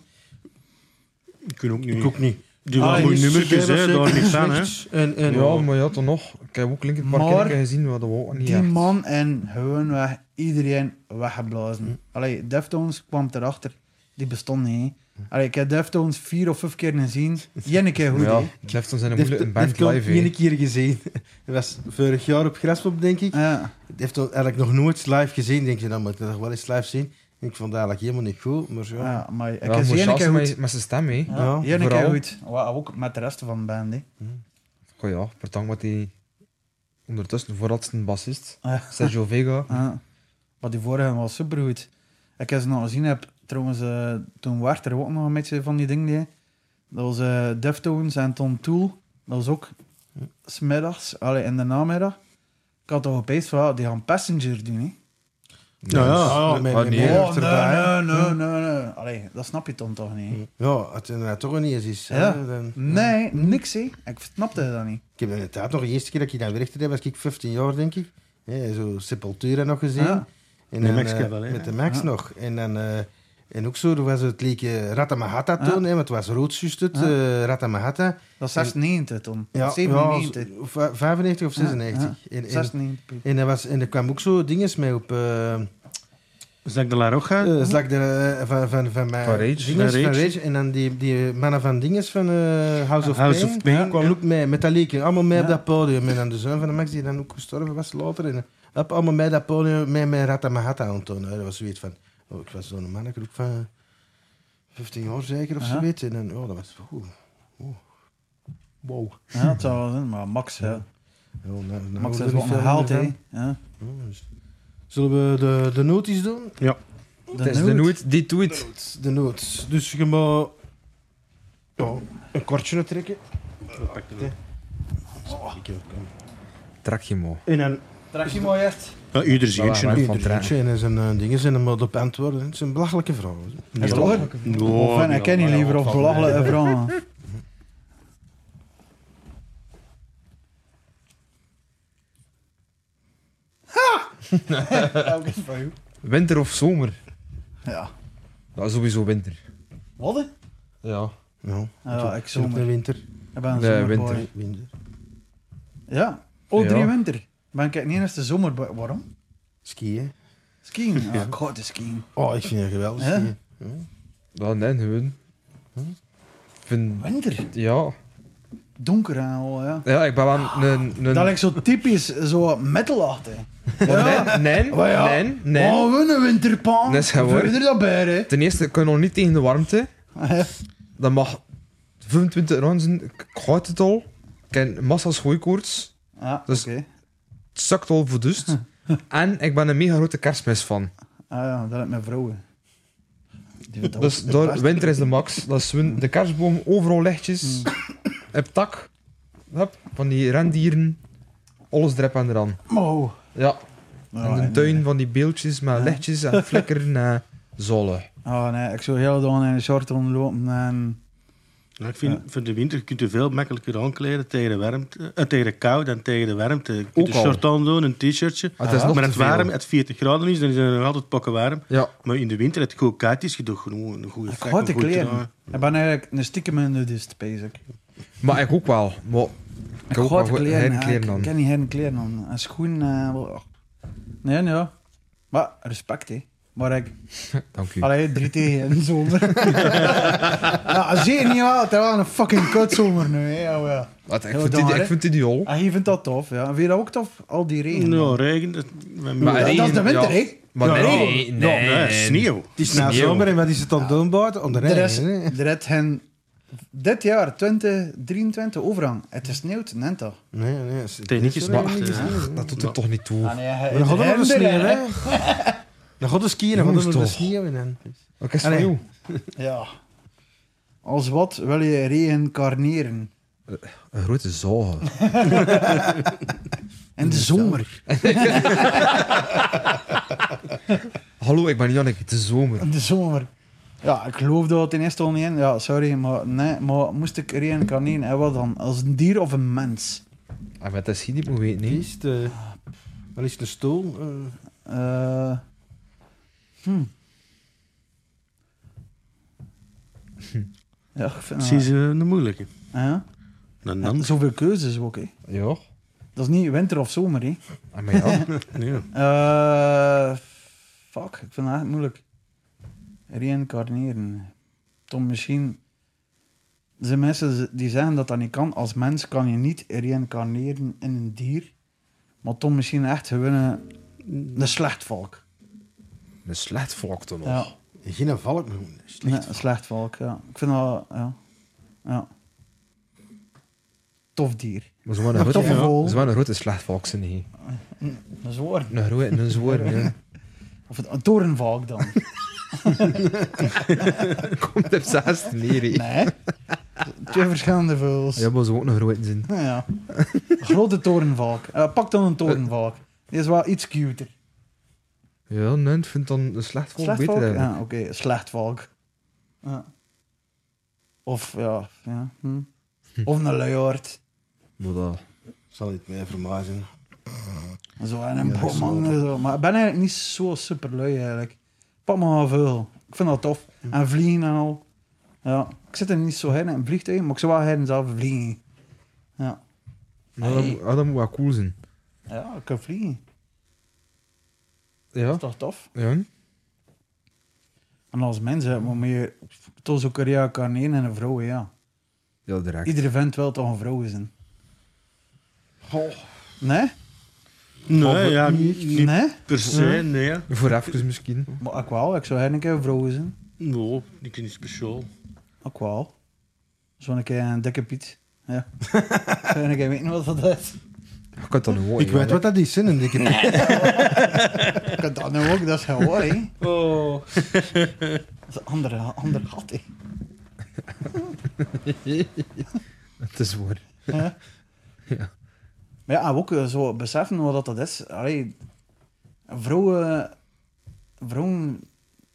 Ik kan ook niet... Ik ook niet. Die Ah, waren goede die nummertjes, hè, daar niet van, hè. En, en, Ja, maar ja, toch nog. Ik heb ook Linkin Park Maar- een keer gezien, wat we ook niet Die echt. man en gewoon weg, iedereen weggeblazen. Allee, Deftones kwam erachter. Die bestond niet. hè. Allee, ik heb Deftones vier of vijf keer gezien. Jenne keer goed, Maar ja, hè. Deftones zijn een Deft- moeilijke band Deftones live, heb ik hè. één keer gezien. Dat was vorig jaar op Graspop, denk ik. Ja. Deftones eigenlijk nog nooit live gezien. Denk je, dan moet ik dat nog wel eens live zien. Ik vond het eigenlijk helemaal niet goed, maar ja. Ja, ah, maar ik Ja, is moest één jas keer goed. met, met zijn stem, hè. Ja, Ja, één keer vooral. goed. Wa- Ook met de rest van de band, hè. Goh ja, bedankt met die ondertussen voorlaatste bassist, Ah, Ja. Sergio Vega. Ja. Maar die vorige was supergoed. Ik heb ze nog gezien, heb, trouwens, eh, toen werd er ook nog een beetje van die dingen. die- Dat was eh Deftones en Tom Tool. Dat was ook smiddags, allee, in de namiddag. Ik had toch opeens van, ja, die gaan Passenger doen, hè. Nou ja. Ah, ja, met- Ah, met nee. Moord Oh, erbij. nee, nee, nee, nee. Allee, dat snap je dan toch niet? Ja, het inderdaad toch niet eens is. hè, Ja. dan- Nee, niks, hè. Ik snapte dat niet. Ik heb inderdaad nog de eerste keer dat ik daar werkte, heb, was ik 15 jaar, denk ik. Ja, zo Sepultura nog gezien. Ja. En Met dan, Max eh, Cavalli, hè? Met de Max Ja. nog. En, dan, eh, en ook zo, er was het leek eh, Ratamahata toen, hè, want het was roodzuust het, Ja. eh, Ratamahata. Dat is 96 toen. Ja, 97. ja, v- 95 of 96. En, en, 96. en, er was, en er kwam ook zo dinges mee op... eh, Zak de La Rocha. eh zak de, eh, van, van, van, mij. Van Rage. Dinges, Van van Rage. Rage. En dan die, die mannen van Dinges van eh, House of House Pain. of Pain, Ja, kwamen ja. ook mee, met dat liedje. Allemaal mee op Ja. dat podium. En dan de zoon van de Max, die dan ook gestorven was later. En, hop, allemaal mee dat podium, mee met Ratamahata aantonen. Dat was zoiets van... Oh, ik was zo'n manneke ook van 15 jaar zeker, of Aha. zoiets. En dan, oh, dat was... Oeh, oeh. Wow. Ja, dat zou wel zijn, maar Max, hè. Ja, nou, nou hoorde Max heeft er wel niet veel gehaald, meer hè. van. Ja. Oh, dus- Zullen we de, de noties doen? Het is de nooit, die doet. De noot. Dus je moet ja, een kortje trekken. Trek je mo. En dan Trek je mooi echt. Ja, ieder zientje. Voilà, hè. voilà. ieder van trekken. eentje en zijn eh, dingen zijn hem op antwoorden. Het zijn belachelijke vrouwen. Nee. het waar? Nou, of en ik ken niet ja, liever of wat van mij. belachelijke vragen. Ha! Elke van jou. Winter of zomer? Ja. Dat is sowieso winter. Wat? hè? Ja. Ja, Ja, Ah, ik zit op de zomer. winter. Ik ben een Nee, zomerboy. winter. winter. Ja. Oh, drie Ja. winter. Ben ik niet eens de zomerboy. Waarom? Skiën. Skiën. Ja, ik hou de skiën. Oh, ik vind het geweldig. Ja? skiën. Dat nee, gewoon. Ik vind... Winter. Ja. Donker en al, ja. Ja, ik ben wel een... een... Dat lijkt zo typisch, zo metalachtig. Nee, nee, Maar ja. nee, nee. Oh, we een winterpan. Dat is gewoon. Verder dat bij, hè. Ten eerste kun je nog niet tegen de warmte. Dat mag 25 rond zijn. Ik ik houd het al. Ik heb massa's hooikoorts. Ja, Dus- oké. Het zakt al voor dust. en ik ben een mega grote kerstmis van. Ah ja, dat heb mijn vrouwen. Die vindt dat Dus ook daar, best. winter is de max. Dat is win- de kerstboom, overal lichtjes. Hmm. Op tak. Hup, van die rendieren. Alles erop en eraan. Oh. Ja, Ja, en de en- tuin van die beeldjes met Ja. lichtjes en flikkeren en zolle. Oh nee, ik zou heel dan in een short rondlopen en... Ja, Nou, ik vind, voor de winter kun je veel makkelijker aankleden tegen de, warmte, eh, tegen de kou dan tegen de warmte. Je kunt Ook een al. short aan doen, een t-shirtje. Het is nog maar te het veel. warm, het 40 graden is, dan is het nog altijd pakken warm. Ja, Maar in de winter, het goed koud is, je doet gewoon een goede Ik frak, hou een de goed kleren. trui. Ik ben eigenlijk een stiekem een nudist, basic. maar ik ook wel. Maar ik, Ik heb hou ook wel de goed- kleren, geen ja, kleren ik- aan. Ik ken niet geen kleren aan. En schoenen... eh, wel- Nee, nee. ja. Maar respect, hè. Maar ik... Dank u. Allee, 3 tegen in de zomer. ja, zie je niet wel, het is wel een fucking kutzomer nu. Hè, oh ja. Wat, ik, Heel vind het, daar, ik hè? vind het ideaal. En je vindt dat tof, ja. En Vind je dat ook tof? Al die regen. Nou, man. regen. Dat, met Maar mij- dat, regen, dat is de winter, ja. hè. Maar Ja, nee, ja. nee, Ja, nee, sneeuw. Het is na Sneeuw. zomer en wat is het dan doen buiten? Onder Er is, regen, hè? er is hen dit jaar 2023 overhang. Het is sneeuwt, neemt dat. Nee, nee. het is- Techniekjes, het is- maar- het is- Ja. Dat doet er toch niet toe. Ah, nee, Maar dan hadden we de sneeuw, hè? Dan hadden we skiën, dan Jongens, hadden we de toch. sneeuw in. En... Wat is Allee. sneeuw? Ja. Als wat wil je reïncarneren? Een grote zagen. In de zomer. Hallo, ik ben Jannik. Het is zomer. Ah, In de zomer. Ja, ik geloof dat ten eerste al niet in. Ja, sorry, maar, nee, maar moest ik reïncarneren, hè, wat dan? Als een dier of een mens? En met dat schiet niet moet weten, Wie niet. is het? eh, Wat is het, een stoel? eh? Eh, hm. Ja, ik vind dat- Precies eh, een moeilijke. Ja. Een Ja, nans. zoveel keuzes ook, hè. Ja. Dat is niet winter of zomer, hè. En Ah, maar ja. Ja. Eh, fuck, ik vind dat eigenlijk moeilijk. Reïncarneren. Tom, misschien... Er zijn mensen die zeggen dat dat niet kan. Als mens kan je niet reïncarneren in een dier. Maar Tom, misschien echt gewoon een, een slecht valk. Een slecht volkte nog. Ja. Geen valk noemen. Slecht. Nee, een slecht volk, ja. Ik vind dat... Ja. ja. Tof dier. Maar ze waren een Toffe grote- vogel. ze waren een grote slecht volk, ze niet. Een zwoer. Een grote, een zwaar, ja. Of een, een torenvalk dan. Komt er zes neer, hè. Nee. Twee verschillende vogels. Ja, maar ze ook een grote zin. Nou Ja. Grote torenvalk. Eh, pak dan een torenvalk. Die is wel iets cuter. Ja, nee, ik vind dan een slecht volk Slecht beter. valk? eigenlijk. Ja, oké. Slecht valk. Ja. Of, ja. ja. Hm. Of een luiaard. Maar dat... Zal niet meer vermazen. Zo, en een Ja, boom zo. hangen, zo. Maar ik ben eigenlijk niet zo super lui eigenlijk. Pak maar een veel. Ik vind dat tof. En vliegen en al. Ja. Ik zit er niet zo heen in een vliegtuig, maar ik zou wel heen zelf vliegen. Ja. Maar dat, moet- ah, dat moet wel cool zijn. Ja, ik kan vliegen. Dat Ja? is toch tof? Ja? En als mensen moet je toch zo'n carrière kan en een vrouw, ja. Ja, direct. Iedere vent wil toch een vrouw zijn. Nee? Nee, ja, niet. eh, niet Nee? per se, nee. Voor even misschien. Maar ik wel, ik zou heen een keer een vrouw zijn. Nee, niet niet speciaal. Ik wel. Zo'n keer een dikke piet. Ja. Zou je een keer weten wat dat is? Ik kan dat nu horen. Ik weet wat dat is, hè, een dikke piet. Ik kan dat nu ook, dat is gewoon, hè. Oh. Dat is een andere, ander gat, hè. Het is waar. Ja. Ja. Maar ja, ook eh, zo beseffen wat dat is. Allee, vrouwen, vrouwen,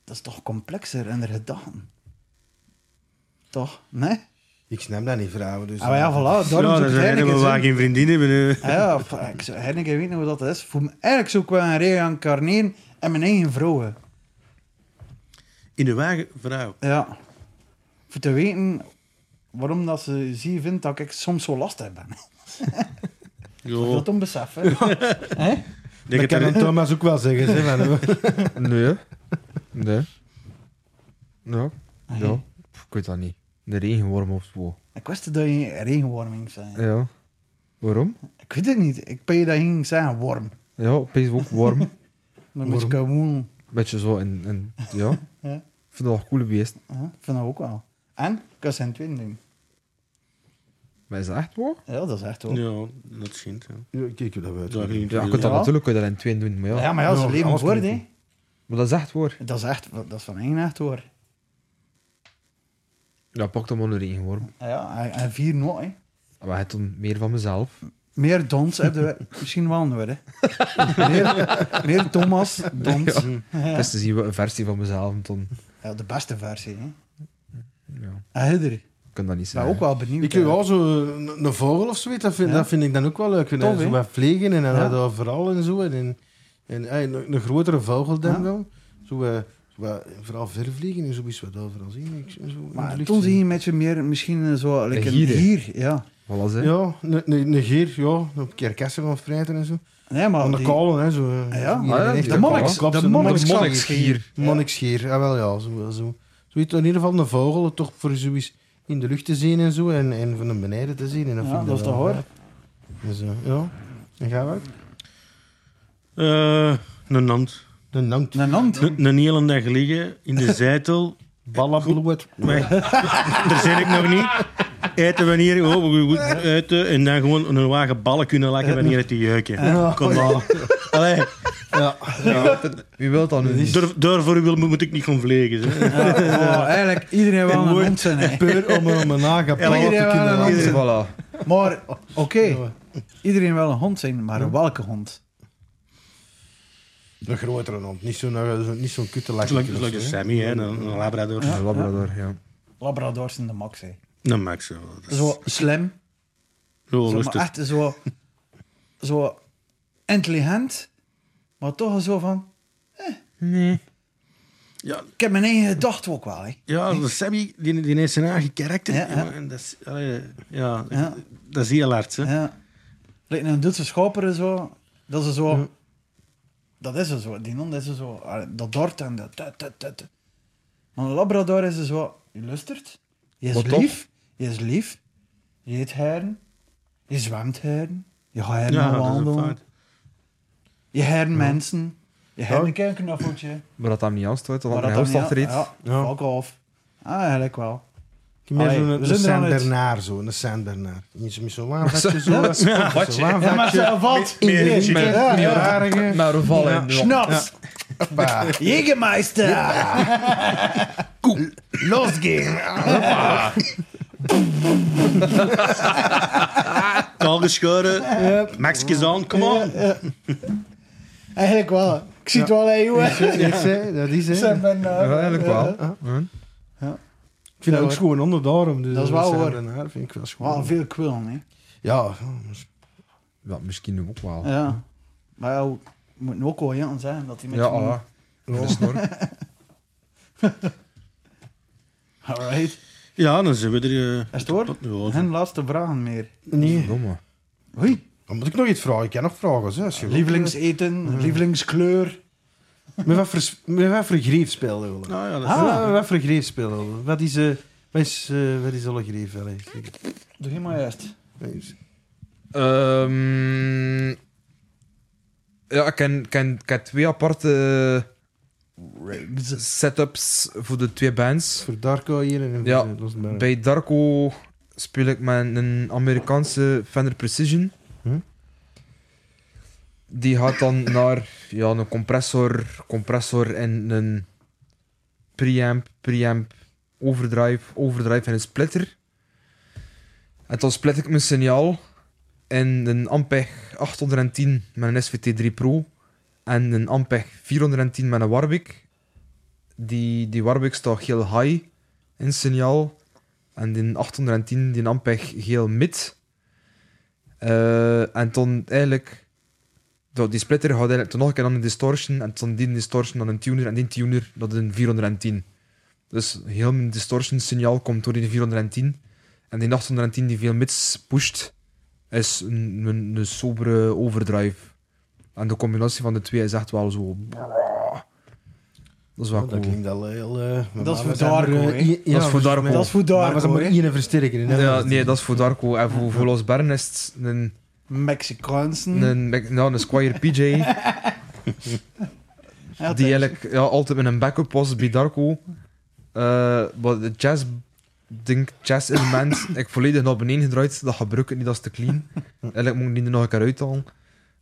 dat is toch complexer in de gedachten. Toch? Nee? Ik snap dat niet, vrouwen. Dus Ah, maar ja, voilà, Ja, daarom dat is zou ik het een eigenlijk reden waar ik eens geen vriendin hebben. hè. doen. Ah Ja, f- ik zou eigenlijk niet weten hoe dat is. Voel me eigenlijk zo qua een reïncarneren en mijn eigen vrouwen. In de wagen, vrouw. Ja. Voor te weten waarom dat ze zie vindt dat ik soms zo lastig ben. Jo, Dat om beseffen. Hè? denk Dat het kan er- een Thomas ook wel zeggen. Hè, van, eh, Nee. Nee. Ja. Ja. Pff, Ik weet dat niet. De regenworm of zo. Ah, Ik wist dat je regenworming zijn. Ja. Waarom? Ik weet het niet. Ik ben je dat ging zeggen, worm. Ja, opeens ook warm. Dan moet je kamoen. Beetje zo en... en ja. Ja. Ik vind dat een coole beest. Ja, ik vind dat ook wel. En ik kan zijn twin doen. Maar is dat echt waar? Ja, dat is echt wel. Ja, Ja, dat schijnt. Ja. ik- Ik heb dat wel. Dat ging Ja, je ja, kunt dat Ja. natuurlijk kun je dat in twee doen, maar ja. maar ja, ze Ja, leven alles voor, kan hè. Maar dat is echt waar. Dat is echt, dat is van één echt hoor. Ja, pak dan maar een regenworm. Ja, en- en vier nooit, hè. Maar het dan meer van mezelf. Meer dons heb je misschien wel nodig, hè. Meer, meer Thomas dons. Ja. Het is te zien wat een versie van mezelf dan. Ja, de beste versie, hè. Ja. En Hidder, ik Ik kan dat niet ben zeggen. ook wel benieuwd. Ik heb hè. wel zo een, een vogel of zoiets, dat vind, Ja. dat vind ik dan ook wel leuk. En Tof, zo hè? wat vliegen en dan Ja. dat vooral en zo. En, en, eh, een, een grotere vogel dan Ja. wel. Zo, eh, zo wat- vooral ver vliegen en zoiets wat overal zien. Ik, zo in de Maar lucht toen zie je zien. een beetje meer, misschien eh, zo... Like een gier, hè. gier, ja. Voilà, zeg. Ja, een- een een geer, ja. Op kerkassen van vrijten en zo. Nee, maar... Aan de Ah, die- kalen, hè. Zo, Ah, eh, ja? zo Ah, in ja, echt de een monniks- kap, de zo'n monniks- monniks- monniksgier. Monniksgier. Monniksgeer, ja ah, wel ja, zo, wel zo. Zoiets, in ieder geval een vogel, toch voor zoiets in de lucht te zien en zo, en, en van de beneden te zien. En Ja, vind ik dat is wel toch hoor. gaaf. Dus, eh, ja, en ga ook? Eh, Een hand. De nankt. Een hand. Een een hele dag liggen in de zeitel. Ballabloed. Maar, daar zit ik nog niet. Eten wanneer, oh, we gaan goed eten. En dan gewoon een wagen ballen kunnen lakken wanneer het die jeuken. Kom maar. Allee, Ja. Wie wil dat nu niet? daar- daarvoor wil, moet ik niet gaan vliegen. zeg. Ja, oh, eigenlijk, iedereen wil een hond zijn, hè. Peur om er om een nagepakt te Elke keer wel een kunnen. andere. Voilà. Maar, oké, iedereen wil een hond zijn, maar welke hond? Een grotere hond, niet zo'n eh, zo, niet zo'n kutte Dat is leuk- dat is leuk als Sammy, hè, een, een labrador. Een labrador, ja. Labradors in de max, hè. Een max. ja, dat is- Zo slim, Zo zo, maar lustig. echt zo, zo intelligent, maar toch zo van, Ja, ik heb mijn eigen gedachten ook wel, hè. ja de Sammy die, die heeft zijn eigen karakter. Ja, ja. Ja, en dat, is, allee, ja, Ja. dat is heel hard. Hè. Ja. Lijkt een Duitse schopper, zo, dat ze zo, dat is ze zo, die hond is ze zo, allee, dat dort en dat, dat, dat, dat. Maar een labrador is ze zo, je lustert, je is Maar toch- lief, je is lief, je eet heren, je zwemt heren, je gaat heren Ja, dat is een wandelen. feit. Je heren mensen. Je Je hebt een keer een knuffeltje. Maar dat hem niet aanstoot, want maar hij dat dan hoofdslag niet- reed. Ja, Ja. fuck off. Ah, eigenlijk wel. Meer Allee, zo'n we een zijn er al uit. Saint-Bernard, zo. Een Saint-Bernard. Niet zo'n Michelin-vakje, zo. Ja, Zo'n Ja, maar Michelin-vakje. ze valt Meer in energie. de- Ja, Ja. harige. Maar we vallen. Ja. Ja. Schnaps. Hoppa. Jägermeister. Losgehen. Kaal geschoren, Ja, Maxkes aan, come on. eigenlijk wel. Ik zie het wel, hè, jongen. Iets, hè. Dat is, hè. Zijn ben, eh, Ja, eigenlijk wel. Hm? Ja. Ja. Ik vind dat ook schoon onder de arm. Dus Dat is wel een hoor. Saint-Bernard vind ik wel Wel schoon. veel kwil, nee. Ja. Ja, misschien ook wel. Ja, Ja. Maar ja, moet nu ook wel heel zijn dat hij met je- ah, dat is snor. Alright. Ja, dan zijn we er. eh, Is het hoor? tot nu al. Geen laatste vragen meer. Nee. Domme. Hoi. Dan moet ik nog iets vragen. Ik kan nog vragen. Zo, als je- Lievelingseten, lievelingskleur. Met wat voor, met wat voor greef speelde je? Nou ja, dat is- Ah. Ja, met wat voor greef speelde je? Wat is... eh wat is, eh, wat is alle greef? Allee, Doe je maar juist. Ehm, ja, ik ken, ken, ik heb twee aparte Rigs. setups voor de twee bands. Voor Darko hier en voor Ja, eh, Losberg. Bij Darko speel ik met een Amerikaanse Fender Precision. Hm? Die gaat dan naar ja, een compressor, compressor en een preamp, preamp, overdrive, overdrive en een splitter. En dan split ik mijn signaal in een Ampeg 810 met een SVT3 Pro en een Ampeg 410 met een Warwick. Die, die Warwick staat heel high in het signaal. En die 810, die Ampeg geel mid. Eh, en toen eigenlijk... dat- Die splitter gaat eigenlijk toen nog een keer aan een distortion. En toen die distortion dan een tuner. En die tuner, dat is een 410. Dus heel mijn distortion signaal komt door die 410. En die 810 die veel mids pusht, is een, een, een sobere overdrive. En de combinatie van de twee is echt wel zo... Dat is wel Oh, cool. Dat klinkt al heel... eh, maar Dat is we voor zijn er, Darko, eh, hè? i- ja, Dat is voor we zijn Darko. met- Dat is voor Maar we zijn Darko, maar hè? één versterker. hè. Ja, nee, dat is voor Darko. En voor, voor Los Bern is het een, Mexicaansen. een, Mac- nou, een Squire PJ. Ja, die thuis. eigenlijk ja, altijd met een backup was bij Darko. Eh, Wat de jazz, denk, jazz element, ik volledig naar beneden gedraaid. Dat gebruik ik niet, dat is te clean. eigenlijk moet ik die er nog een keer uithalen.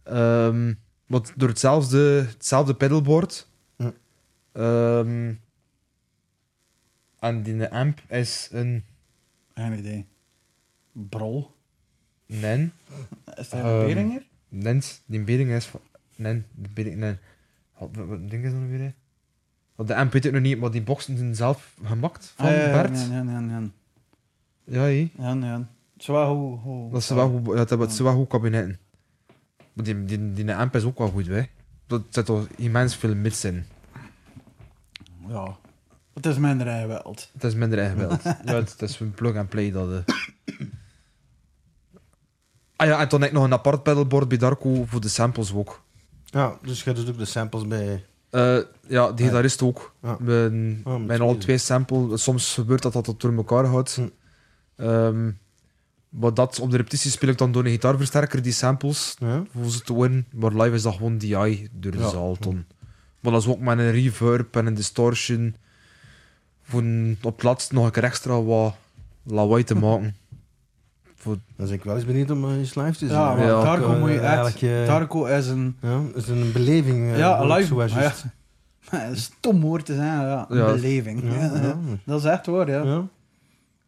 Ehm want door hetzelfde, hetzelfde pedalboard. Ja. Ehm, en die amp is een Geen idee. Brol. Eh, NEN. Is dat Ehm, een Beringer? Nens, die beding is van. Nen, die beding, nen. Wat, wat, wat ding is dat nu weer? hè? Want de amp weet ik nog niet, maar die boxen zijn zelf gemaakt van Ah, ja, ja, Bert. Ja, ja, ja, ja. Ja, hé. Ja, ja. Zwaar hoe... hoe Dat zijn wel goed, ja, dat hebben- het zijn wel goed kabinetten. Maar die, die, die amp is ook wel goed, hè. Dat zit al immens veel mits in. Ja. Het is mijn rijweld. Het is minder echt wild. ja, het, het is een plug-and-play dat... eh. Ah ja, en toen heb ik nog een apart pedalboard bij Darko voor de samples ook. Ja, dus je doet ook de samples bij... Eh, ja, de gitarist ook. Ah, Ja. Mijn, Ah, moet mijn je alle doen. twee samples. Soms gebeurt dat dat het door elkaar houdt. Hm. Ehm, maar dat, op de repetitie speel ik dan door een gitaarversterker die samples Ja? voor ze te winnen. Maar live is dat gewoon DI door de Ja. Hm. zaal. Dan. Maar dat is ook met een reverb en een distortion. Voor een- op het laatst nog een keer extra wat lawaai te maken. Dan ben ik wel eens benieuwd om eh, eens live te zien. Ja, maar Ja. Darko moet je Eh, echt... eigenlijk, eh, Darko is een... Ja, het is een beleving. eh, Ja, hoor ik live. zo als maar juist. ja. Maar het is Stom woord te zijn, ja. Een Ja. beleving. Ja, Ja, ja. Dat is echt waar, ja. Ja.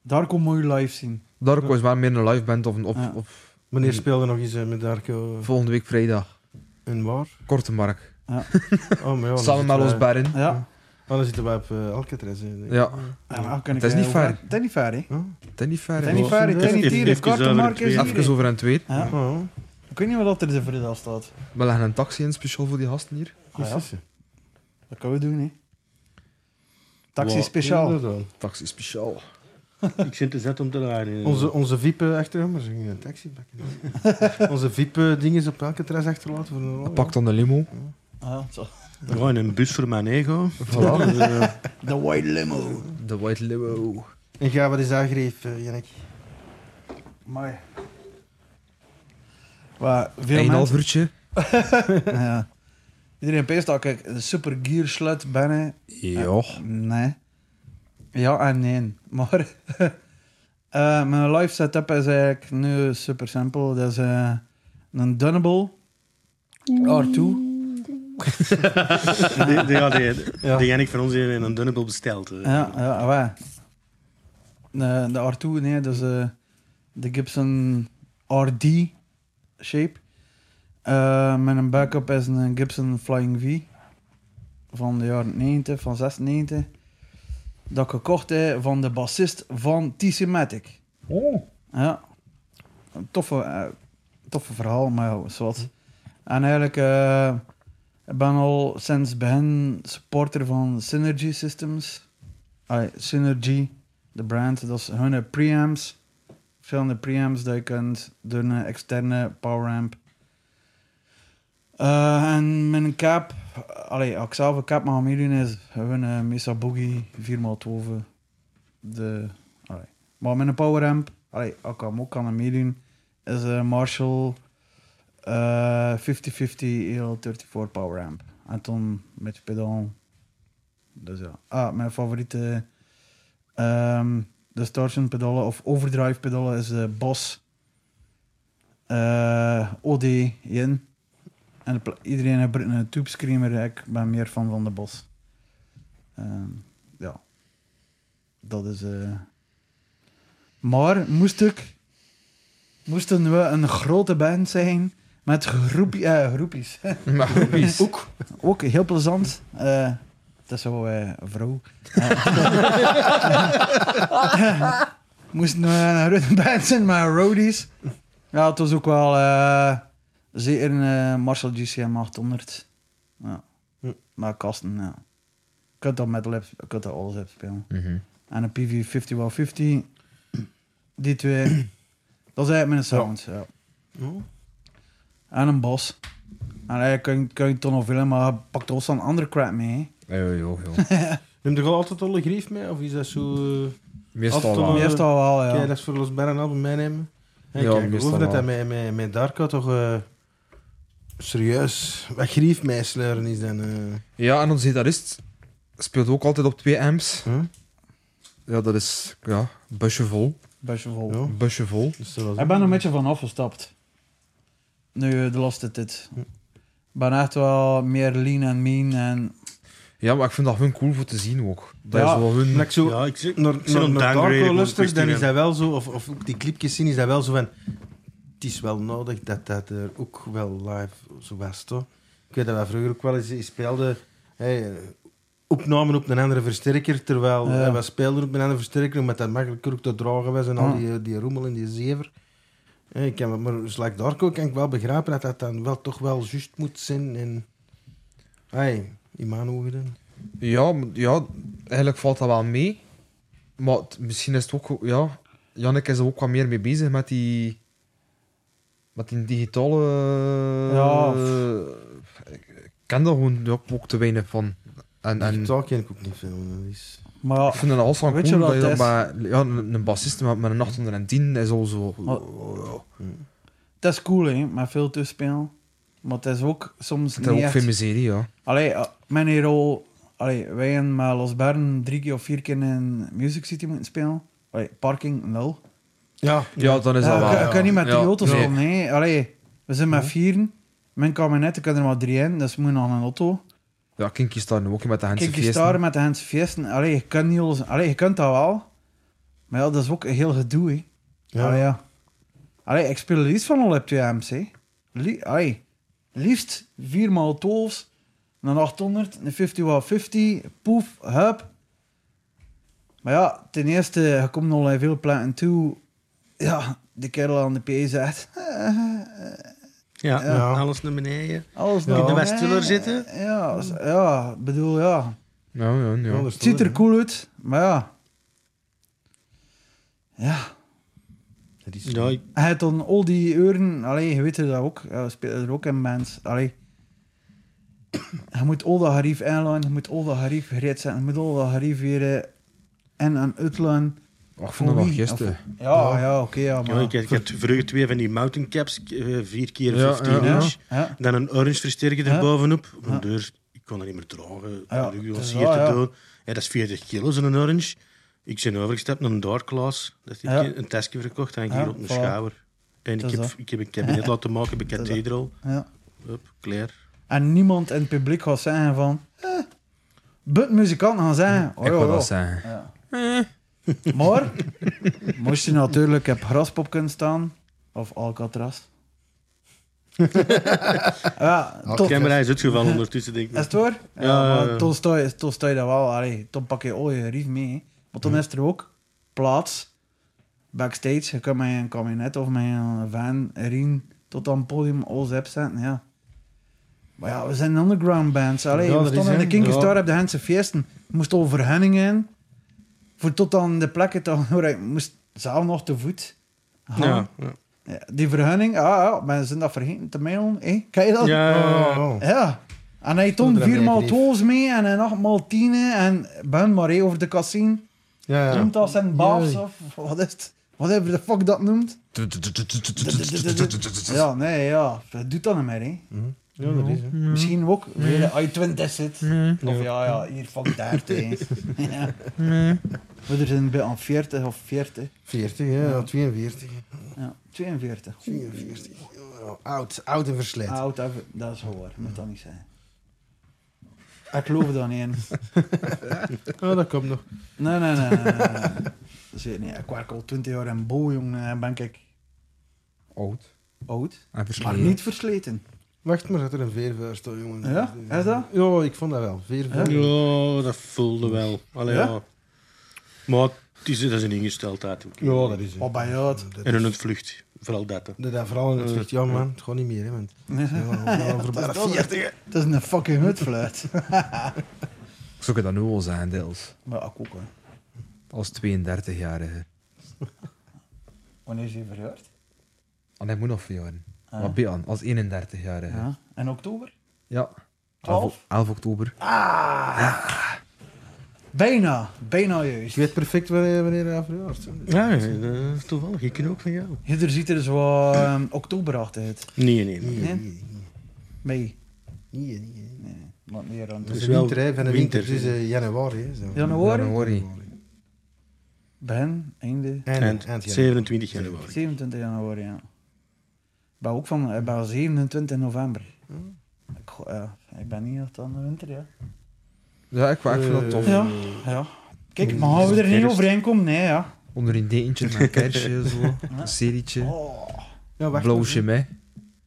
Darko moet je live zien. Darko is wel meer een live band of, een- of, Ja. of Wanneer speelde nog eens eh, met Darko volgende week vrijdag. en waar? Korte mark. Oh, maar ja, dan Samen met zitten ons wij- Barren. Ja. Oh, dan zitten wij op eh, Alcatraz. hè, denk ik. Ah, Ja. ja. maar kan ik, Het is eh, niet over- fair. Het is niet fair, hè. Huh? Dat is niet ver. Het hè. is niet fair, het is Even- niet hier. Het even korte over mark twee. is hier, Even hè. over aan het weet. Ja. Oh, Ik weet niet wat er in de vrijdag staat. We leggen een taxi in, speciaal voor die gasten hier. Ah, ja. precies. Dat kunnen we doen, hè. Taxi Wow. speciaal. Inderdaad. Taxi speciaal. Ik zit te zet om te draaien. eh. Onze, onze VIP achter hem, maar ze gingen een taxi pakken. onze VIP dingen op Alcatraz achterlaten. Voor een rol, Pak dan de limo. Ah, zo. Ja, in een bus voor mijn ego. Voilà. Dus, eh, De white limo. De white limo. ja. En ga wat is dat greep, eh, Jannik? Mooi. Maar veel Een half mensen... uurtje. ja. Iedereen peest dat ik een super gear slut ben. hè. Ja. Nee. Ja en nee. Maar eh, mijn live setup is eigenlijk nu super simpel. Dat is eh, een Dunnable R2. De, de, ja, de, Ja. de Jannik van ons heeft een dunnable besteld. eh. hè. Ja, ja, waar. De, de R2, nee, dus eh, de Gibson RD shape. Eh, mijn backup is een Gibson Flying V van de jaren 90, van 96. Dat ik gekocht heb van de bassist van T-Sematic. Oh. Ja. Een toffe, eh, toffe verhaal, maar ja, is wat. En eigenlijk, eh, ik ben al sinds begin supporter van Synergy Systems. Ai, Synergy, de brand, dat is hun preamps. Verschillende preamps die je kunt door een externe poweramp. Eh, en mijn cap, allee, als ik zelf een cap mag meedoen, is hun eh, Mesa Boogie 4x12. De, allee. Maar met een poweramp, allee, als ik hem ook kan meedoen, is een Marshall eh, 5050 EL34 poweramp. En toen met je pedaal. Dus ja. Ah, mijn favoriete ehm distortion pedalen of overdrive pedalen is de Boss eh OD in. En de pla- iedereen heeft een tube screamer. Ik ben meer fan van de Boss. Ehm, ja. Dat is... eh, maar moest ik, moesten we een grote band zijn met groep, eh, groepjes. Maar goed. ook, ook heel plezant. Eh het is zo eh, een vrouw. Eh, moesten we een grote band zijn met roadies. Ja, het was ook wel eh, zeker een eh, Marshall GCM 800. Ja. Hm. Maar kasten, ja. Je kunt dat met lip, je kunt dat alles op spelen Mhm. en een PV 50 Die twee. dat is eigenlijk mijn sound. Ja. Oh. En een bos. En eigenlijk kun, je- kun je toch nog willen, maar pak toch zo'n andere crap mee. hè. Ja, ja, ja. Neem je altijd al een grief mee? Of is dat zo... eh, Meestal Af en toe- wel. Meestal wel, Kijk, ja. dat is voor Los Berren album meenemen. En Ja, kijk, ik meestal geloof dat wel. dat met, met, met Darko toch eh, serieus wat grief meesleuren is dan. eh. Ja, en onze gitarist speelt ook altijd op twee amps. Hm? Ja, dat is, ja, busje vol. Best vol. Ja, Busje vol. dus dat was Ik ben er een beetje van afgestapt. Nu eh, de laatste tijd. Ik ben echt wel meer lean en mean. En... Ja, maar ik vind dat hun cool voor te zien ook. Dat Ja. is wel hun... Maar ik zo, Ja, ik zie- naar, ik zie naar, een naar downgrade, Darko gewoon luister, dan terug is dat wel zo, of, of ook die clipjes zien, is dat wel zo van... Het is wel nodig dat dat er ook wel live zo was, toch? Ik weet dat wij vroeger ook wel eens eens speelden... Hey, eh, opnamen op een andere versterker, terwijl Ja. eh, we speelden op een andere versterker, omdat dat makkelijker ook te dragen was en al Ja. die, eh, die roemel en die zever. Eh, ik kan, maar dus like Darko kan ik wel begrijpen dat dat dan wel toch wel juist moet zijn. En, hey, in mijn ogen dan. Ja, maar- ja, eigenlijk valt dat wel mee. Maar het- misschien is het ook... Ja, Jannik is er ook wat meer mee bezig met die... Met die digitale... Ja. eh, Ik ik ken daar gewoon ja, ook te weinig van. En, en Daar ken ik ook niet veel. Dat is... Maar ik vind het alles van Weet cool je wat dat je het dat bij... Ja, een, een bassist met, met een 810 is al Oh, zo... Oh, het is cool, hè, met veel toespelen. Maar het is ook soms Het is niet ook echt- veel miserie, ja. Allee, eh, mijn hero... Allee, wij en met Los Bern drie keer of vier keer in Music City moeten spelen. Allee, parking nul. Ja, Ja, dan is Ja, dat ik wel... kan- ik kan niet met drie Ja, auto's nee. komen. hè. Allee, we zijn met vieren. Mijn kabinet, ik kan er maar drie in, dus moet nog een auto. Ja, Kinky Star nu ook met de Hense Kijk, je feesten. staar met de Hans Fiesten. Allee, je kunt, niet alles- allee, je kunt dat wel. Maar ja, dat is ook een heel gedoe. hè. Ah, Ja. Allee, Ah, ja. Allee, ik speel liefst van al op 2 MC. Lie allee, liefst 4x12, een 800, een 50 x 50, poef, hup. Maar ja, ten eerste, je komt al in veel plekken toe. Ja, de kerel aan de PZ. Ja, Ja. alles naar beneden. Alles Ja. nog De mee. Westeler zitten. Ja, s- ja, ik bedoel, ja. Ja, ja, ja. Anders Het ziet er toch, cool uit, maar ja. Ja, hè. Dat is- Ja, ik, Hij had dan al die uren, allee, je weet het dat ook, ja, we spelen er ook in bands. Allee. Je moet al dat gerief inlaan, je moet al dat gerief gereed zijn, je moet al dat gerief weer eh, in- en uitlaan. ik vond dat Oh, nog wie? gisteren. Ja, ja, oké, ja, Ja, maar... ik, ik had vroeger twee van die mountain caps, eh, vier keer Ja, 15 ja, ja. inch. Ja. Dan een orange versterker Ja. erbovenop. Mijn Ja. deur, ik kon dat niet meer dragen. Ja, Ja, dat is nuanceerd waar, ja. te doen. Ja, dat is 40 kilo, zo'n orange. Ik ben overgestapt naar een dark class. Dat heb Ja. ik een testje verkocht en ik Ja, hier op een voilà. schouder. En Dat ik is heb, dat. ik heb een kabinet laten maken bij Dat is dat. Cathedral. ja. Hup, klaar. En niemand in het publiek gaat zeggen van... Eh, but muzikant gaan zeggen... Oh, ik ja, wil ja. dat zeggen. Ja. Maar moest je natuurlijk op graspop kunnen staan, of Alcatraz. ja, De tot, camera is uitgevallen ondertussen, denk ik. is het waar? Ja, Ja, ja, ja. maar toen sta je, toen sta je dat wel. Allee, toen pak je al je rief mee. hè. Maar Hm. toen is er ook plaats, backstage. Je kunt met een kabinet of met een van rien tot aan het podium alles opzetten. Ja. Maar ja, we zijn underground bands. Allee, Ja, we dat is, stonden in de hè. Kinky Ja. Star op de Hense Feesten. Je moest over Henning in. Voor tot aan de plekken te gaan. waar ik moest zelf nog te voet. gaan. Ja, ja. Ja, Die vergunning, ah, ja, mensen zijn dat vergeten te mailen. hè? Kan je dat? Ja, ja, ja. Oh, oh. Ja. En hij Toen toont er een vier maal eigen twaalfs mee en een acht maal tienen en ben maar hé, over de cassine. Ja, ja. Noemt dat zijn baas Jee. of wat is het? Whatever the fuck dat noemt. Ja, nee, ja. Dat doet dat niet meer, hè. ja, dat is hè. Misschien ook weer een i20 zit. Of ja, ja, hier fuck 30, hè. ja. We er zijn bij aan 40 of 40. 40, hè, ja, 42. hè. Ja, 42. 42. Ja, Oud, oud en verslijt. Oud, even- dat is hoor. Moet dat niet zijn. Ik geloof daar niet in. Oh, dat komt nog. Nee, nee, nee. nee, nee, nee. Dat is het niet. Ik werk al 20 jaar in Bo, jongen. en Ben ik Oud. oud, Ah, En maar versleten. niet versleten. Wacht maar, dat er een veer voor staat, jongen. Ja, is dat? Ja, ik vond dat wel. Veer voor. Ja, dat voelde wel. Allee, Ja? ja. Maar het is, dat is een ingesteldheid ook. Ja, dat is het. Wat ben je oud? Dat En is- een ontvlucht. Vooral dat. hè. Dat, dat vooral in het vliegt. Ja, man, het gaat niet meer, hè, want... Ja, we gaan dat voorbij is de dat, hè. 40, hè. Het is een fucking hutfluit. Ik zou dat nu al zijn, deels. maar ik ook, hè. Als 32-jarige. Wanneer is je verhuurd? En ik moet nog veel jaren. Ah. Wat ben je aan? Als 31-jarige. Ja. Ja. In oktober? 12? 11, 11 oktober. Bijna, bijna Ik juist. weet perfect wanneer, wanneer hij verjaart. hè. Ja, dat is toevallig. Ik ken ook van jou. Hier ziet er zo ehm, oktoberachtig uit. Nee, nee, nee. Nee? Nee, nee, Nee, nee, nee, nee. nee, wat meer dan Dat Dus is wel winter, hè. Van de winter, winter, dus eh, januari, hè. Zo. Januari? Januari. Ben, einde. Eind, En eind januari. 27 januari. 27 januari, ja. Ik ben ook van ik ben 27 november. Hmm. Ik, go- ja, ik ben niet echt aan de winter, ja. Eh, Ja, ik, ik Eh. vind dat tof. Ja, ja. Kijk, maar gaan we er niet Kerst. overheen komen? Nee, ja. Onder een dekentje, met een kerstje, zo. Een serietje. Oh, Ja, wacht. Blauwsje mee.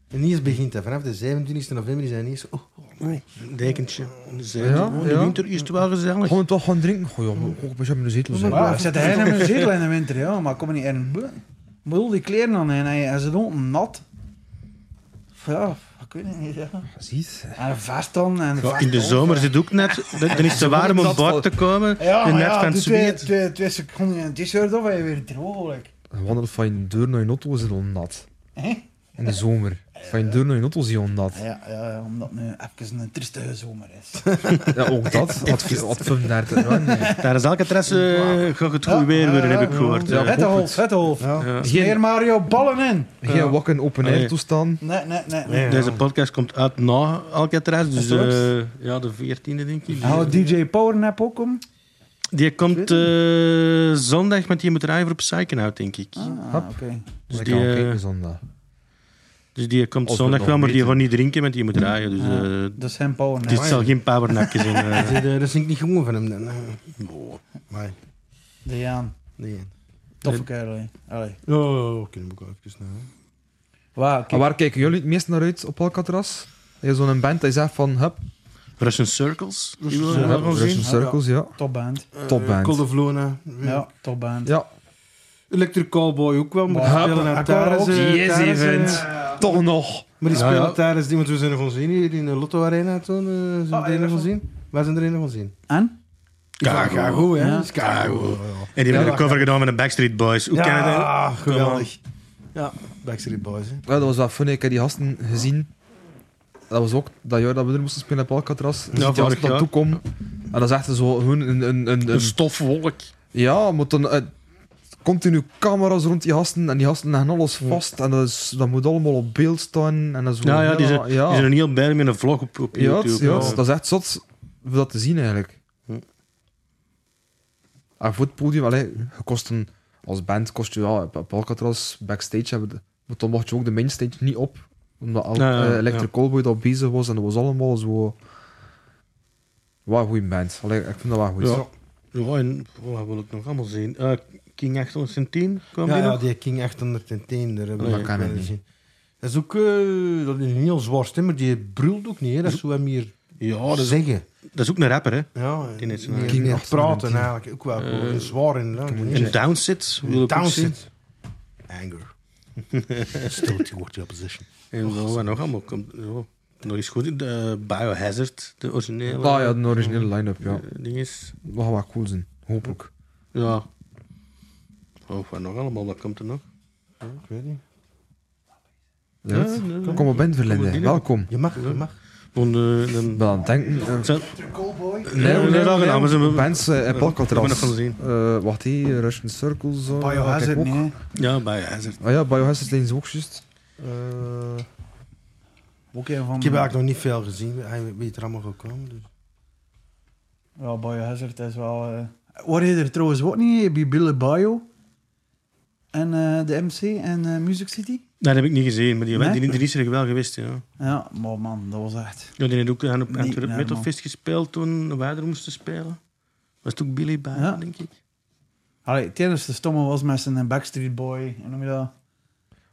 En hier begint dat. Vanaf de 27 november zijn hier zo... Oh, Een dekentje. Een zeil. Ja, Oh, ja. De winter is het wel gezellig. Gewoon toch gaan drinken? Goh, ja, maar ook een beetje met de zetel zijn. maar ik zit hij in mijn zetel in de winter, ja, maar ik kom er niet in. Ik bedoel, die kleren aan en hij is ook nat. Ja, ik weet het niet, ja. Precies. En een vest dan, en een Ja, vest in de over. zomer zit ook net... Dan dan is het te warm om buiten te komen. Ja, en maar net ja, van doe het twee, zweet. twee, twee seconden in een t-shirt of ben je weer droog, like. Je wandelt van je deur naar je auto, is het al nat. Hè? In de zomer. Van je deur naar je auto is het al nat. Ah, Ja, ja, ja, omdat het nu even een triestige zomer is. Ja, ook dat. Had, had 35 jaar. nee. Daar is Alcatraz eh gaat het goed weer worden, heb ik gehoord. Ja. eh. Vettehof, Vettehof. ja. Smeer Geen, Mario ballen in. geen wakken open air Allee. toestaan. Nee, nee, nee. nee. Nee, Deze ja. podcast komt uit na Alcatraz. Dus Dat klopt. eh, ja, de 14e denk ik. Hou DJ Powernap ook om? Die komt eh, zondag, maar die moet rijden voor op Psychenhout, denk ik. Ah, Hop. oké. Dus Dus ik die, kan ook eh, kijken zondag. Dus die komt Als we zondag nog wel, maar die weten. gaat niet drinken, want die moet rijden. Dus eh, Ah, Dat is hem Powernap. dit zal geen powernapje zijn. dat eh. is- eh, dat is niet gewoon van hem dan. hè. Maar, De Jaan. nee. Toffe kerel, hè. Allee. Oh, kunnen we ook even naar. Wauw, En kijk. waar kijken jullie het meest naar uit op Alcatraz? Er is zo'n band die zegt van, hup, Russian Circles. Die willen we hup, wel Russian zien. Circles, ja. Topband. Eh, Cold Topband. of Lona. Ja, topband. Ja, Electric Cowboy ook wel, maar die Maar- spelen Ja, daar tijdens... ook. eh, Yes, tijdens, eh, event. toch nog. Maar die spelen Ja, ja. tijdens... Die, want we zijn er gewoon zien hier in de Lotto Arena toen. eh zijn Ah, we er nog ja, dat gewoon is zien? Wij zijn er een gewoon zien. En? Kago, Ja. hè? Kago. En die hebben een cover gedaan met de Backstreet Boys. Hoe kan het? hè? Ja, geweldig. Ja, Backstreet Boys, hè. Ja, dat was wel fun. Ik heb die gasten gezien. Dat was ook dat jaar dat we er moesten spelen op Alcatraz. Dus die vorig gasten jaar. naartoe komen. En dat is echt zo gewoon een... een, een, Een een stofwolk. ja, maar dan... eh, continu camera's rond die gasten en die gasten leggen alles vast en dat, is, dat moet allemaal op beeld staan. En dat is Ja, gewoon ja, die zijn, heel- Die zijn er niet al bij met een vlog op, op Ja, het- YouTube. ja, het- dat is echt zot om dat te zien eigenlijk. Hm. En voor het podium, allee, je kost een, als band kost je ja, op- op Alcatraz backstage hebben, de- maar dan mocht je ook de mainstage niet op, omdat al, Ja, ja, eh, ja. Electric Callboy dat bezig was en dat was allemaal zo. Wat een goede band. Allee, ik vind dat wel goed. Ja. Ja, en wat wil ik nog allemaal zien? Eh, King 810 kwam Ja, die ja, nog? die King 810, daar hebben Dat we ook ken ik wel niet. gezien. Dat is ook eh, dat is een heel zwaar stemmer, die brult ook niet, hè. dat is hoe hem hier Ja, Oh, dat is, zeggen. dat is ook een rapper, hè. Ja, Die net zo- meer- King meer 810. praten eigenlijk, ook wel Eh, een zwaar in. hè. moet Een downsit wil ik ook zien. Downset. Anger. Still toward your opposition. En wat nog allemaal? Komt, ja, nog eens goed. De Biohazard, de originele. Ah ja, de originele line-up, ja. eh, Ding is. Dat gaat wel cool zijn, hopelijk. Ja. Oh, wat nog allemaal? Wat komt er nog? Ik weet niet. Ja, Ja, nee, nee. Kom op in, Kom op Verlinde. binnen. Welkom. Je mag, je mag. Want, eh, Ik een- ben aan het denken. eh, zijn- Mr. Callboy. Nee, nee, nee, nee, nee, nee, nee. Bands eh, in Ja, Alcatraz. dat hebben we nog Eh, wacht, hé, Russian Circles. eh, wat heb Biohazard, ik ook. nee. ja, Biohazard. Ah ja, Biohazard zijn ze ook juist. Ook een van... Ik heb eigenlijk nog niet veel gezien. Hij weet er allemaal gekomen. Dus. Ja, Biohazard is wel... eh Hoor je er trouwens ook niet bij Bille Bio? En eh, de MC en eh, Music City? Nee, dat heb ik niet gezien, maar die, Nee? die, die is er wel geweest, ja. Ja, maar man, dat was echt... Ja, die heeft ook aan op Niet Antwerp normaal. Metal Fest gespeeld toen wij er moesten spelen. Was het ook Billy bij, Ja. denk ik? Allee, het enige stomme was met zijn Backstreet Boy. Hoe noem je dat?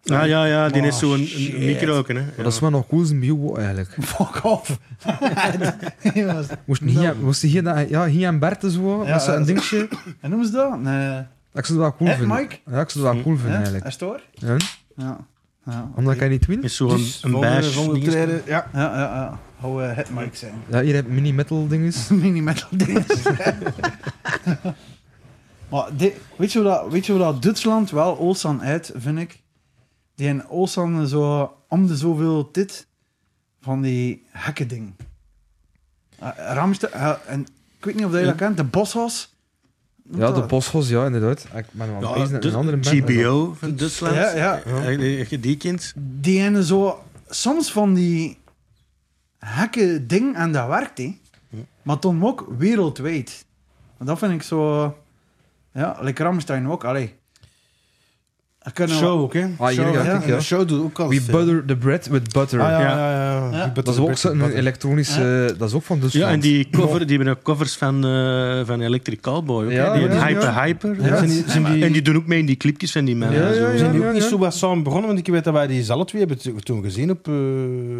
Ah, ja, ja, die Oh, is zo'n shit. microken, hè. Ja. Maar dat is wel nog cool zijn bio eigenlijk. Fuck off. Die was- Moest niet hier, moest hier, dat- ja, hier en Bert zo, Nou. Ja, met zo'n dat- dingetje. en noem ze dat? Nee. Ik zou het wel cool Hè, vinden. Mike? Ja, ik zou het wel cool vinden Ja, eigenlijk. Is het hoor? Ja? Ja. Ja, Omdat oké. ik hij niet win. Is zo'n Dus een bash. ding is- treden, ja. ja, ja. ja. Hou eh, het mic zijn. Ja, hier heb je mini-metal dinges. Mini-metal dinges. maar dit- weet, je hoe dat, weet je hoe dat Duitsland wel Olsan uit, vind ik? Die in Olsan zo om de zoveel dit van die hekken ding. Eh, Ramste, en ik weet niet of dat je dat kent, de Boshos. Noemt Ja, de dat? Boschos, ja, inderdaad. Ik ben wel Ja, bezig met een andere dus- band. GBO van Duitsland. Ja, ja. Eh, eh, Die kind. Die ene zo soms van die hekke ding en dat werkt hè. Maar toen ook wereldwijd. En Dat vind ik zo. Ja, like Ramstein ook. Allee. Er kunnen wel- Show ook, hè? Ah, hier, show, ja, hè. kijk, ja. Ah, De show doet ook al. We butter the bread with butter. Ah, ja, Ja. ja, ja, ja. Ja. We butter Dat is the ook bread zo'n with butter. elektronische... Dat is ook van Duitsland. Ja, en die, cover, die hebben ook covers van, eh, van Electric Cowboy. ook, hè. Ja, die ja, Hyper ja. Hyper. Ja, dat zijn zijn- die- zijn die- En die doen ook mee in die clipjes van die mannen. Ja, en zo. ja, ja. zijn die ook niet zo wat samen begonnen, want ik weet dat wij die zelf twee hebben to- toen gezien op, eh hoe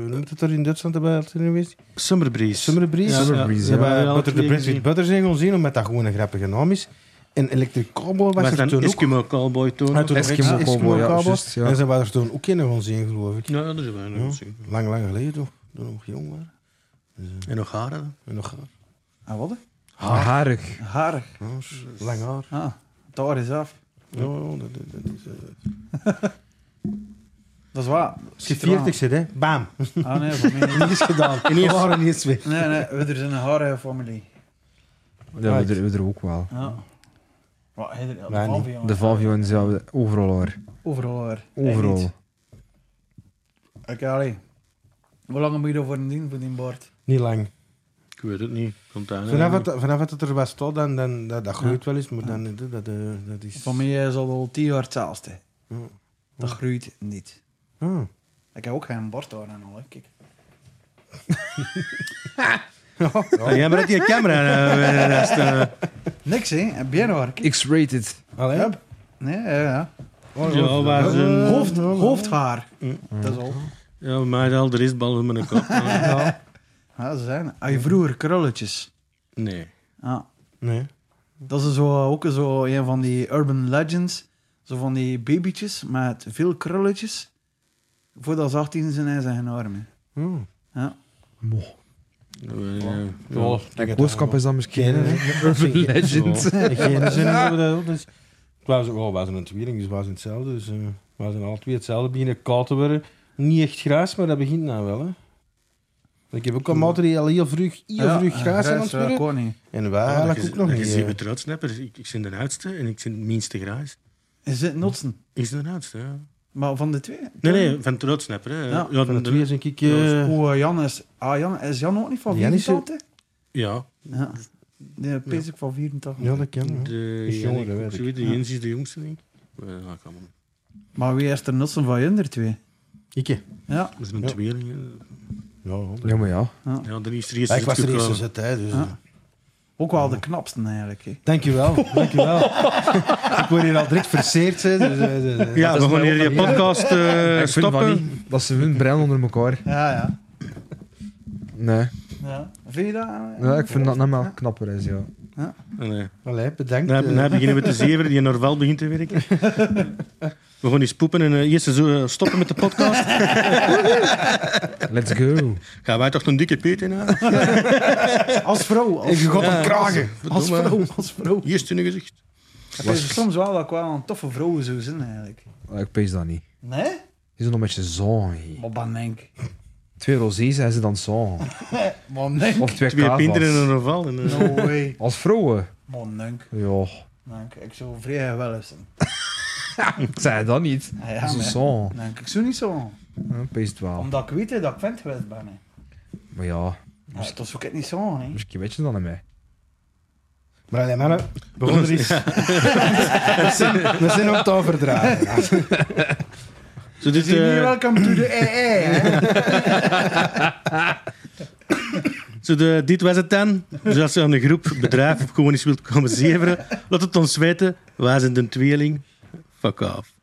noemt het er in Duitsland, hebben we dat toen geweest? Summer Breeze. Summer Breeze. Ja, Summer ja. Breeze, Ze ja. we hebben hebben alle Butter the twee Bread gezien. with Butter zijn gaan zien, omdat dat gewoon een grappige naam is. En Electric Cowboy was Was er dan toen ook. Eskimo Cowboy toen? Ah, toen nog Eskimo Eskimo Cowboy, ja, Cowboy. juist, ja. En ze waren er toen ook in gaan zien, geloof ik. Ja, dat is wel Ja. nog zien. Lang, lang geleden toch? Toen we nog jong waren. En nog haren. En nog Ah, wat? Harig. Haar. ja, s- lang haar. Ah, daar is af. Ja, ja, dat, dat, dat is... eh, Dat is waar. Als je 40 zit, hè? Bam! Ah nee, voor mij niet. Niets gedaan. In één jaar en niets weg. Nee, nee, we zijn een harige familie. Ja, we Right. er- we er ook wel. Ja. Wat, hij er, Wij niet. De Valvions, ja, we- overal hoor. Overal hoor. Overal. Hij niet. Oké, allee. Hoe lang moet je ervoor doen voor die baard? Niet lang. Ik weet het niet. Komt daar Vanaf niet. het, vanaf het het er was tot, dan, dan, dat, dat groeit wel eens, maar dan, eh, dat, eh, dat is... Van mij is dat al tien jaar hetzelfde. Ja. Dat groeit niet. Ah. Ik heb ook geen bord hoor en al. hè. Kijk. Ah, jij brengt die camera. eh, bij de rest, eh. Niks hè, bien hoor. Kijk. X-rated. Allee, Ja. Nee, ja, ja. Ja, waar Eh, zijn- Hoofd, ja, hoofdhaar. Mm. Dat is al. Ja, maar al de restbal van mijn kop. eh. ja. Ja, ze zijn. Als je vroeger krulletjes. Nee. Ja. Nee. Dat is zo, ook zo een van die urban legends. Zo van die babytjes met veel krulletjes. Voordat ze 18 zijn, zijn ze geen armen. Hmm. Ja. Mo. Eh, ja. Ja, En Kooskamp is dan misschien Kennen, een urban legend. Geen zin in hoe dat dus. Het was ook wel, wij zijn een tweeling, dus wij zijn hetzelfde. Dus eh wij zijn alle twee hetzelfde, beginnen koud te worden. Niet echt grijs, maar dat begint nou wel. Hè. Ik heb ook al maten die al heel vroeg, heel Ja, vroeg grijs zijn aan het ja, ik worden. ook niet. Oh, En wij eigenlijk Ah, ook nog Je niet. ziet eh. met de uitsnappers. Ik, ik ben de oudste en ik ben het minste grijs. Is het Notsen? Is de oudste, ja. Maar van de twee? Nee, nee, van Troodsnapper. hè. Ja, ja, Van de de- twee denk ik... eh, Oh, Jan is... Ah, Jan, is Jan ook niet van Jan is zo- 84? ja, Ja. De pees ik van 84. ja, dat kan. ja. de Hm? Is jonger, Jannik, weet ook ik. zoiets. De Ja. Jens is de jongste, denk ik. Eh, Ja, kan maar. Maar wie is er Notsen van Jinder twee? Ik, hè. Ja. Dat is mijn Ja. tweeling. hè. Ja, ja. Ja, maar ja. Ja, de eerste is Ja, ik het was er eerst gekomen. eens uit, hè, dus... Ja. Ook wel de knapste eigenlijk. hè. Dankjewel, dankjewel. ik word hier al direct verseerd, hè, dus... eh, eh, Ja, we Dat gaan is wel hier je onderling. podcast eh, ik vind van stoppen. niet dat ze hun brein onder elkaar. Ja, ja. Nee. ja. Vind je dat? eh, Ja, ik vind dat nou maar knapper is, ja. Nee. Allee, bedankt. Nou, eh. nou beginnen we te zeven, die naar wel begint te werken. We gaan eens poepen en eh, eerst eens, eh, stoppen met de podcast. Let's go. Gaan wij toch een dikke peet in halen? Als vrouw. Als, En je gaat hem Ja. kragen. als vrouw. Als vrouw. Eerst in je gezicht. Het is soms wel dat ik wel een toffe vrouw zou zijn eigenlijk. Ah, Ik pees dat niet. Nee? Is nog een beetje zagen. Maar dan denk ik. Twee rosés zijn ze dan zagen. Man, denk Of twee, Twee pinten in kavas. een orval. En, eh, No way. Als vrouwen? Man, denk Ja. denk Ik zou vrij wel eens zijn. Zij dat niet. Ah, Ja, Dat is maar- zagen. Denk ik zo niet zo. Ja, pees het wel. Omdat ik weet hè, dat ik vent geweest ben. hè. Maar ja, Ja, dat zou ik het niet zo, hè. misschien weet je dat aan mij. Maar allee, mannen, we gaan er eens... we, zijn, we zijn op het overdragen. Zo dit, Zie je eh, welcome to the AA, hè. zo de, dit was het dan. Dus als je aan een groep, bedrijf of gewoon eens wilt komen zeveren, laat het ons weten. Wij zijn de tweeling. Fuck off.